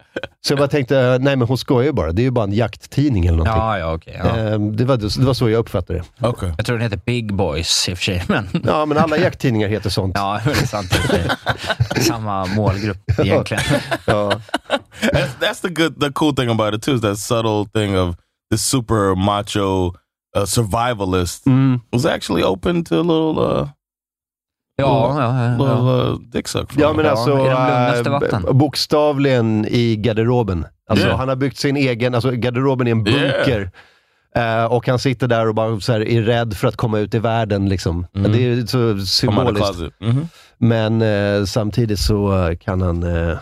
Speaker 3: så jag bara tänkte, nej men hon skojar ju bara. Det är ju bara en jakttidning eller någonting.
Speaker 4: ja, ja, okej. ja.
Speaker 3: Eh, Det, var, det var så jag uppfattade det.
Speaker 5: Okej.
Speaker 4: Jag tror den heter Big Boys i och för sig, men...
Speaker 3: Ja, men alla jakttidningar heter sånt.
Speaker 4: Ja, det är sant. i och för sig. Samma målgrupp egentligen.
Speaker 3: Ja.
Speaker 5: that's that's the good the cool thing about it too is that subtle thing of the super macho uh, survivalist
Speaker 3: Mm.
Speaker 5: was actually open to a little uh,
Speaker 4: Ja, ja, ja.
Speaker 5: little uh, dick suck. From
Speaker 3: ja,
Speaker 5: him.
Speaker 3: men
Speaker 4: Ja,
Speaker 3: alltså
Speaker 4: i de lugnaste
Speaker 3: eh,
Speaker 4: vatten.
Speaker 3: b- bokstavligen i garderoben. Alltså,
Speaker 5: Yeah.
Speaker 3: Han har byggt sin egen, alltså garderoben är en bunker. Eh, och han sitter där och bara så här, är rädd för att komma ut i världen. Liksom.
Speaker 5: Mm.
Speaker 3: Det är ju så
Speaker 5: Come out of the
Speaker 3: symboliskt.
Speaker 5: closet. Mhm.
Speaker 3: Men eh, samtidigt så eh, kan han, eh, eh,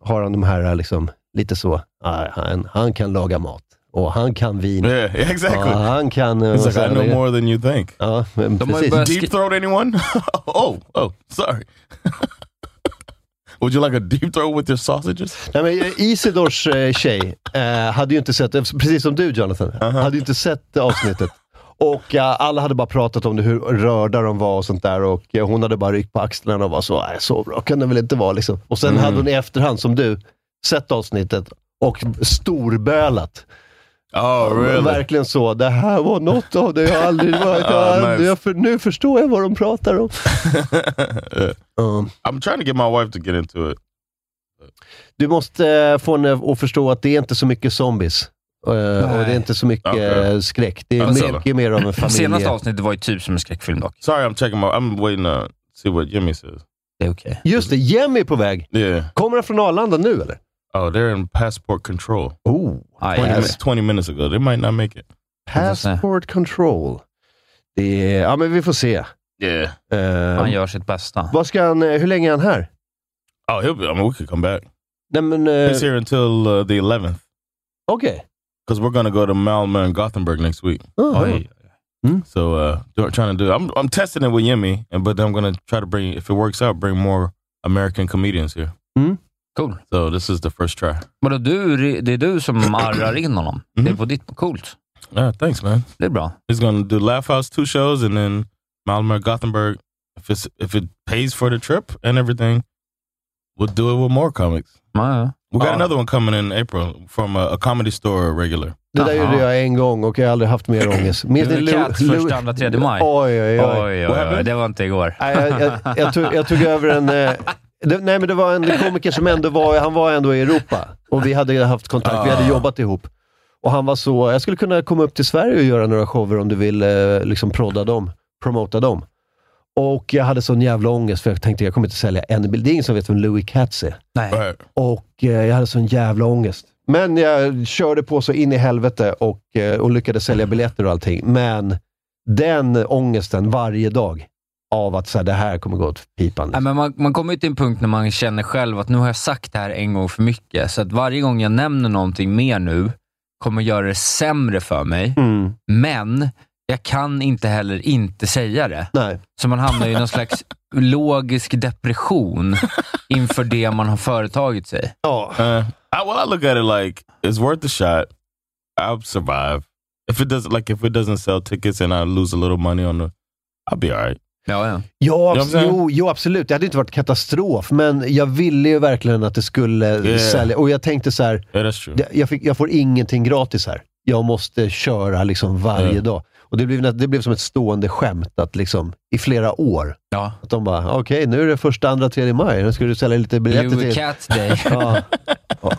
Speaker 3: har han de här eh, liksom, lite så, ah, han, han kan laga mat och han kan vin.
Speaker 5: Yeah, Uh, yeah, exactly.
Speaker 3: Ja, han kan... eh,
Speaker 5: He's like,
Speaker 3: så
Speaker 5: I
Speaker 3: här,
Speaker 5: know more than you think.
Speaker 3: Ja, men
Speaker 4: De har
Speaker 3: precis.
Speaker 4: ju börjat-
Speaker 5: Deep throat anyone? oh, oh, sorry. Would you like a deep throat with your sausages?
Speaker 3: Nej, men Isidors eh, tjej eh, hade ju inte sett, precis som du Jonathan, hade ju inte sett avsnittet. Och eh, alla hade bara pratat om det, hur rörda de var och sånt där. Och eh, Hon hade bara ryckt på axlarna och var så, "Nej, så bra kan det väl inte vara. Liksom. Och sen hade hon i efterhand, som du, sett avsnittet och storbölat.
Speaker 5: Oh,
Speaker 3: Verkligen så, det här var något av det jag aldrig varit. Jag,
Speaker 5: Ah,
Speaker 3: aldrig-
Speaker 5: nice.
Speaker 3: jag för, nu förstår jag vad de pratar om. Um,
Speaker 5: I'm trying to get my wife to get into it.
Speaker 3: Du måste eh, få henne att förstå att det är inte så mycket zombies. Eh, och det är inte så mycket
Speaker 5: Okej.
Speaker 3: eh, skräck. Det är
Speaker 5: Ja, så.
Speaker 3: mycket mer av en familj.
Speaker 4: Senaste avsnittet var ju typ som en skräckfilm dock.
Speaker 5: Sorry, I'm checking my. I'm waiting to see what Jimmy says.
Speaker 4: Det är okej.
Speaker 3: Just det, Jemmy är på väg.
Speaker 5: Yeah.
Speaker 3: Kommer han från Arlanda nu eller?
Speaker 5: Oh, they're in passport control.
Speaker 3: Oh,
Speaker 4: Aj,
Speaker 5: 20,
Speaker 4: aj,
Speaker 5: minutes, 20 minutes ago. They might not make it.
Speaker 3: passport control. Det är, ja, men vi får se.
Speaker 5: Yeah.
Speaker 3: Eh,
Speaker 4: Han gör sitt bästa.
Speaker 3: vad ska han, eh, hur länge är han här?
Speaker 5: Oh, he'll be. I mean, we could come back.
Speaker 3: Nej, men, eh,
Speaker 5: He's here until uh, the 11th
Speaker 3: Okej.
Speaker 5: because we're gonna go to Malmo and Gothenburg next week.
Speaker 3: Ah.
Speaker 4: Oj.
Speaker 5: So uh, do- trying to do. I'm I'm testing it with Yemi, and but I'm gonna try to bring. If it works out, bring more American comedians here.
Speaker 4: Cool.
Speaker 5: So this is the first try.
Speaker 4: Vadå, du, det är du som arrar in honom?
Speaker 5: Mhm.
Speaker 4: Det är på ditt... Coolt.
Speaker 5: Yeah, Ah, thanks, man.
Speaker 4: Det är bra.
Speaker 5: He's gonna do Laugh House two shows, and then Malmo Gothenburg. If it's if it pays for the trip and everything, we'll do it with more comics.
Speaker 4: Ja, ja.
Speaker 5: We got
Speaker 4: Ja.
Speaker 5: another one coming in April from a, a comedy store regular.
Speaker 3: Det där
Speaker 4: Aha.
Speaker 3: gjorde jag en gång och jag har aldrig haft mer ångest. Minns
Speaker 4: Det är
Speaker 3: ni Lu-
Speaker 4: Cats
Speaker 3: Lu-
Speaker 4: första, andra, tredje maj.
Speaker 3: Oj, oj, oj.
Speaker 4: Oj,
Speaker 5: What
Speaker 4: oj, oj.
Speaker 5: happened?
Speaker 4: Det var inte igår.
Speaker 3: Nej, jag, jag, jag, tog, jag tog över en... Eh, det, nej, men det var en komiker som ändå var, han var ändå i Europa. Och vi hade haft kontakt, vi hade jobbat ihop. Och han var så, jag skulle kunna komma upp till Sverige och göra några shower om du vill eh, liksom prodda dem, promota dem. Och jag hade sån jävla ångest för jag tänkte jag kommer inte sälja en bild. Det är ingen som vet vem Louis Katz är.
Speaker 4: Nej.
Speaker 5: Right.
Speaker 3: Och eh, jag hade sån jävla ångest. Men jag körde på så in i helvete och, eh, och lyckades sälja biljetter och allting. Men den ångesten varje dag av att så här, det här kommer gå åt pipan.
Speaker 4: Nej, men man, man kommer ju till en punkt när man känner själv att nu har jag sagt det här en gång för mycket. Så att varje gång jag nämner någonting mer nu kommer göra det sämre för mig.
Speaker 3: Mm,
Speaker 4: Men jag kan inte heller inte säga det.
Speaker 3: nej.
Speaker 4: Så man hamnar i någon slags logisk depression inför det man har företagit sig.
Speaker 3: Ja.
Speaker 5: Uh, I, well, I look at it like it's worth a shot. I'll survive. If it doesn't, like, if it doesn't sell tickets and I lose a little money on the, I'll be all right.
Speaker 4: Ja, ja.
Speaker 5: Ja,
Speaker 3: Ja, abs-
Speaker 5: men-
Speaker 3: jo, jo, absolut. Det hade inte varit katastrof, men jag ville ju verkligen att det skulle
Speaker 5: Yeah.
Speaker 3: sälja. Och jag tänkte så här,
Speaker 5: Yeah, that's true.
Speaker 3: det- jag, fick, jag får ingenting gratis här. Jag måste köra liksom varje
Speaker 5: Ja.
Speaker 3: dag. Och det blev, nä- det blev som ett stående skämt att liksom, i flera år.
Speaker 4: ja.
Speaker 3: Att de bara, okej, nu är det första, andra, tredje maj. Nu ska du sälja lite biljetter
Speaker 4: Louis
Speaker 3: till.
Speaker 4: Cats Day.
Speaker 3: Ja. Ja.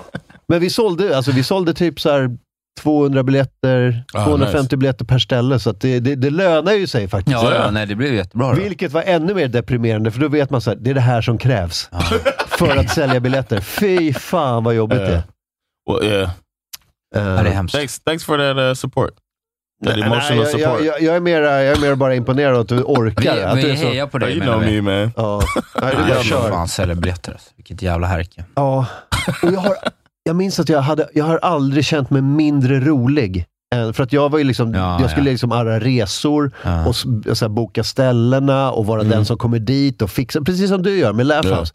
Speaker 3: Men vi sålde, alltså, vi sålde typ så här 200 biljetter,
Speaker 5: Ah,
Speaker 3: 250 biljetter per ställe. Så att det, det, det lönar ju sig faktiskt.
Speaker 4: Ja, ja, nej, det blev jättebra. Då.
Speaker 3: Vilket var ännu mer deprimerande, för då vet man så här, det är det här som krävs
Speaker 4: Ah.
Speaker 3: för att sälja biljetter. Fy fan vad jobbigt det är.
Speaker 5: Well, yeah. Uh,
Speaker 4: Ja, det är
Speaker 3: Eh,
Speaker 4: hemskt.
Speaker 5: Thanks, thanks for that uh, support. That
Speaker 3: nej,
Speaker 5: emotional
Speaker 3: jag,
Speaker 5: support.
Speaker 3: jag, jag, jag, är mera, jag är mer bara imponerad att du
Speaker 4: Vi,
Speaker 3: orkar. att du
Speaker 4: vi
Speaker 3: är så,
Speaker 4: hejar på
Speaker 5: Oh,
Speaker 4: dig
Speaker 5: you
Speaker 4: menar
Speaker 5: know
Speaker 4: vi.
Speaker 5: me, man.
Speaker 3: ja, nej, du
Speaker 4: Nej,
Speaker 3: bara
Speaker 4: jag kör.
Speaker 3: kör.
Speaker 4: Fan, säljer biljetter. alltså. Vilket jävla härke.
Speaker 3: Ja. Och jag, har, jag minns att jag, hade, jag har aldrig känt mig mindre rolig. än- För att jag var ju liksom,
Speaker 4: Ja,
Speaker 3: jag skulle
Speaker 4: ja.
Speaker 3: liksom arra resor
Speaker 4: Ja. Mm.
Speaker 3: och s- så här, boka ställena och vara den som kommer dit och fixa, precis som du gör med Laugh
Speaker 5: Ja.
Speaker 3: House.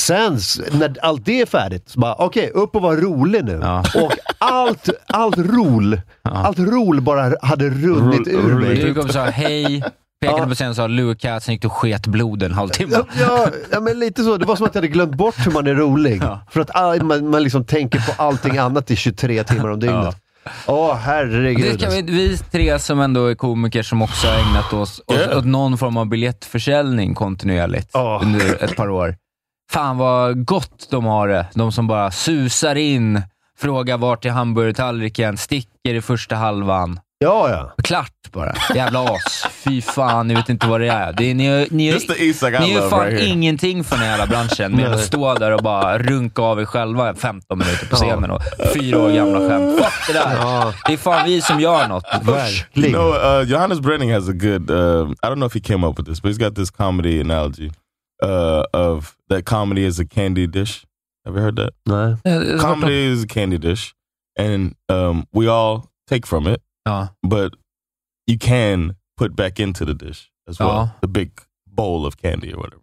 Speaker 3: Sen s- när allt det är färdigt, så bara okej, upp och var rolig nu.
Speaker 4: Ja.
Speaker 3: Och allt, allt rol, allt rol bara hade runnit
Speaker 5: Rull-
Speaker 3: ur
Speaker 5: rull-
Speaker 3: mig.
Speaker 4: Du kom och sa hej, pekade
Speaker 3: Ja.
Speaker 4: på scenen och sa Luke Katz, sen gick du och sket blod en halvtimme.
Speaker 3: Ja, ja, ja, men lite så. Det var som att jag hade glömt bort hur man är rolig. För att all, man, man liksom tänker på allting annat i 23 timmar om dygnet. Åh, herregud.
Speaker 4: Det kan vi, vi tre som ändå är komiker som också har ägnat oss åt, åt någon form av biljettförsäljning kontinuerligt
Speaker 3: Ja.
Speaker 4: under ett par år. Fan vad gott de har det. De som bara susar in, frågar vart är hamburgertallriken, sticker i första halvan.
Speaker 3: Ja, ja.
Speaker 4: Klart bara. Jävla as. Fy fan, ni vet inte vad det är. Det är ni, ni,
Speaker 5: This the Isak I
Speaker 4: ni gör
Speaker 5: love
Speaker 4: fan
Speaker 5: right here.
Speaker 4: ingenting för den här jävla branschen med att stå där och bara runka av er själva 15 minuter på scenen och fyra år gamla skämt. Fuck det där.
Speaker 3: Ja,
Speaker 4: Det är fan vi som gör något.
Speaker 5: You
Speaker 3: verkligen.
Speaker 5: know, uh, Johannes Brenning has a good. um I don't know if he came up with this, but he's got this comedy analogy uh, of that comedy is a candy dish. Have you heard that?
Speaker 3: Nej.
Speaker 5: Comedy is a candy dish, and um, we all take from it,
Speaker 4: Ja.
Speaker 5: but you can put back into the dish as well.
Speaker 4: Uh-huh.
Speaker 5: The big bowl of candy or whatever.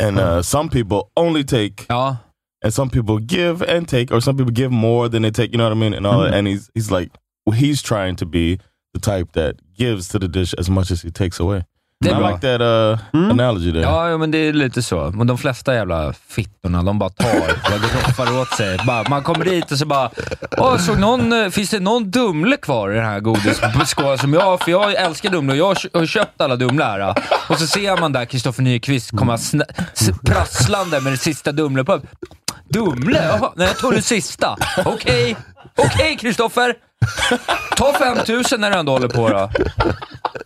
Speaker 5: And uh, some people only take,
Speaker 4: Ja.
Speaker 5: and some people give and take, or some people give more than they take. You know what I mean? And all. that. And he's he's like well, he's trying to be the type that gives to the dish as much as he takes away.
Speaker 4: Det är
Speaker 5: I
Speaker 4: bra.
Speaker 5: like that uh, analogy there.
Speaker 4: Ja, ja, men det är lite så. Men de flesta jävla fittorna, de bara tar vad det roffar åt sig. Bara, man kommer dit och så bara, Åh, såg någon, eh, finns det någon Dumle kvar i den här godisskålen som jag, för jag älskar Dumle och jag har kö- har köpt alla Dumle här. ja." Och så ser man där Kristoffer Nyqvist komma sna- s- prasslande med det sista Dumle på. Dumle? Jaha, nej jag tog det sista. Okej, okej Kristoffer. Ta 5000 när du ändå håller på då.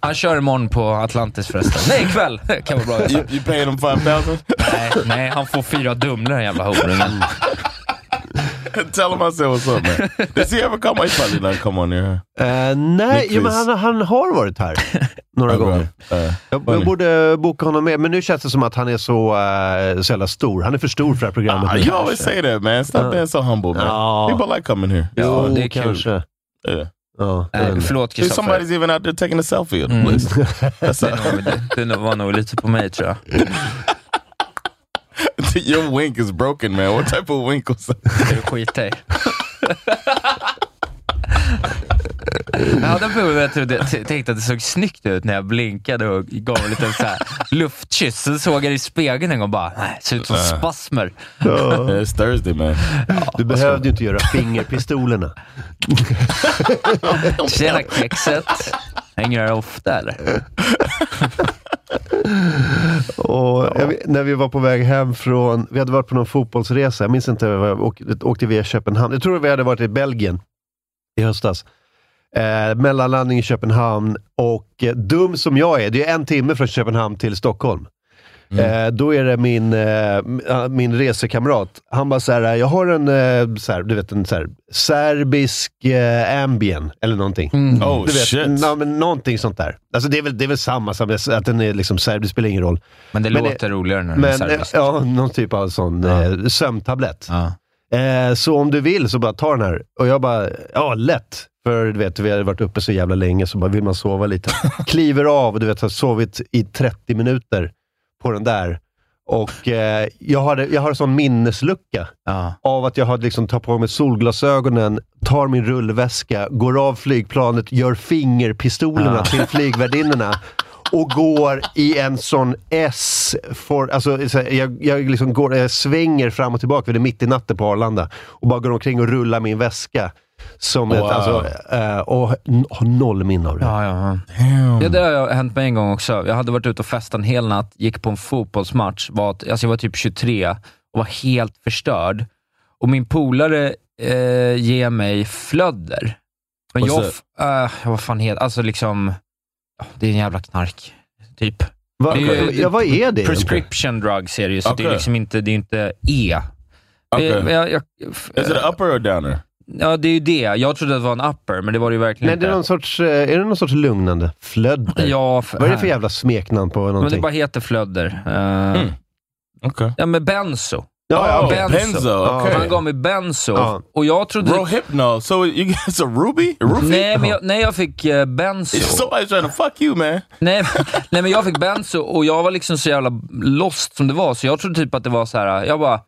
Speaker 4: Han kör imorgon på Atlantis förresten. Nej, ikväll. Kan vara bra att veta.
Speaker 5: You, you paying him five thousand?
Speaker 4: Nej, nej, han får fyra Dumle den jävla horungen.
Speaker 5: Tell him I said what's up, man. Does he ever come on? He probably not come on here.
Speaker 3: Eh, nej,
Speaker 5: Nyqvist.
Speaker 3: jo, men han, han har varit här några
Speaker 5: huh?
Speaker 3: gånger.
Speaker 5: Uh,
Speaker 3: Jag,
Speaker 5: Funny.
Speaker 3: jag borde boka honom med, men nu känns det som att han är så, eh, så jävla stor. Han är för stor för det här programmet.
Speaker 5: Ah,
Speaker 3: nu.
Speaker 5: you always say that, man. Stop being so humble, man.
Speaker 3: Ja.
Speaker 5: People like coming here. It's
Speaker 3: Jo,
Speaker 5: fun.
Speaker 4: det är kul.
Speaker 3: kanske.
Speaker 5: Yeah.
Speaker 3: Ja.
Speaker 4: Nej, förlåt
Speaker 5: Dude,
Speaker 4: Kristoffer.
Speaker 5: somebody's even out there taking a selfie of the
Speaker 4: Mm.
Speaker 5: place. That's
Speaker 4: Det, är nog- det- det var nog lite på mig tror jag.
Speaker 5: a, your wink is broken, man. What type of wink was that?
Speaker 4: Det är skit i. Jag hade en period där jag trodde, t- tänkte att det såg snyggt ut när jag blinkade och gav en liten så här luftkyss. Sen såg jag det i spegeln en gång och bara, nej, ser ut som spasmer.
Speaker 5: Yeah, it's Thursday, man.
Speaker 3: Du behövde ju inte göra fingerpistolerna.
Speaker 4: Tjena kexet. Hänger här ofta eller?
Speaker 3: Och jag vet- när vi var på väg hem från, vi hade varit på någon fotbollsresa, jag minns inte, vad jag åkte, åkte via Köpenhamn. Jag tror vi hade varit i Belgien i höstas. Eh, mellanlandning i Köpenhamn och eh, dum som jag är, det är en timme från Köpenhamn till Stockholm.
Speaker 5: Mm.
Speaker 3: Eh, då är det min, eh, m- ah, min resekamrat, han bara såhär, jag har en, eh, så här, du vet, en så här, serbisk eh, ambien eller någonting.
Speaker 5: Oh,
Speaker 3: Du vet,
Speaker 5: shit.
Speaker 3: na, men någonting sånt där. Alltså det är väl, det är väl samma, som att den är liksom serb, det spelar ingen roll.
Speaker 4: Men det
Speaker 3: Men det-
Speaker 4: låter roligare när det är
Speaker 3: Men
Speaker 4: serbisk.
Speaker 3: eh, ja, någon typ av sån
Speaker 4: Ja.
Speaker 3: eh, sömntablett.
Speaker 4: Ja.
Speaker 3: Eh, så om du vill så bara ta den här. Och jag bara, ja lätt. För du vet, vi har varit uppe så jävla länge så bara vill man sova lite. Kliver av och du vet, har sovit i 30 minuter på den där. Och eh, jag, har, jag har en sån minneslucka
Speaker 4: Ja.
Speaker 3: av att jag har liksom tar på mig solglasögonen, tar min rullväska, går av flygplanet, gör fingerpistolerna
Speaker 4: Ja.
Speaker 3: till flygvärdinnorna och går i en sån S. For, alltså, så här, jag, jag, liksom går, jag svänger fram och tillbaka, för det är mitt i natten på Arlanda, och bara går omkring och rullar min väska. Som ett,
Speaker 5: Wow.
Speaker 3: alltså, eh, och n- har noll minne av det.
Speaker 4: Ja, ja, ja. ja, det har hänt mig en gång också. Jag hade varit ute och festat en hel natt, gick på en fotbollsmatch. Var, alltså jag var typ 23 och var helt förstörd. Och min polare eh, ger mig flödder. Men
Speaker 5: What's
Speaker 4: jag, f- eh, vad fan heter Alltså liksom, ja, det är en jävla knark, typ.
Speaker 3: Va,
Speaker 4: Det är ju-
Speaker 3: ja, vad är det? egentligen?
Speaker 4: Prescription drugs är det ju, så det är
Speaker 5: Okej.
Speaker 4: liksom inte, det är inte E. Det,
Speaker 5: Okay.
Speaker 4: men jag, jag,
Speaker 5: Is it an upper or downer?
Speaker 4: ja, det är ju det. Jag trodde att det var en upper, men det var det ju verkligen
Speaker 3: Nej, det är, någon
Speaker 4: inte.
Speaker 3: sorts, eh, är det någon sorts lugnande? Flödder?
Speaker 4: Ja, för,
Speaker 3: Vad är det för jävla smeknamn på
Speaker 4: Men
Speaker 3: någonting? Mm.
Speaker 4: det bara heter flödder. Eh,
Speaker 5: Okay.
Speaker 4: Ja, men benzo.
Speaker 5: Ja,
Speaker 8: ja,
Speaker 5: Benzo. okej.
Speaker 4: Han gav mig benzo.
Speaker 8: Ja.
Speaker 4: Och jag trodde...
Speaker 5: Rohypnol. So you get it's a ruby? A roofie?
Speaker 4: Nej, men jag, nej, jag fick eh, benzo.
Speaker 5: Somebody's trying to fuck you man.
Speaker 4: Nej, men- nej, men jag fick benzo och jag var liksom så jävla lost som det var, så jag trodde typ att det var så här. jag bara...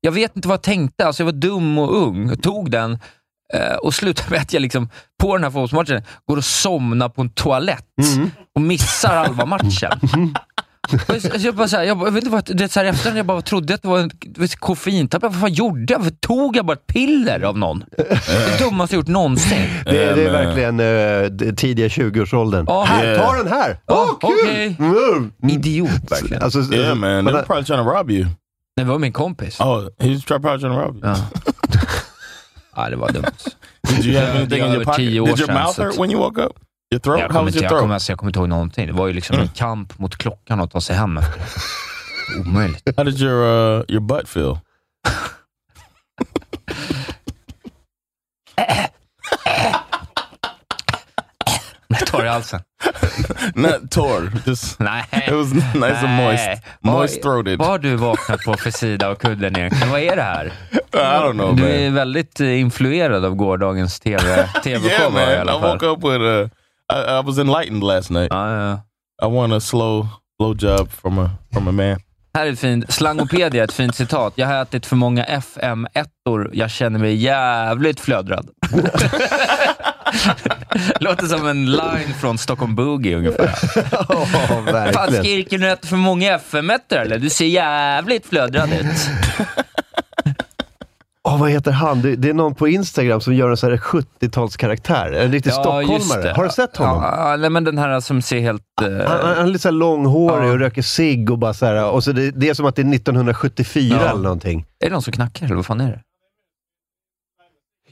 Speaker 4: Jag vet inte vad jag tänkte, alltså jag var dum och ung. Jag tog den eh, och slutade med att jag liksom, på den här fotbollsmatchen går och somnar på en toalett och missar halva matchen. Och jag- Jag, bara så här, jag, bara, jag vet inte vad, det är så här i efterhand, jag bara trodde att det var en du vet, koffeintapp. Vad fan gjorde jag? Varför Tog jag bara ett piller av någon? Det dummaste jag gjort någonsin.
Speaker 3: Det, det är
Speaker 5: men-
Speaker 3: verkligen eh, d- tidiga 20-årsåldern.
Speaker 4: Ja.
Speaker 3: Här, ta den här! Åh,
Speaker 4: Ja,
Speaker 3: kul!
Speaker 4: okej.
Speaker 3: Mm.
Speaker 4: Idiot verkligen.
Speaker 3: Alltså,
Speaker 5: Yeah man,
Speaker 3: men-
Speaker 5: they're probably trying to rob you.
Speaker 4: Nej, det var min kompis.
Speaker 5: Oh, he's try- probably trying to rob you.
Speaker 4: Ja. ja, det var dumt.
Speaker 5: Did you have
Speaker 4: Ja,
Speaker 5: anything
Speaker 4: det
Speaker 5: in
Speaker 4: var
Speaker 5: your
Speaker 4: över
Speaker 5: pocket?
Speaker 4: tio år
Speaker 5: Did your
Speaker 4: sedan,
Speaker 5: mouth
Speaker 4: så
Speaker 5: hurt
Speaker 4: att-
Speaker 5: when you woke up? Your
Speaker 4: Jag
Speaker 5: throat? How
Speaker 4: kommer,
Speaker 5: was
Speaker 4: inte,
Speaker 5: your
Speaker 4: jag, kommer,
Speaker 5: throat? Mm.
Speaker 4: alltså, jag kommer inte ihåg någonting. Det var ju liksom en kamp mot klockan att ta sig hem. Omöjligt.
Speaker 5: How did your uh, your butt feel?
Speaker 4: Jag tar i halsen.
Speaker 5: Not tore. Just
Speaker 4: Nej.
Speaker 5: it was nice and
Speaker 4: Nej.
Speaker 5: moist, moist throated.
Speaker 4: Vad har du vaknat på för sida av kudden egentligen? Vad är det här?
Speaker 5: I don't know,
Speaker 4: Du
Speaker 5: man.
Speaker 4: är väldigt eh, influerad av gårdagens TV,
Speaker 5: Yeah,
Speaker 4: TV-show i
Speaker 5: man. I
Speaker 4: alla fall.
Speaker 5: woke up with a. I, I was enlightened last night.
Speaker 4: Ja, ja.
Speaker 5: I won a slow blowjob from a from a man.
Speaker 4: Här är ett fint. Slangopedia, ett fint citat. Jag har ätit för många fm 1 Jag känner mig jävligt flödrad. Låter som en line från Stockholm Boogie ungefär.
Speaker 3: ja,
Speaker 4: Fan,
Speaker 3: verkligen.
Speaker 4: skriker du äter för många fm 1 eller? Du ser jävligt flödrad ut.
Speaker 3: Åh, vad heter han? Det, det är någon på Instagram som gör en sån här 70-talskaraktär. En riktig
Speaker 4: just
Speaker 3: stockholmare.
Speaker 4: det.
Speaker 3: Har du sett honom? Ah,
Speaker 4: Ja, eh. ja, nej, men den här som ser helt... eh,
Speaker 3: Han, han, han är lite så här långhårig och röker cigg och bara så här, och så det, det är som att det är 1974
Speaker 4: Ja.
Speaker 3: eller någonting.
Speaker 4: Är det någon som knackar eller vad fan är det?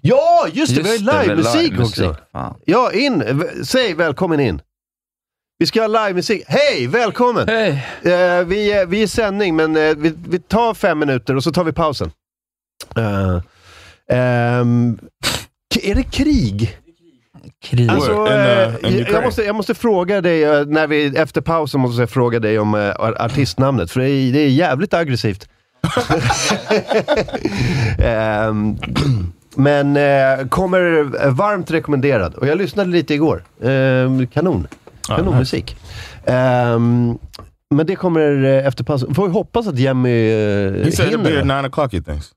Speaker 3: Ja, just det! vi har
Speaker 4: det,
Speaker 3: ju livemusik
Speaker 4: livemusik.
Speaker 3: också.
Speaker 4: Fan.
Speaker 3: Ja, in. V- Säg välkommen in. Vi ska ha livemusik. Hej, välkommen!
Speaker 4: Hej!
Speaker 3: Eh, vi, är- vi är i sändning, men eh, vi, vi tar fem minuter och så tar vi pausen. Eh, ehm, k- är det krig?
Speaker 4: Krig.
Speaker 3: Alltså,
Speaker 5: War in,
Speaker 3: eh,
Speaker 5: uh, in
Speaker 3: jag- jag,
Speaker 5: Ukraine.
Speaker 3: eh, Ehm, eh, Ehm,
Speaker 5: Uh-huh.
Speaker 3: eh,
Speaker 5: He said he'll be here
Speaker 3: hinner.
Speaker 5: at nine o'clock. He thinks.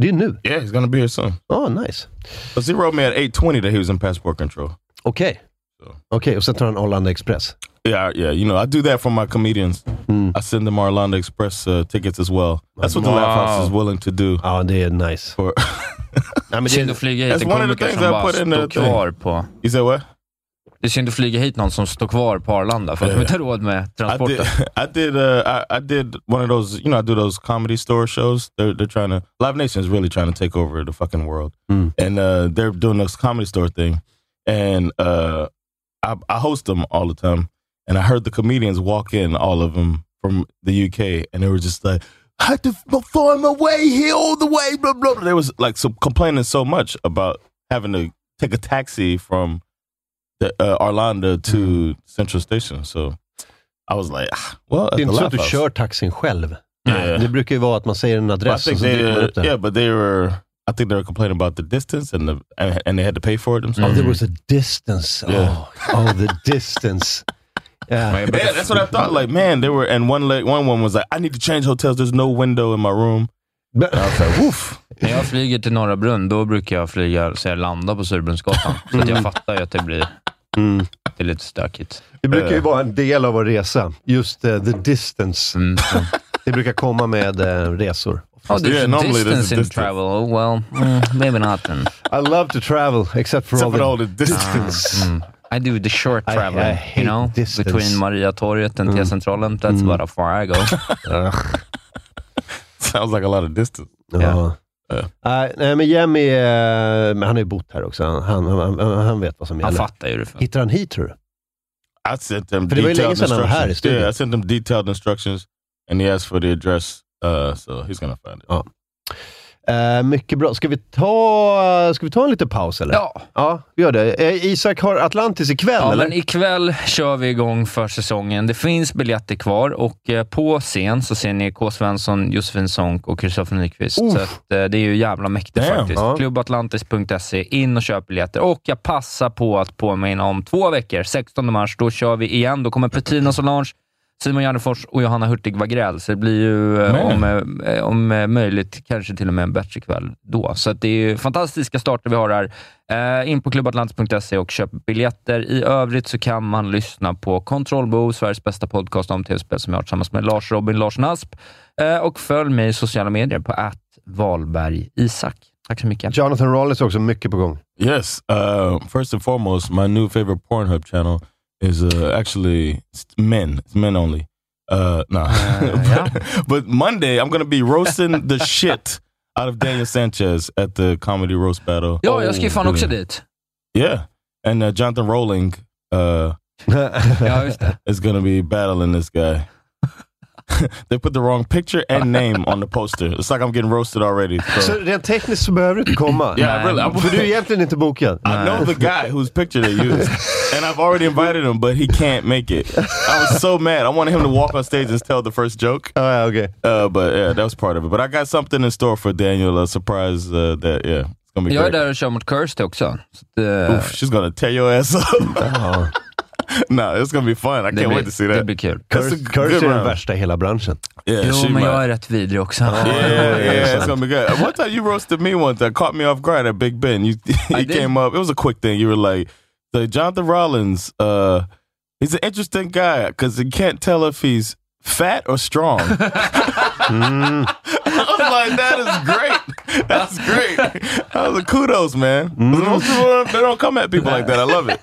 Speaker 3: Det är nu.
Speaker 5: Yeah, he's gonna be here soon.
Speaker 3: Ja, nice.
Speaker 5: Cause he wrote me at eight twenty that he was in passport control.
Speaker 3: Okej.
Speaker 5: Så.
Speaker 3: Okej, och sen tar han Arlanda Express.
Speaker 5: Yeah, I- yeah. You know, I do that for my comedians.
Speaker 3: Mm.
Speaker 5: I send them Orlando Express uh, tickets as well. That's what the Laugh House is willing to do.
Speaker 3: Ja, det är nice.
Speaker 5: For
Speaker 3: Ja, men det-
Speaker 4: Synd att flyga hit
Speaker 3: alltså,
Speaker 5: That's
Speaker 4: en
Speaker 5: one of the
Speaker 4: komiker
Speaker 5: things
Speaker 4: som
Speaker 5: I
Speaker 4: bara
Speaker 5: put in
Speaker 4: står
Speaker 5: the thing.
Speaker 4: kvar på...
Speaker 5: you said what?
Speaker 4: Det är synd att flyga hit någon som står kvar på Arlanda för att de inte har råd med
Speaker 5: I did.
Speaker 4: transporten.
Speaker 5: I did. Uh, I, I did one of those. You know, I do those comedy store shows. They're they're trying to Live Nation is really trying to take over the fucking world,
Speaker 3: Mm.
Speaker 5: and uh, they're doing this comedy store thing, and uh, I, I host them all the time, and I heard the comedians walk in, all of them from the UK, and they were just like. I had to f- find my way here all the way. Blah blah. blah. They was like so complaining so much about having to take a taxi from the, uh, Orlando to Central Station. So I was like, ah, well, at
Speaker 3: Det är
Speaker 5: the
Speaker 3: inte så att
Speaker 5: Laugh
Speaker 3: du
Speaker 5: House.
Speaker 3: kör taxin själv.
Speaker 5: Yeah.
Speaker 3: Det brukar ju vara att man säger en
Speaker 5: But I
Speaker 3: adress och
Speaker 5: think
Speaker 3: så dyker man
Speaker 5: they,
Speaker 3: upp där.
Speaker 5: yeah, but they were. I think they were complaining about the distance and the and, and they had to pay for it
Speaker 3: Oh,
Speaker 5: themselves.
Speaker 4: Mm.
Speaker 3: there was a distance.
Speaker 5: Yeah.
Speaker 3: Oh, oh, the distance. Yeah.
Speaker 5: Yeah, that's what I thought. Like, man, they were. And one leg, one woman was like, I need to change hotels. There's no window in my room.
Speaker 3: But-
Speaker 5: And I was like, woof.
Speaker 4: När jag flyger till Norra Brunn, då brukar jag flyga så jag landar på Surbrunnsgatan. Så att jag fattar ju att det blir
Speaker 3: Mm.
Speaker 4: det är lite stökigt.
Speaker 3: Det brukar ju vara en del av att resa. Just eh, the distance.
Speaker 4: Mm.
Speaker 3: Det brukar komma med eh, resor.
Speaker 4: Oh, there's
Speaker 5: Yeah,
Speaker 4: a
Speaker 5: normally there's a
Speaker 4: distance in
Speaker 5: distance.
Speaker 4: travel. Oh, well, mm, maybe not then.
Speaker 3: I love to travel, except for
Speaker 5: Except for all
Speaker 3: all the...
Speaker 5: the distance.
Speaker 4: Mm. I do the short
Speaker 3: I- I
Speaker 4: traveling,
Speaker 3: hate
Speaker 4: you know,
Speaker 3: distance. Mm.
Speaker 4: between Mariatorget and T-centralen. That's about how far I go. mm.
Speaker 5: Sounds like a lot of distance.
Speaker 3: Ja.
Speaker 5: Ja.
Speaker 3: Nej, nej, men Jimmy, eh, men han har ju bott här också. Han, han, han, han vet vad som
Speaker 4: Han
Speaker 3: gäller.
Speaker 4: fattar ju det. För.
Speaker 3: Hittar han hit, tror du?
Speaker 5: I sent them
Speaker 3: För det var ju länge
Speaker 5: detailed
Speaker 3: sedan han var här i
Speaker 5: instructions.
Speaker 3: studion.
Speaker 5: Yeah, I sent them detailed instructions and he asked for the address. Uh, so he's gonna find it.
Speaker 3: Ja. Eh, mycket bra. Ska vi, ta, ska vi ta en liten paus eller?
Speaker 4: Ja.
Speaker 3: Ja, vi gör det. Eh, Isak har Atlantis ikväll
Speaker 4: Ja,
Speaker 3: eller?
Speaker 4: men ikväll kör vi igång för säsongen. Det finns biljetter kvar och eh, på scen så ser ni K. Svensson, Josefin Sonck och Kristoffer Nyqvist. Så att, eh, det är ju jävla mäktigt
Speaker 5: Damn.
Speaker 4: faktiskt.
Speaker 3: Ja.
Speaker 4: Klubbatlantis.se. In och köp biljetter. Och jag passar på att påminna om två veckor, 16 mars, då kör vi igen. Då kommer Petrina Solange, Simon Gärdenfors och Johanna Hurtig Wagrell. Så det blir ju eh,
Speaker 5: Man.
Speaker 4: om, eh, om eh, möjligt kanske till och med en bättre kväll då. Så att det är ju fantastiska starter vi har här. Eh, in på klubbatlantis.se och köp biljetter. I övrigt så kan man lyssna på Kontrollbo, Sveriges bästa podcast om tv-spel som jag har tillsammans med Lars Robin Larsson Asp. Eh, och följ mig i sociala medier på att Valberg Isak. Tack så mycket.
Speaker 3: Jonathan Rollins är också mycket på gång.
Speaker 5: Yes. Uh, first and foremost, my new favorite Pornhub channel is uh, actually it's men. It's men only. Uh, nah.
Speaker 4: yeah.
Speaker 5: but, but Monday, I'm going to be roasting the shit out of Daniel Sanchez at the Comedy Roast Battle. Oh,
Speaker 4: Ja, jag ska ju fan också dit.
Speaker 5: Yeah. And uh, Jonathan Rowling uh,
Speaker 4: Ja, just det.
Speaker 5: is going to be battling this guy. they put the wrong picture and name on the poster. It's like I'm getting roasted already. So.
Speaker 3: Så rent tekniskt så behöver du inte komma.
Speaker 5: yeah, really. I'm,
Speaker 3: För du är egentligen inte bokad.
Speaker 5: I know the guy whose picture they used, and I've already invited him, but he can't make it. I was so mad. I wanted him to walk on stage and tell the first joke,
Speaker 3: Ah, ja, okej.
Speaker 5: uh, but yeah, that was part of it. But I got something in store for Daniel. A surprise uh, that yeah, it's gonna be
Speaker 4: Jag är
Speaker 5: great.
Speaker 4: där och kör mot Kirsty också. Så att, eh,
Speaker 5: Oof, she's gonna tear your ass up. nah, it's gonna be fun. I
Speaker 4: det,
Speaker 5: can't wait to see
Speaker 4: blir, det
Speaker 5: that.
Speaker 4: blir kul.
Speaker 5: That's a
Speaker 3: Curse, Curse är den värsta i hela branschen.
Speaker 5: Yeah, she
Speaker 4: Jo, men
Speaker 5: might-
Speaker 4: jag är rätt vidrig också.
Speaker 5: Yeah, yeah, it's gonna be good. Uh, One time you roasted me one time, caught me off guard at Big Ben. You, you
Speaker 4: did?
Speaker 5: came up. It was a quick thing. You were like, "The Jonathan Rollins, uh, he's an interesting guy because he can't tell if he's fat or strong." I was like, "That is great. That's great." I was like, "Kudos, man." Most people don't- they don't come at people like that. I love it.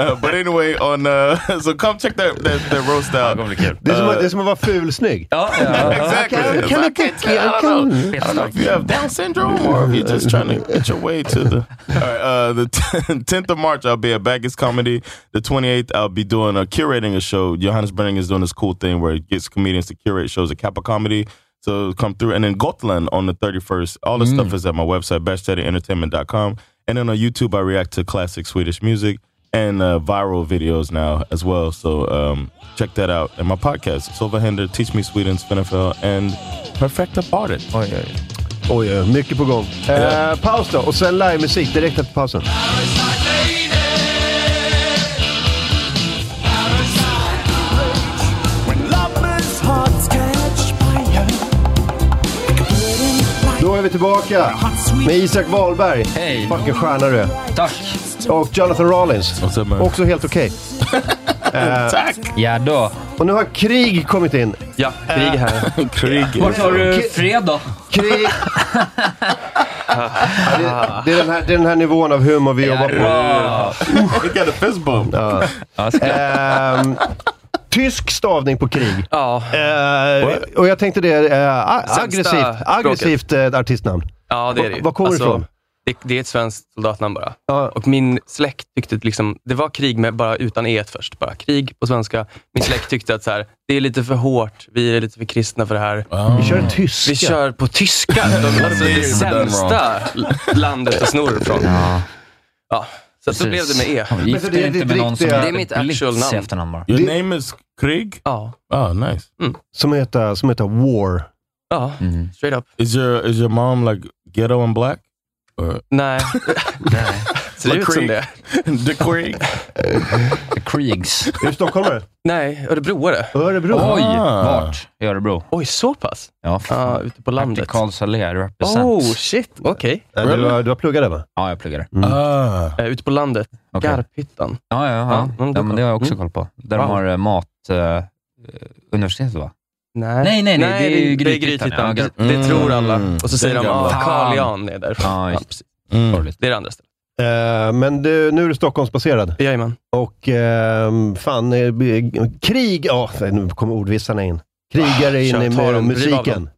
Speaker 5: Uh, but anyway, on uh, so come check that that, that roast out.
Speaker 3: Det
Speaker 4: Eh.
Speaker 3: är som, att- det är som att vara fulsnygg.
Speaker 4: Ja, ja, ja.
Speaker 5: Exactly.
Speaker 3: Okay,
Speaker 5: It's
Speaker 3: can
Speaker 5: like,
Speaker 3: I
Speaker 5: I can't
Speaker 3: get-
Speaker 5: tell. I don't know.
Speaker 4: can-
Speaker 5: I don't know if you have Down syndrome or if you're just trying to get your way to the. All right, uh, the 10th of March, I'll be at Bacchus Comedy. The 28th, I'll be doing a curating a show. Johannes Brenning is doing this cool thing where it gets comedians to curate shows at Kappa Comedy. So come through. And then Gotland on the 31st. All this stuff is at my website, bachtettyentertainment.com. And then on YouTube, I react to classic Swedish music and uh, viral videos now as well. So um, check that out. And my podcast, Silverhander, Teach Me Sweden, Spinafel, and Perfecta Bardet.
Speaker 4: Oj, oj, oj.
Speaker 3: Oj, oj, mycket på gång. Eh, paus då, och sen livemusik direkt efter pausen. Då är vi tillbaka med Isak Wahlberg.
Speaker 4: Hej.
Speaker 3: Vilken stjärna du är.
Speaker 4: Tack.
Speaker 3: Och Jonathan Rollins.
Speaker 5: What's up, man?
Speaker 3: Också helt okej.
Speaker 4: Ja då.
Speaker 3: Och nu har krig kommit in.
Speaker 4: Ja, krig här.
Speaker 5: Krig.
Speaker 4: Vart har du
Speaker 3: Okej.
Speaker 4: fredag?
Speaker 3: Krig! ja, det, det, är den här, det är den här nivån av humor vi jobbar på.
Speaker 5: We got a fist bump.
Speaker 3: Ehm, tysk stavning på krig.
Speaker 9: Ja,
Speaker 3: Eh,
Speaker 5: What?
Speaker 3: och jag tänkte det, eh, a-
Speaker 9: Sämsta
Speaker 3: aggressivt,
Speaker 9: språket.
Speaker 3: aggressivt eh, artistnamn.
Speaker 9: ja det är det
Speaker 3: Va-
Speaker 9: ju. Alltså,
Speaker 3: var kommer det ifrån?
Speaker 9: Det, det är ett svenskt soldatnamn bara.
Speaker 3: Ja.
Speaker 9: Och min släkt tyckte att liksom, det var krig med bara utan e först. Bara krig på svenska. Min släkt tyckte att så här, det är lite för hårt. Vi är lite för kristna för det här.
Speaker 5: Um,
Speaker 3: Vi kör tyska.
Speaker 9: mm. Vi kör på tyska. De, alltså, det är det
Speaker 5: You've done
Speaker 9: sämsta landet att sno det ifrån. Ja. så att så blev det
Speaker 4: Precis.
Speaker 9: med e.
Speaker 4: Han gifte
Speaker 3: Men det är
Speaker 4: dig inte
Speaker 3: ditt
Speaker 4: med någon som
Speaker 3: riktiga-
Speaker 9: Det är mitt actual namn.
Speaker 4: efternamn bara.
Speaker 5: Your
Speaker 3: Det-
Speaker 5: name is Krieg?
Speaker 9: Ja.
Speaker 5: Oh, nice.
Speaker 3: Som, heter, som heter War.
Speaker 9: ja.
Speaker 4: Mm.
Speaker 9: Straight up.
Speaker 5: Is your is your mom like ghetto and black? Or
Speaker 9: Nej. Ser det ut som
Speaker 5: Krieg.
Speaker 9: det?
Speaker 5: the Krieg?
Speaker 4: The Kriegs.
Speaker 3: Är du stockholmare?
Speaker 9: Nej, örebroare.
Speaker 3: Örebro?
Speaker 4: Oj,
Speaker 5: Ah.
Speaker 4: vart? I Örebro.
Speaker 9: Oj, så pass?
Speaker 4: Ja,
Speaker 9: Ja, ute på landet.
Speaker 4: Karlsallé represent.
Speaker 9: Oh, shit. Okej.
Speaker 3: Nej, du, har- du har pluggat där va? Mm.
Speaker 4: Ja, jag pluggade.
Speaker 5: Ah.
Speaker 9: Eh, ute på landet.
Speaker 4: Okej.
Speaker 9: Garphyttan.
Speaker 4: Ja, ja, ja.
Speaker 9: Ja,
Speaker 4: ja,
Speaker 9: mm,
Speaker 4: men det har jag också
Speaker 9: mm.
Speaker 4: koll på. Där
Speaker 9: Wow.
Speaker 4: de har eh, mat... Eh, universitetet va?
Speaker 9: Nej,
Speaker 4: Nej, nej, nej, det är ju Grythyttan, ja,
Speaker 9: Det,
Speaker 4: Grythyttan.
Speaker 9: det tror alla.
Speaker 5: Mm.
Speaker 9: Och så säger de
Speaker 5: Den gamla.
Speaker 9: att
Speaker 4: Fan.
Speaker 9: Carl Jan är därifrån.
Speaker 4: Ja, just
Speaker 9: precis.
Speaker 5: Mm.
Speaker 9: det är det andra stället.
Speaker 3: Eh, men du, nu är du Stockholmsbaserad.
Speaker 9: Jajamän.
Speaker 3: Och ehm, fan, eh, b- krig... Ja, nu kommer ordvissarna in. Krigare in
Speaker 9: kör,
Speaker 3: i
Speaker 9: ta
Speaker 3: med
Speaker 9: dem, riv av
Speaker 3: musiken.
Speaker 9: dem.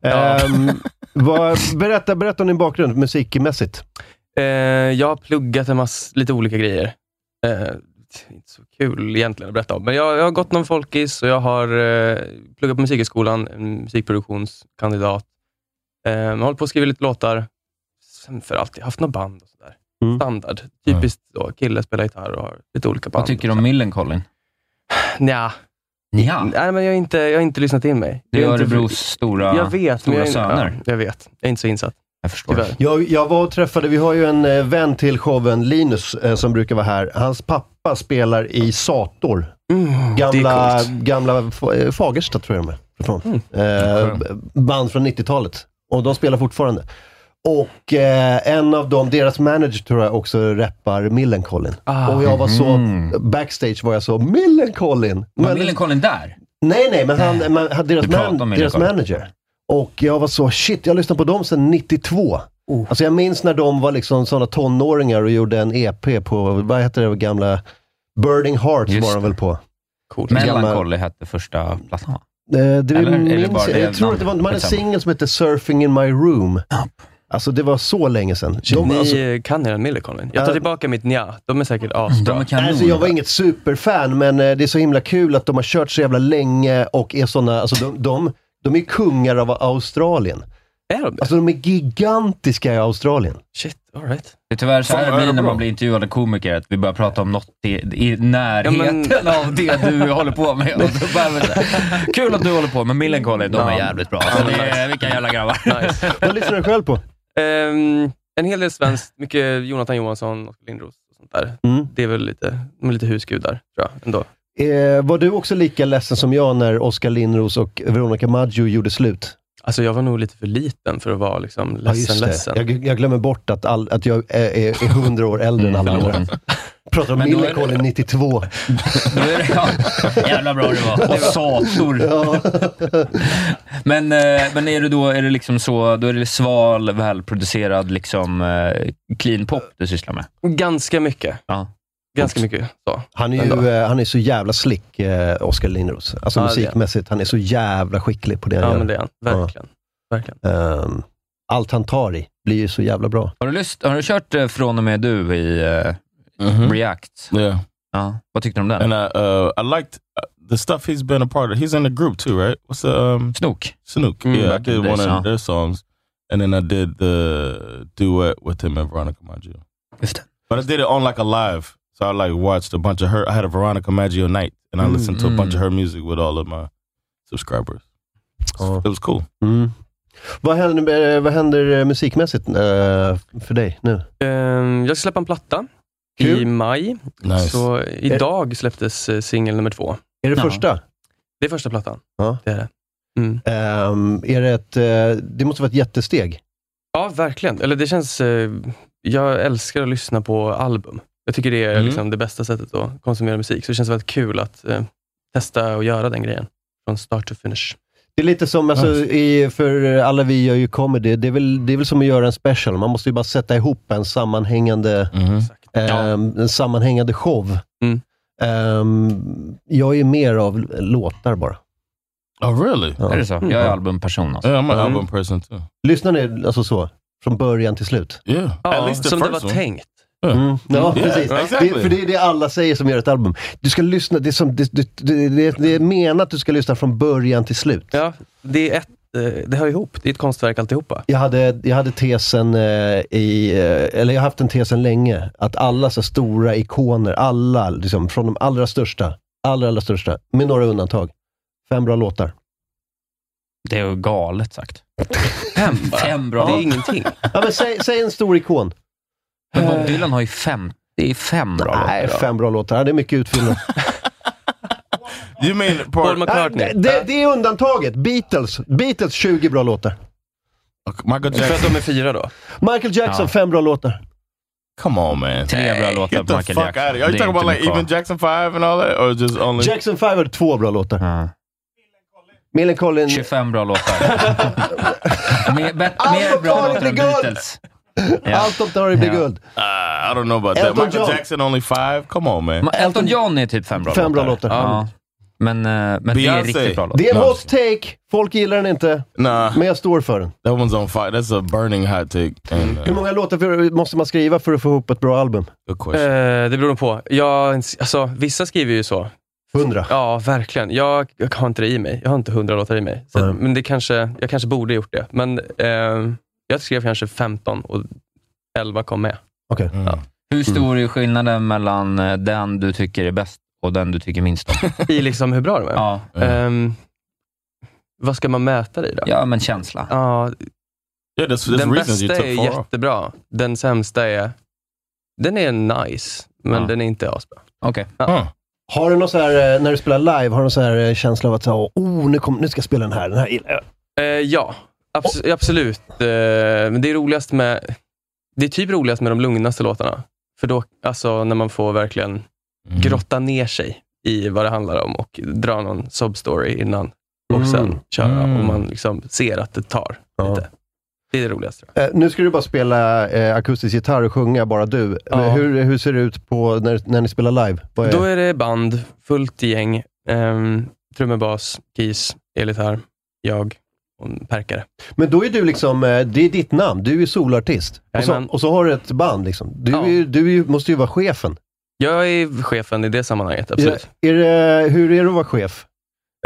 Speaker 9: Ja.
Speaker 3: Ehm, vad, berätta, berätta om din bakgrund musikmässigt.
Speaker 9: Eh, jag har pluggat en massa, lite olika grejer. Eh, det är inte så kul egentligen att berätta om, men jag, jag har gått någon folkis och jag har eh, pluggat på Musikhögskolan, en musikproduktionskandidat.
Speaker 10: Ehm, jag håller på att skriva lite låtar. Sen för alltid haft något band och sådär.
Speaker 11: Mm.
Speaker 10: Standard. Typiskt så. Kille spelar gitarr och har lite olika band.
Speaker 4: Vad tycker du om Millencolin?
Speaker 10: Nja.
Speaker 4: Ja.
Speaker 10: Nej, men jag har inte, jag har inte lyssnat in mig.
Speaker 4: Det är
Speaker 10: inte-
Speaker 4: Örebros stora,
Speaker 10: jag vet, men
Speaker 4: stora
Speaker 10: jag, är-
Speaker 4: söner.
Speaker 10: Ja, jag vet. Jag är inte så insatt.
Speaker 4: Jag förstår.
Speaker 10: Tyvärr.
Speaker 3: Jag, jag var och träffade, vi har ju en eh, vän till showen, Linus, eh, som brukar vara här. Hans pappa spelar i Sator.
Speaker 10: Mm, det är
Speaker 3: Gamla,
Speaker 10: coolt.
Speaker 3: gamla Fa- eh, Fagersta tror jag de är ifrån.
Speaker 10: Mm.
Speaker 3: Eh, band från 90-talet. Och de spelar fortfarande. Och eh, en av dem, deras manager tror jag också rappar Millencolin.
Speaker 10: Ah.
Speaker 3: och jag var så,
Speaker 4: Mhm.
Speaker 3: backstage var jag så, Millencolin!
Speaker 4: Var
Speaker 3: Men-
Speaker 4: Millencolin där?
Speaker 3: Nej, nej, men, han,
Speaker 4: Nej.
Speaker 3: men han- deras,
Speaker 4: Du pratar
Speaker 3: man,
Speaker 4: om
Speaker 3: deras
Speaker 4: Millencolin.
Speaker 3: manager. Och jag var så, shit, jag har lyssnat på dem sedan 92.
Speaker 4: Oh.
Speaker 3: Alltså jag minns när de var liksom sådana tonåringar och gjorde en EP på, vad heter det, gamla Burning Hearts
Speaker 4: Just
Speaker 3: var de väl på.
Speaker 10: Coolt.
Speaker 4: Melancholy hette första plattan.
Speaker 3: Eh, Det
Speaker 4: Eller är det
Speaker 3: minns,
Speaker 4: bara
Speaker 3: jag,
Speaker 4: det
Speaker 3: jag tror att det var, de hade en
Speaker 4: namnet?
Speaker 3: singel som hette Surfing in my room. Alltså det var så länge sedan. De,
Speaker 10: Ni
Speaker 3: alltså,
Speaker 10: eh, kan er en Millercolin. Jag tar
Speaker 3: Ja.
Speaker 10: tillbaka mitt nja. De är säkert asbra.
Speaker 4: De är kanon.
Speaker 3: alltså, jag var inget superfan, men eh, det är så himla kul att de har kört så jävla länge och är såna, alltså de, de, de är kungar av Australien.
Speaker 10: Är de det?
Speaker 3: Alltså de är gigantiska i Australien.
Speaker 10: Shit, alright.
Speaker 4: Det är tyvärr så
Speaker 5: Fan,
Speaker 4: här det
Speaker 5: vad är
Speaker 4: blir
Speaker 5: det
Speaker 4: när
Speaker 5: bra?
Speaker 4: man blir intervjuad av komiker, att vi börjar prata om något i, i närheten
Speaker 10: Ja,
Speaker 4: av det du håller på med. Och så bara, men, så här, Kul att du håller på med Millencolin, de är
Speaker 10: Ja.
Speaker 4: jävligt bra. Så det är, vilka jävla grabbar.
Speaker 10: Nice.
Speaker 3: Vad lyssnar du själv på?
Speaker 10: Ehm, en hel del svenskt. Mycket Jonathan Johansson, Oskar Lindros och sånt där.
Speaker 3: Mm.
Speaker 10: Det är väl lite, de är lite husgudar, tror jag. Ändå.
Speaker 3: Eh, var du också lika ledsen som jag när Oskar Lindros och Veronica Maggio gjorde slut?
Speaker 10: Alltså, jag var nog lite för liten för att vara liksom, ledsen,
Speaker 3: ja, just
Speaker 10: ledsen.
Speaker 3: det. Jag, jag glömmer bort att, all, att jag är, är, är 100 år äldre än alla
Speaker 4: Mm, förlåt.
Speaker 3: andra. Pratar om
Speaker 4: Men då är det-
Speaker 3: Millencolin 92.
Speaker 4: Då är det, ja, jävla bra det var. Och sator.
Speaker 3: Ja.
Speaker 4: Men, eh, men är det då är det liksom så, då är det sval, välproducerad liksom, eh, clean pop du sysslar med?
Speaker 10: Ganska mycket.
Speaker 4: Ja.
Speaker 10: Ganska mycket så.
Speaker 3: Han är
Speaker 10: Ändå.
Speaker 3: ju eh, han är så jävla slick, eh, Oskar Lindros. Alltså
Speaker 10: Ja, det är han.
Speaker 3: musikmässigt, han är så jävla skicklig på det han
Speaker 10: Ja,
Speaker 3: gör.
Speaker 10: men det är han. Verkligen. Verkligen.
Speaker 3: Ehm, allt han tar i blir ju så jävla bra.
Speaker 4: Har du, lyst, har du kört eh, Från och med du i eh,
Speaker 3: Mm.
Speaker 4: React?
Speaker 5: mm-hmm. Yeah.
Speaker 4: Ja. Vad tyckte du om
Speaker 5: And
Speaker 4: den?
Speaker 5: I uh, I liked uh, the stuff he's been a part of. He's in the group too, right? What's the um,
Speaker 4: Snook?
Speaker 5: Snook?
Speaker 10: Mm,
Speaker 5: yeah, I
Speaker 4: back in
Speaker 5: did
Speaker 4: the
Speaker 5: one
Speaker 4: days, huh?
Speaker 5: of their songs, and then I did the duet with him and Veronica Maggio.
Speaker 4: Just det.
Speaker 5: But I did it on like a live, so I like watched a bunch of her. I had a Veronica Maggio night, and I
Speaker 3: Mm,
Speaker 5: listened to a bunch
Speaker 4: mm.
Speaker 5: of her music with all of my subscribers.
Speaker 3: Oh.
Speaker 5: It was cool.
Speaker 3: Vad, händer, eh, vad händer eh, musikmässigt eh, för dig nu?
Speaker 10: Ehm, jag ska släppa en platta
Speaker 3: Kul.
Speaker 10: i maj.
Speaker 5: Nice.
Speaker 10: Så idag släpptes eh, singel nummer två.
Speaker 3: Är det
Speaker 4: Ja.
Speaker 3: första?
Speaker 10: Det är första plattan.
Speaker 3: Ja.
Speaker 10: Det är det. Mm.
Speaker 3: Ehm, är det, ett, eh, det måste vara ett jättesteg.
Speaker 10: Ja, verkligen. Eller det känns... Eh, jag älskar att lyssna på album. Jag tycker det är
Speaker 5: Mm.
Speaker 10: liksom det bästa sättet att konsumera musik. Så det känns väldigt kul att eh, testa och göra den grejen. Från start to finish.
Speaker 3: Det är lite som, alltså, i, för alla vi gör ju comedy, det är, väl, det är väl som att göra en special. Man måste ju bara sätta ihop en sammanhängande,
Speaker 5: Mhm.
Speaker 10: Exakt.
Speaker 3: ehm, en sammanhängande show.
Speaker 10: Mm.
Speaker 3: Ehm, jag är mer av låtar bara.
Speaker 5: Oh, really?
Speaker 3: Ja.
Speaker 4: Är det så? Jag är albumperson alltså.
Speaker 5: Yeah, I'm an
Speaker 3: Mm-hmm.
Speaker 10: Mhm.
Speaker 5: album person too.
Speaker 3: Lyssnar ni alltså så? Från början till slut?
Speaker 5: Yeah,
Speaker 10: Ja,
Speaker 4: Oh,
Speaker 5: at least the
Speaker 10: som det
Speaker 5: first
Speaker 10: var
Speaker 5: one.
Speaker 10: tänkt.
Speaker 3: Mm. Ja,
Speaker 5: Yeah,
Speaker 3: precis.
Speaker 5: exactly.
Speaker 3: Det, för det är det alla säger som gör ett album. Du ska lyssna, det är, som, det, det, det, det- det är menat att du ska lyssna från början till slut.
Speaker 10: Ja, det, är ett, eh, det hör ihop. Det är ett konstverk alltihopa.
Speaker 3: Jag hade, jag hade tesen eh, i, eh, eller jag har haft den tesen länge, att alla så stora ikoner, alla, liksom, från de allra största, allra, allra största, med några undantag. Fem bra låtar.
Speaker 4: Det är ju galet sagt. Fem, Fem bra.
Speaker 10: Det är ingenting.
Speaker 3: Ja, men säg, säg en stor ikon.
Speaker 4: Men Bob Dylan har ju fem. Det är fem bra
Speaker 3: Nej,
Speaker 4: låtar.
Speaker 3: fem bra låtar. Ja, det är mycket utfyllnad.
Speaker 5: You mean
Speaker 10: Paul
Speaker 5: part,
Speaker 3: Nej,
Speaker 10: McCartney.
Speaker 3: det, det är undantaget. Beatles. Beatles, 20 bra låtar.
Speaker 5: Uh, Michael
Speaker 10: För att
Speaker 5: Jackson?
Speaker 10: de är fyra då.
Speaker 3: Michael Jackson,
Speaker 4: Ja.
Speaker 3: fem bra låtar.
Speaker 5: Come on, man.
Speaker 4: Tre bra låtar
Speaker 5: Get
Speaker 4: på
Speaker 5: the
Speaker 4: Michael
Speaker 5: fuck
Speaker 4: Jackson.
Speaker 5: out of here. Are
Speaker 4: Det
Speaker 5: you
Speaker 4: är
Speaker 5: talking about
Speaker 4: inte
Speaker 5: like
Speaker 4: mycket
Speaker 5: even Jackson 5 and all that? Or just only...
Speaker 3: Jackson 5 hade två bra låtar.
Speaker 4: kvar. Ja.
Speaker 3: Millencolin.
Speaker 4: 25 bra låtar. mer, bet,
Speaker 3: Allt
Speaker 4: mer bra
Speaker 3: tar inte
Speaker 4: låtar än
Speaker 3: guld.
Speaker 4: Beatles. Ja.
Speaker 3: Allt de tar i blir
Speaker 4: Ja.
Speaker 3: guld.
Speaker 5: Uh, I don't know about that.
Speaker 3: Elton
Speaker 5: Michael
Speaker 3: John.
Speaker 5: Jackson only five? Come on, man.
Speaker 4: Ma- Elton John är typ fem bra
Speaker 3: Fem bra
Speaker 4: låtar.
Speaker 3: låtar.
Speaker 4: Ja. Men, eh, men det är
Speaker 5: Beyoncé.
Speaker 4: riktigt bra låtar.
Speaker 3: Det är en
Speaker 5: Ja.
Speaker 3: hot take. Folk gillar den inte,
Speaker 5: Nah,
Speaker 3: men jag står för den.
Speaker 5: that one's on fire. That's a burning hot take. And,
Speaker 3: Hur
Speaker 5: uh,
Speaker 3: många låtar för, måste man skriva för att få ihop ett bra album?
Speaker 5: good
Speaker 10: Eh,
Speaker 5: question.
Speaker 10: det beror nog på. Jag, alltså, vissa skriver ju så
Speaker 3: Hundra?
Speaker 10: Ja, verkligen. Jag, jag har inte det i mig. Jag har inte hundra låtar i mig. Så, men det kanske, jag kanske borde gjort det. Men eh, jag skrev kanske 15 och 11 kom med.
Speaker 3: Okej.
Speaker 4: Uh,
Speaker 5: Mm,
Speaker 10: Ja.
Speaker 4: Hur
Speaker 10: Mm.
Speaker 4: stor är skillnaden mellan eh, den du tycker är bäst och den du tycker minst om?
Speaker 10: I liksom hur bra de är?
Speaker 4: Ja.
Speaker 10: Ehm, vad ska man mäta det i då?
Speaker 4: Ja, men känsla.
Speaker 10: Ja,
Speaker 5: Yeah, there's, there's
Speaker 10: den
Speaker 5: reasons you
Speaker 10: bästa
Speaker 5: took
Speaker 10: är
Speaker 5: four off.
Speaker 10: jättebra. Den sämsta är... Den är nice, men
Speaker 4: Ja.
Speaker 10: den är inte asbra.
Speaker 4: Okej.
Speaker 3: Har du någon så här, eh, när du spelar live, har du någon så här eh, känsla av att så, oh, nu, kom, nu ska jag spela den här, den här gillar jag.
Speaker 10: Eh, ja, abs- absolut. Eh, men det är roligast med... Det är typ roligast med de lugnaste låtarna. För då, alltså när man får
Speaker 5: Mm.
Speaker 10: verkligen grotta ner sig i vad det handlar om och dra någon substory innan och sen köra.
Speaker 5: Mm.
Speaker 10: Och man liksom ser att det tar
Speaker 3: Ja.
Speaker 10: lite. Det är det roligaste. tror jag.
Speaker 3: Eh, nu ska du bara spela eh, akustisk gitarr och sjunga, bara du.
Speaker 10: Ja.
Speaker 3: Men Hur, hur ser det ut på när, när ni spelar live? Vad är,
Speaker 10: Då är det band, fullt gäng, um, trummor, bas, keys, elgitarr, jag och en perkare.
Speaker 3: Men då är du liksom, eh, det är ditt namn, du är solartist. Och så,
Speaker 10: Jajamän.
Speaker 3: och så har du ett band liksom. Du,
Speaker 10: Ja.
Speaker 3: är, ju- du är, ju- måste ju vara chefen.
Speaker 10: Jag är chefen i det sammanhanget, absolut.
Speaker 3: Är, är det, hur är det att vara chef?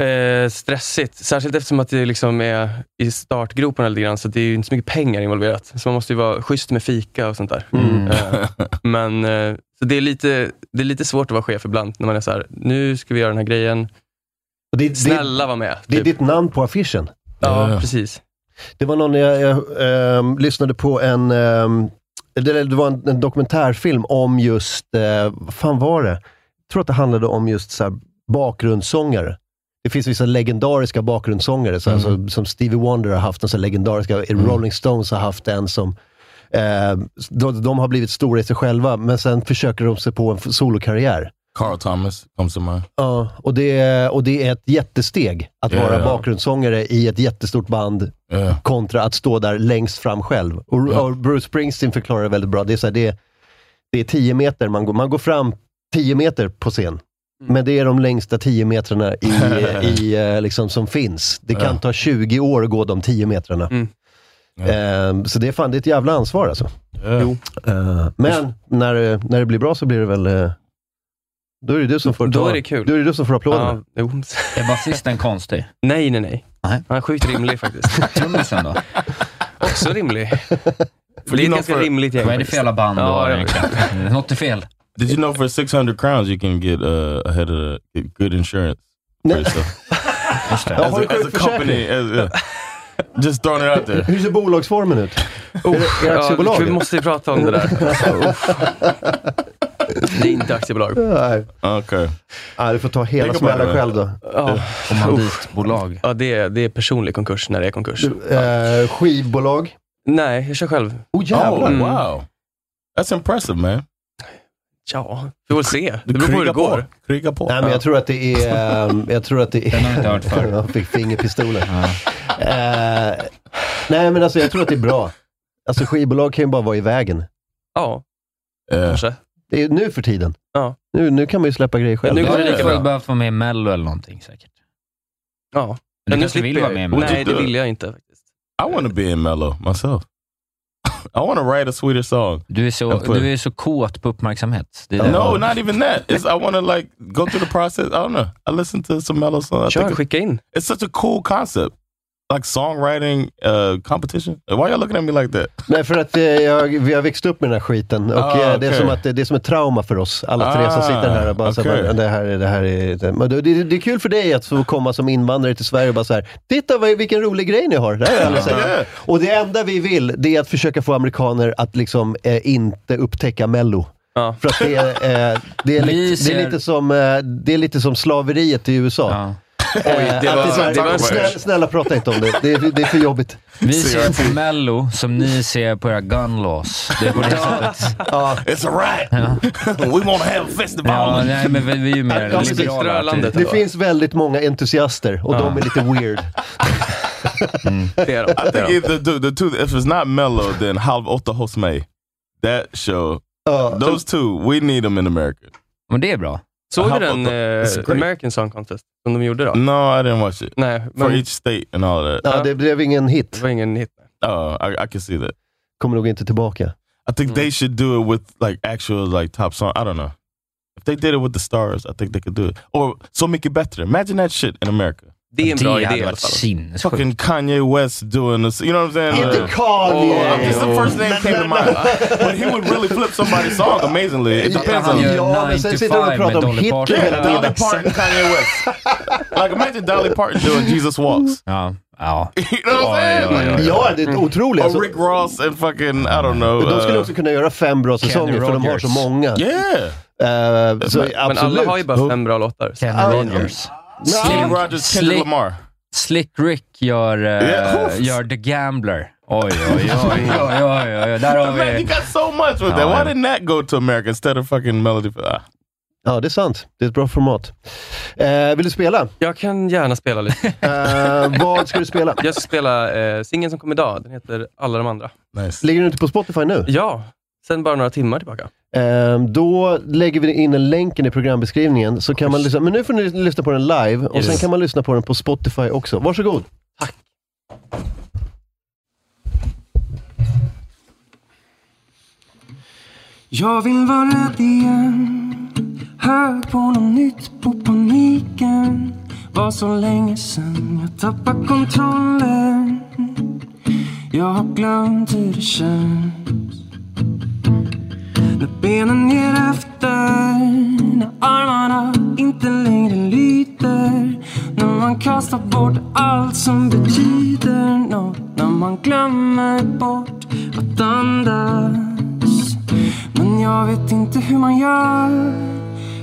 Speaker 10: Eh, stressigt, särskilt eftersom att det liksom är i startgroparna lite grann, så det är ju inte så mycket pengar involverat. Så man måste ju vara schysst med fika och sånt där. Eh, men eh, så det, är lite, det är lite svårt att vara chef ibland, när man är så här, nu ska vi göra den här grejen,
Speaker 3: Och det, det,
Speaker 10: snälla var med.
Speaker 3: det är
Speaker 10: typ.
Speaker 3: ditt namn på affischen.
Speaker 5: Mm-hmm.
Speaker 10: Ja, precis.
Speaker 3: Det var någon jag, jag ehm, lyssnade på en, ehm, det, det var en, en dokumentärfilm om just, eh, vad fan var det? Jag tror att det handlade om just så här, bakgrundssångare. Det finns vissa legendariska bakgrundssångare, så här, som, som Stevie Wonder har haft en, så här legendariska, Rolling Stones har haft en som eh, de, de har blivit stora i sig själva, men sen försöker de sig på en f- solokarriär.
Speaker 5: Carl Thomas comes to mind.
Speaker 3: Ja, och det, och det är ett jättesteg att
Speaker 5: Ja,
Speaker 3: vara
Speaker 5: ja.
Speaker 3: bakgrundssångare i ett jättestort band
Speaker 5: Yeah.
Speaker 3: kontra att stå där längst fram själv. Och,
Speaker 5: Ja.
Speaker 3: och Bruce Springsteen förklarar det väldigt bra. Det är, så här, det, är- det är tio meter, man går, man går fram tio meter på scen. Men det är de längsta tio metrarna i, i, eh, liksom, som finns. Det kan
Speaker 5: Ja.
Speaker 3: ta 20 år att gå de tio metrarna.
Speaker 10: Mm.
Speaker 5: Ja.
Speaker 3: Ehm, så det är fan, det är ett jävla ansvar alltså.
Speaker 5: Yeah.
Speaker 10: Jo.
Speaker 3: Eh, men när, det- när det blir bra så blir det väl... eh, Då är det du som får,
Speaker 10: Då
Speaker 3: ta,
Speaker 10: är det kul.
Speaker 3: Då är det du som får applåderna.
Speaker 10: Ja, jo.
Speaker 4: Är basisten konstig?
Speaker 10: nej, nej, nej.
Speaker 4: Nej.
Speaker 10: Han är sjukt rimlig faktiskt.
Speaker 4: Trummisen då?
Speaker 10: Också rimlig. För det är ett
Speaker 5: någon
Speaker 10: ganska
Speaker 5: för-
Speaker 10: rimligt gäng.
Speaker 4: Vad är det för
Speaker 10: faktiskt.
Speaker 4: jävla band du
Speaker 10: Ja,
Speaker 4: har
Speaker 10: jag
Speaker 4: egentligen? Något är fel.
Speaker 5: Did you know for 600 crowns you can get uh, ahead of the, get good insurance for
Speaker 3: No.
Speaker 5: yourself?
Speaker 4: Just det.
Speaker 5: As a, as a Alltså, company, as, yeah. just throwing it out there.
Speaker 3: Hur ser bolagsformen ut?
Speaker 10: Oh,
Speaker 3: Är det
Speaker 10: ja,
Speaker 3: aktiebolag?
Speaker 10: vi måste ju prata om det där. Uff. det är inte aktiebolag.
Speaker 3: Nej.
Speaker 5: Okay.
Speaker 3: Ah, du får ta hela
Speaker 5: Tänk om man-
Speaker 3: smällen själv då.
Speaker 10: Ja,
Speaker 4: Kommanditbolag.
Speaker 10: ja det, är, det är personlig konkurs när det är konkurs.
Speaker 3: Eh, skivbolag.
Speaker 10: Nej, jag kör själv.
Speaker 3: Oh
Speaker 5: Oh,
Speaker 3: jävlar!
Speaker 10: Mm.
Speaker 5: wow. That's impressive, man.
Speaker 10: Ja, vi får se. Det beror på hur det går.
Speaker 5: Kriga på.
Speaker 3: Nej, men jag tror att det är... ehm, Jag tror att det är...
Speaker 4: Den har jag inte hört förr.
Speaker 3: Han fick fingerpistolen.
Speaker 4: Ja.
Speaker 3: Eh, nej, men alltså jag tror att det är bra. Alltså skivbolag kan ju bara vara i vägen.
Speaker 10: Ja,
Speaker 5: Yeah.
Speaker 10: kanske.
Speaker 3: Det är nu för tiden.
Speaker 10: Ja.
Speaker 3: Nu, nu kan man ju släppa grejer själv.
Speaker 10: Nu går det
Speaker 4: Du
Speaker 10: lika
Speaker 4: hade
Speaker 10: bra.
Speaker 4: behövt vara med i Mello eller någonting säkert.
Speaker 10: Ja.
Speaker 4: Du
Speaker 10: Men nu
Speaker 4: kanske vill
Speaker 10: slipper
Speaker 4: vara med i
Speaker 10: jag.
Speaker 4: Mello?
Speaker 10: Nej, det vill jag inte. faktiskt.
Speaker 5: I want to be in Mellow myself. I want to write a sweeter song.
Speaker 4: Du är, så,
Speaker 5: Jag får-
Speaker 4: du är så kåt på uppmärksamhet. Det är det.
Speaker 5: No, not even that. It's, I want to like go through the process. I don't know. I listen to some Mellow songs. I think
Speaker 10: Kör,
Speaker 5: it's-
Speaker 10: skicka in.
Speaker 5: It's such a cool concept. Like songwriting uh, competition. Why y'all looking at me like that?
Speaker 3: Nej, för att eh, jag, vi har växt upp med den här skiten. Och
Speaker 5: Ah,
Speaker 3: eh, det, är
Speaker 5: okej.
Speaker 3: som att, det är som ett trauma för oss, alla tre som
Speaker 5: Ah,
Speaker 3: sitter här. Och bara så här
Speaker 5: okej.
Speaker 3: bara, det, här är, det, här är, det, men det, det, det är kul för dig att få komma som invandrare till Sverige och bara så här, titta vad, vilken rolig grej ni har. Det här har jag aldrig sett.
Speaker 5: Yeah.
Speaker 3: Och det enda vi vill, det är att försöka få amerikaner att liksom eh, inte upptäcka Mello.
Speaker 10: Ja.
Speaker 3: För att det är, eh, det är,
Speaker 4: Vi
Speaker 3: lite, det,
Speaker 4: ser-
Speaker 3: är lite som, eh, det är lite som slaveriet i USA.
Speaker 4: Ja.
Speaker 3: Eh,
Speaker 10: det
Speaker 3: att
Speaker 10: var-
Speaker 3: det är så här,
Speaker 10: det var en
Speaker 3: snälla,
Speaker 10: smash.
Speaker 3: snälla prata inte om det, det är, det är för jobbigt.
Speaker 4: Vi ser på Mello som ni ser på era gun laws. Det är på det sättet.
Speaker 5: It's a riot. we want to have a festival.
Speaker 4: Ja, nej, men vi, vi är ju mer
Speaker 3: Ja, precis.
Speaker 4: liberala. typ.
Speaker 10: Strölandet.
Speaker 4: alltid.
Speaker 3: Det finns väldigt många entusiaster och de är lite weird.
Speaker 4: Mm.
Speaker 10: Det är de.
Speaker 5: I
Speaker 10: Det är
Speaker 5: think
Speaker 10: de.
Speaker 5: if the, the, the two, if it's not Mellow, then Halv Otta Host May. That show.
Speaker 3: Ja.
Speaker 5: Those two, we need them in America.
Speaker 4: Men det är bra.
Speaker 10: Såg du
Speaker 5: How
Speaker 10: den
Speaker 5: about that? It's
Speaker 10: eh,
Speaker 5: great.
Speaker 10: American Song Contest som de gjorde då?
Speaker 5: No, I didn't watch it.
Speaker 10: Nej,
Speaker 5: For
Speaker 10: men
Speaker 5: each state and all of that.
Speaker 3: Ja, det blev ingen
Speaker 10: det
Speaker 3: hit.
Speaker 10: var ingen hit.
Speaker 5: Oh, I, I can see that.
Speaker 3: Kommer nog inte tillbaka.
Speaker 5: I think
Speaker 10: Mm.
Speaker 5: they should do it with like actual like top song. I don't know. If they did it with the stars, I think they could do it. Or So Mycket Bättre. Imagine that shit in America.
Speaker 4: Det är en bra Det idé hade i alla varit fall. sinnessjukt.
Speaker 5: Fucking Kanye West doing this. You know what I'm saying?
Speaker 3: Inte
Speaker 5: Like-
Speaker 3: Kanye!
Speaker 5: Oh, I'm just the first name came to mind. But he would really flip somebody's song amazingly. It depends on
Speaker 3: Ja, men sen sitter de och pratar om Hitler
Speaker 5: Yeah,
Speaker 3: hela
Speaker 5: Dolly
Speaker 3: tiden.
Speaker 5: Parton, Kanye West. like imagine Dolly Parton doing Jesus Walks.
Speaker 4: Ja. Ja.
Speaker 5: You know what I'm saying?
Speaker 3: Ja, det är otroligt.
Speaker 5: Or
Speaker 3: Alltså,
Speaker 5: Rick Ross and fucking, I don't know.
Speaker 3: de skulle
Speaker 5: uh,
Speaker 3: också kunna göra fem bra säsonger, för de har så
Speaker 4: Rogers.
Speaker 3: många.
Speaker 5: yeah.
Speaker 3: Eh, så
Speaker 9: Men, men alla
Speaker 3: absolut.
Speaker 9: har ju bara fem bra låtar.
Speaker 4: Kenny Rogers.
Speaker 5: Kenny Rogers, Kendrick
Speaker 4: Slick,
Speaker 5: Lamar.
Speaker 4: Slick Rick gör, eh,
Speaker 5: Yeah.
Speaker 4: gör The Gambler. Oj, oj, oj, oj, oj, oj, oj. Där har
Speaker 5: Man, you
Speaker 4: vi...
Speaker 5: got so much with that. Why didn't that go to America instead of fucking Melody? Ah.
Speaker 3: Ja, det är sant. Det är ett bra format. Eh, vill du spela?
Speaker 9: Jag kan gärna spela lite.
Speaker 3: Eh, vad ska du spela?
Speaker 9: Jag ska spela eh, singeln som kom idag. Den heter Alla de andra.
Speaker 5: Nice.
Speaker 3: Ligger du inte på Spotify nu?
Speaker 9: Ja, sen bara några timmar tillbaka.
Speaker 3: Ehm, Då lägger vi in en länken i programbeskrivningen, så kan man lyssna. Men nu får ni lyssna på den live, och
Speaker 9: Yes.
Speaker 3: sen kan man lyssna på den på Spotify också. Varsågod!
Speaker 10: Jag vill vara rädd igen Hög på något nytt på paniken Var så länge sen jag tappade kontrollen Jag har glömt hur det känns När benen ger efter När armarna inte längre lyter När man kastar bort allt som betyder något När man glömmer bort att andas men jag vet inte hur man gör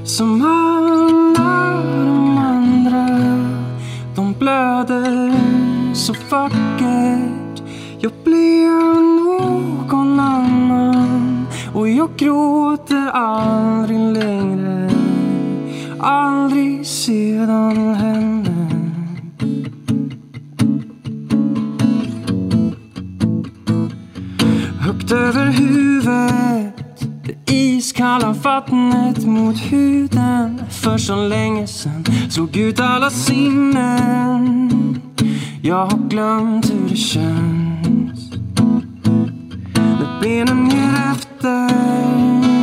Speaker 10: Som alla de andra De blöder så vackert Jag blev någon annan Och jag gråter aldrig längre Aldrig sedan hände Högt över huvudet Det iskalla vattnet mot huden För så länge sen slog ut alla sinnen Jag har glömt hur det känns När benen ger efter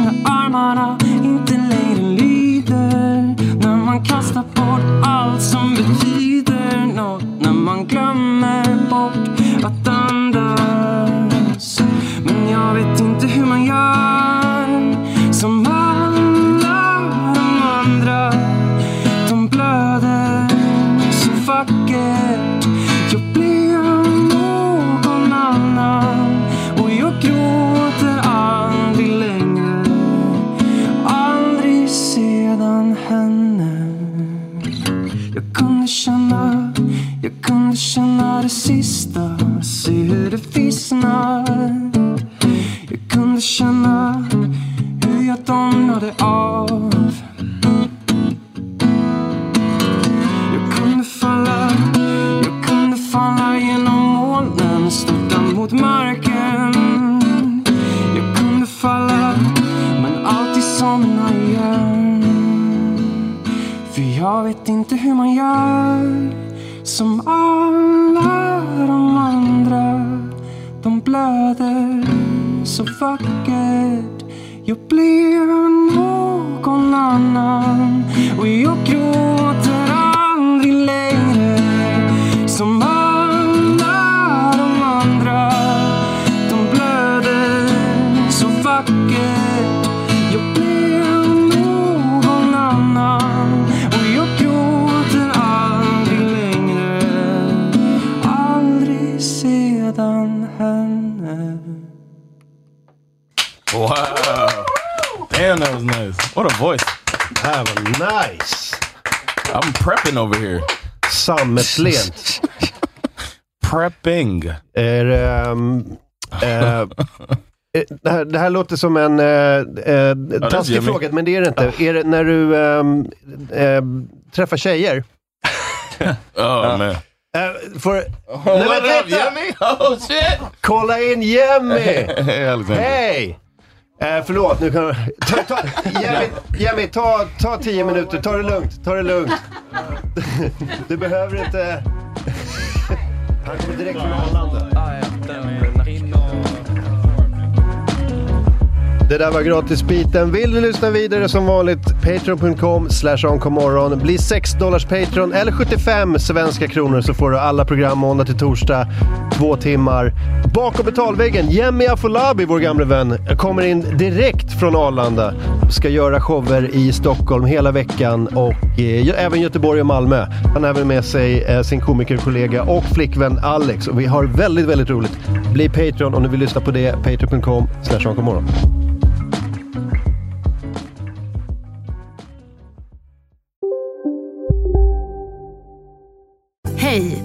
Speaker 10: När armarna inte längre lyder När man kastar bort allt som betyder något När man glömmer bort att andas men jag vet inte hur man gör Som alla de andra De blöder så vackert Jag blir någon annan Och jag gråter aldrig längre Aldrig sedan henne jag kunde känna, jag kunde känna det sista Se hur det vissnar Jag kunde känna hur jag domnade av Jag kunde falla, jag kunde falla genom molnen Störta mot marken Jag kunde falla, men alltid somna igen för jag vet inte hur man gör Som alla de andra De blöder så vackert Jag blir någon annan Och jag gråter aldrig längre Som alla de andra De blöder så vackert Jag blir någon annan Och jag gråter aldrig längre Aldrig sedan henne
Speaker 5: Wow. Damn, that was nice. What a voice.
Speaker 3: Här var nice!
Speaker 5: I'm prepping over here.
Speaker 3: Sammetslent.
Speaker 5: Prepping.
Speaker 3: Är, ehm, eh, eh, det, här, det här låter som en eh, eh, taskig
Speaker 5: Jimmy.
Speaker 3: fråga, men det Ah. är det inte. Är det när du ehm, ehm, träffar tjejer?
Speaker 5: Oh, man.
Speaker 3: Eh, får,
Speaker 5: What
Speaker 3: nej, men
Speaker 5: up,
Speaker 3: titta!
Speaker 5: Yummy? Oh, shit.
Speaker 3: Kolla in Jemmy!
Speaker 5: Hey, Alexander.
Speaker 3: Hej! Eh, förlåt, nu kan jag... Ta, ta, Jimmy, Jimmy ta, ta tio minuter. Ta det lugnt. Ta det lugnt. Du behöver inte... Han kommer direkt från Arlanda.
Speaker 9: Ah, ja, den, den,
Speaker 3: Det där var gratisbiten. Vill du lyssna vidare som vanligt? Patreon.com slash oncommorron. Bli 6 dollars Patreon eller 75 svenska kronor så får du alla program måndag till torsdag. Två timmar. Bakom betalväggen, Jemmy Afolabi, vår gamle vän, kommer in direkt från Arlanda. Ska göra shower i Stockholm hela veckan och eh, även Göteborg och Malmö. Han har även med sig eh, sin komikerkollega och flickvän Alex. Och vi har väldigt, väldigt roligt. Bli Patreon om du vill lyssna på det. Patreon.com slash oncommorron.
Speaker 10: Hej,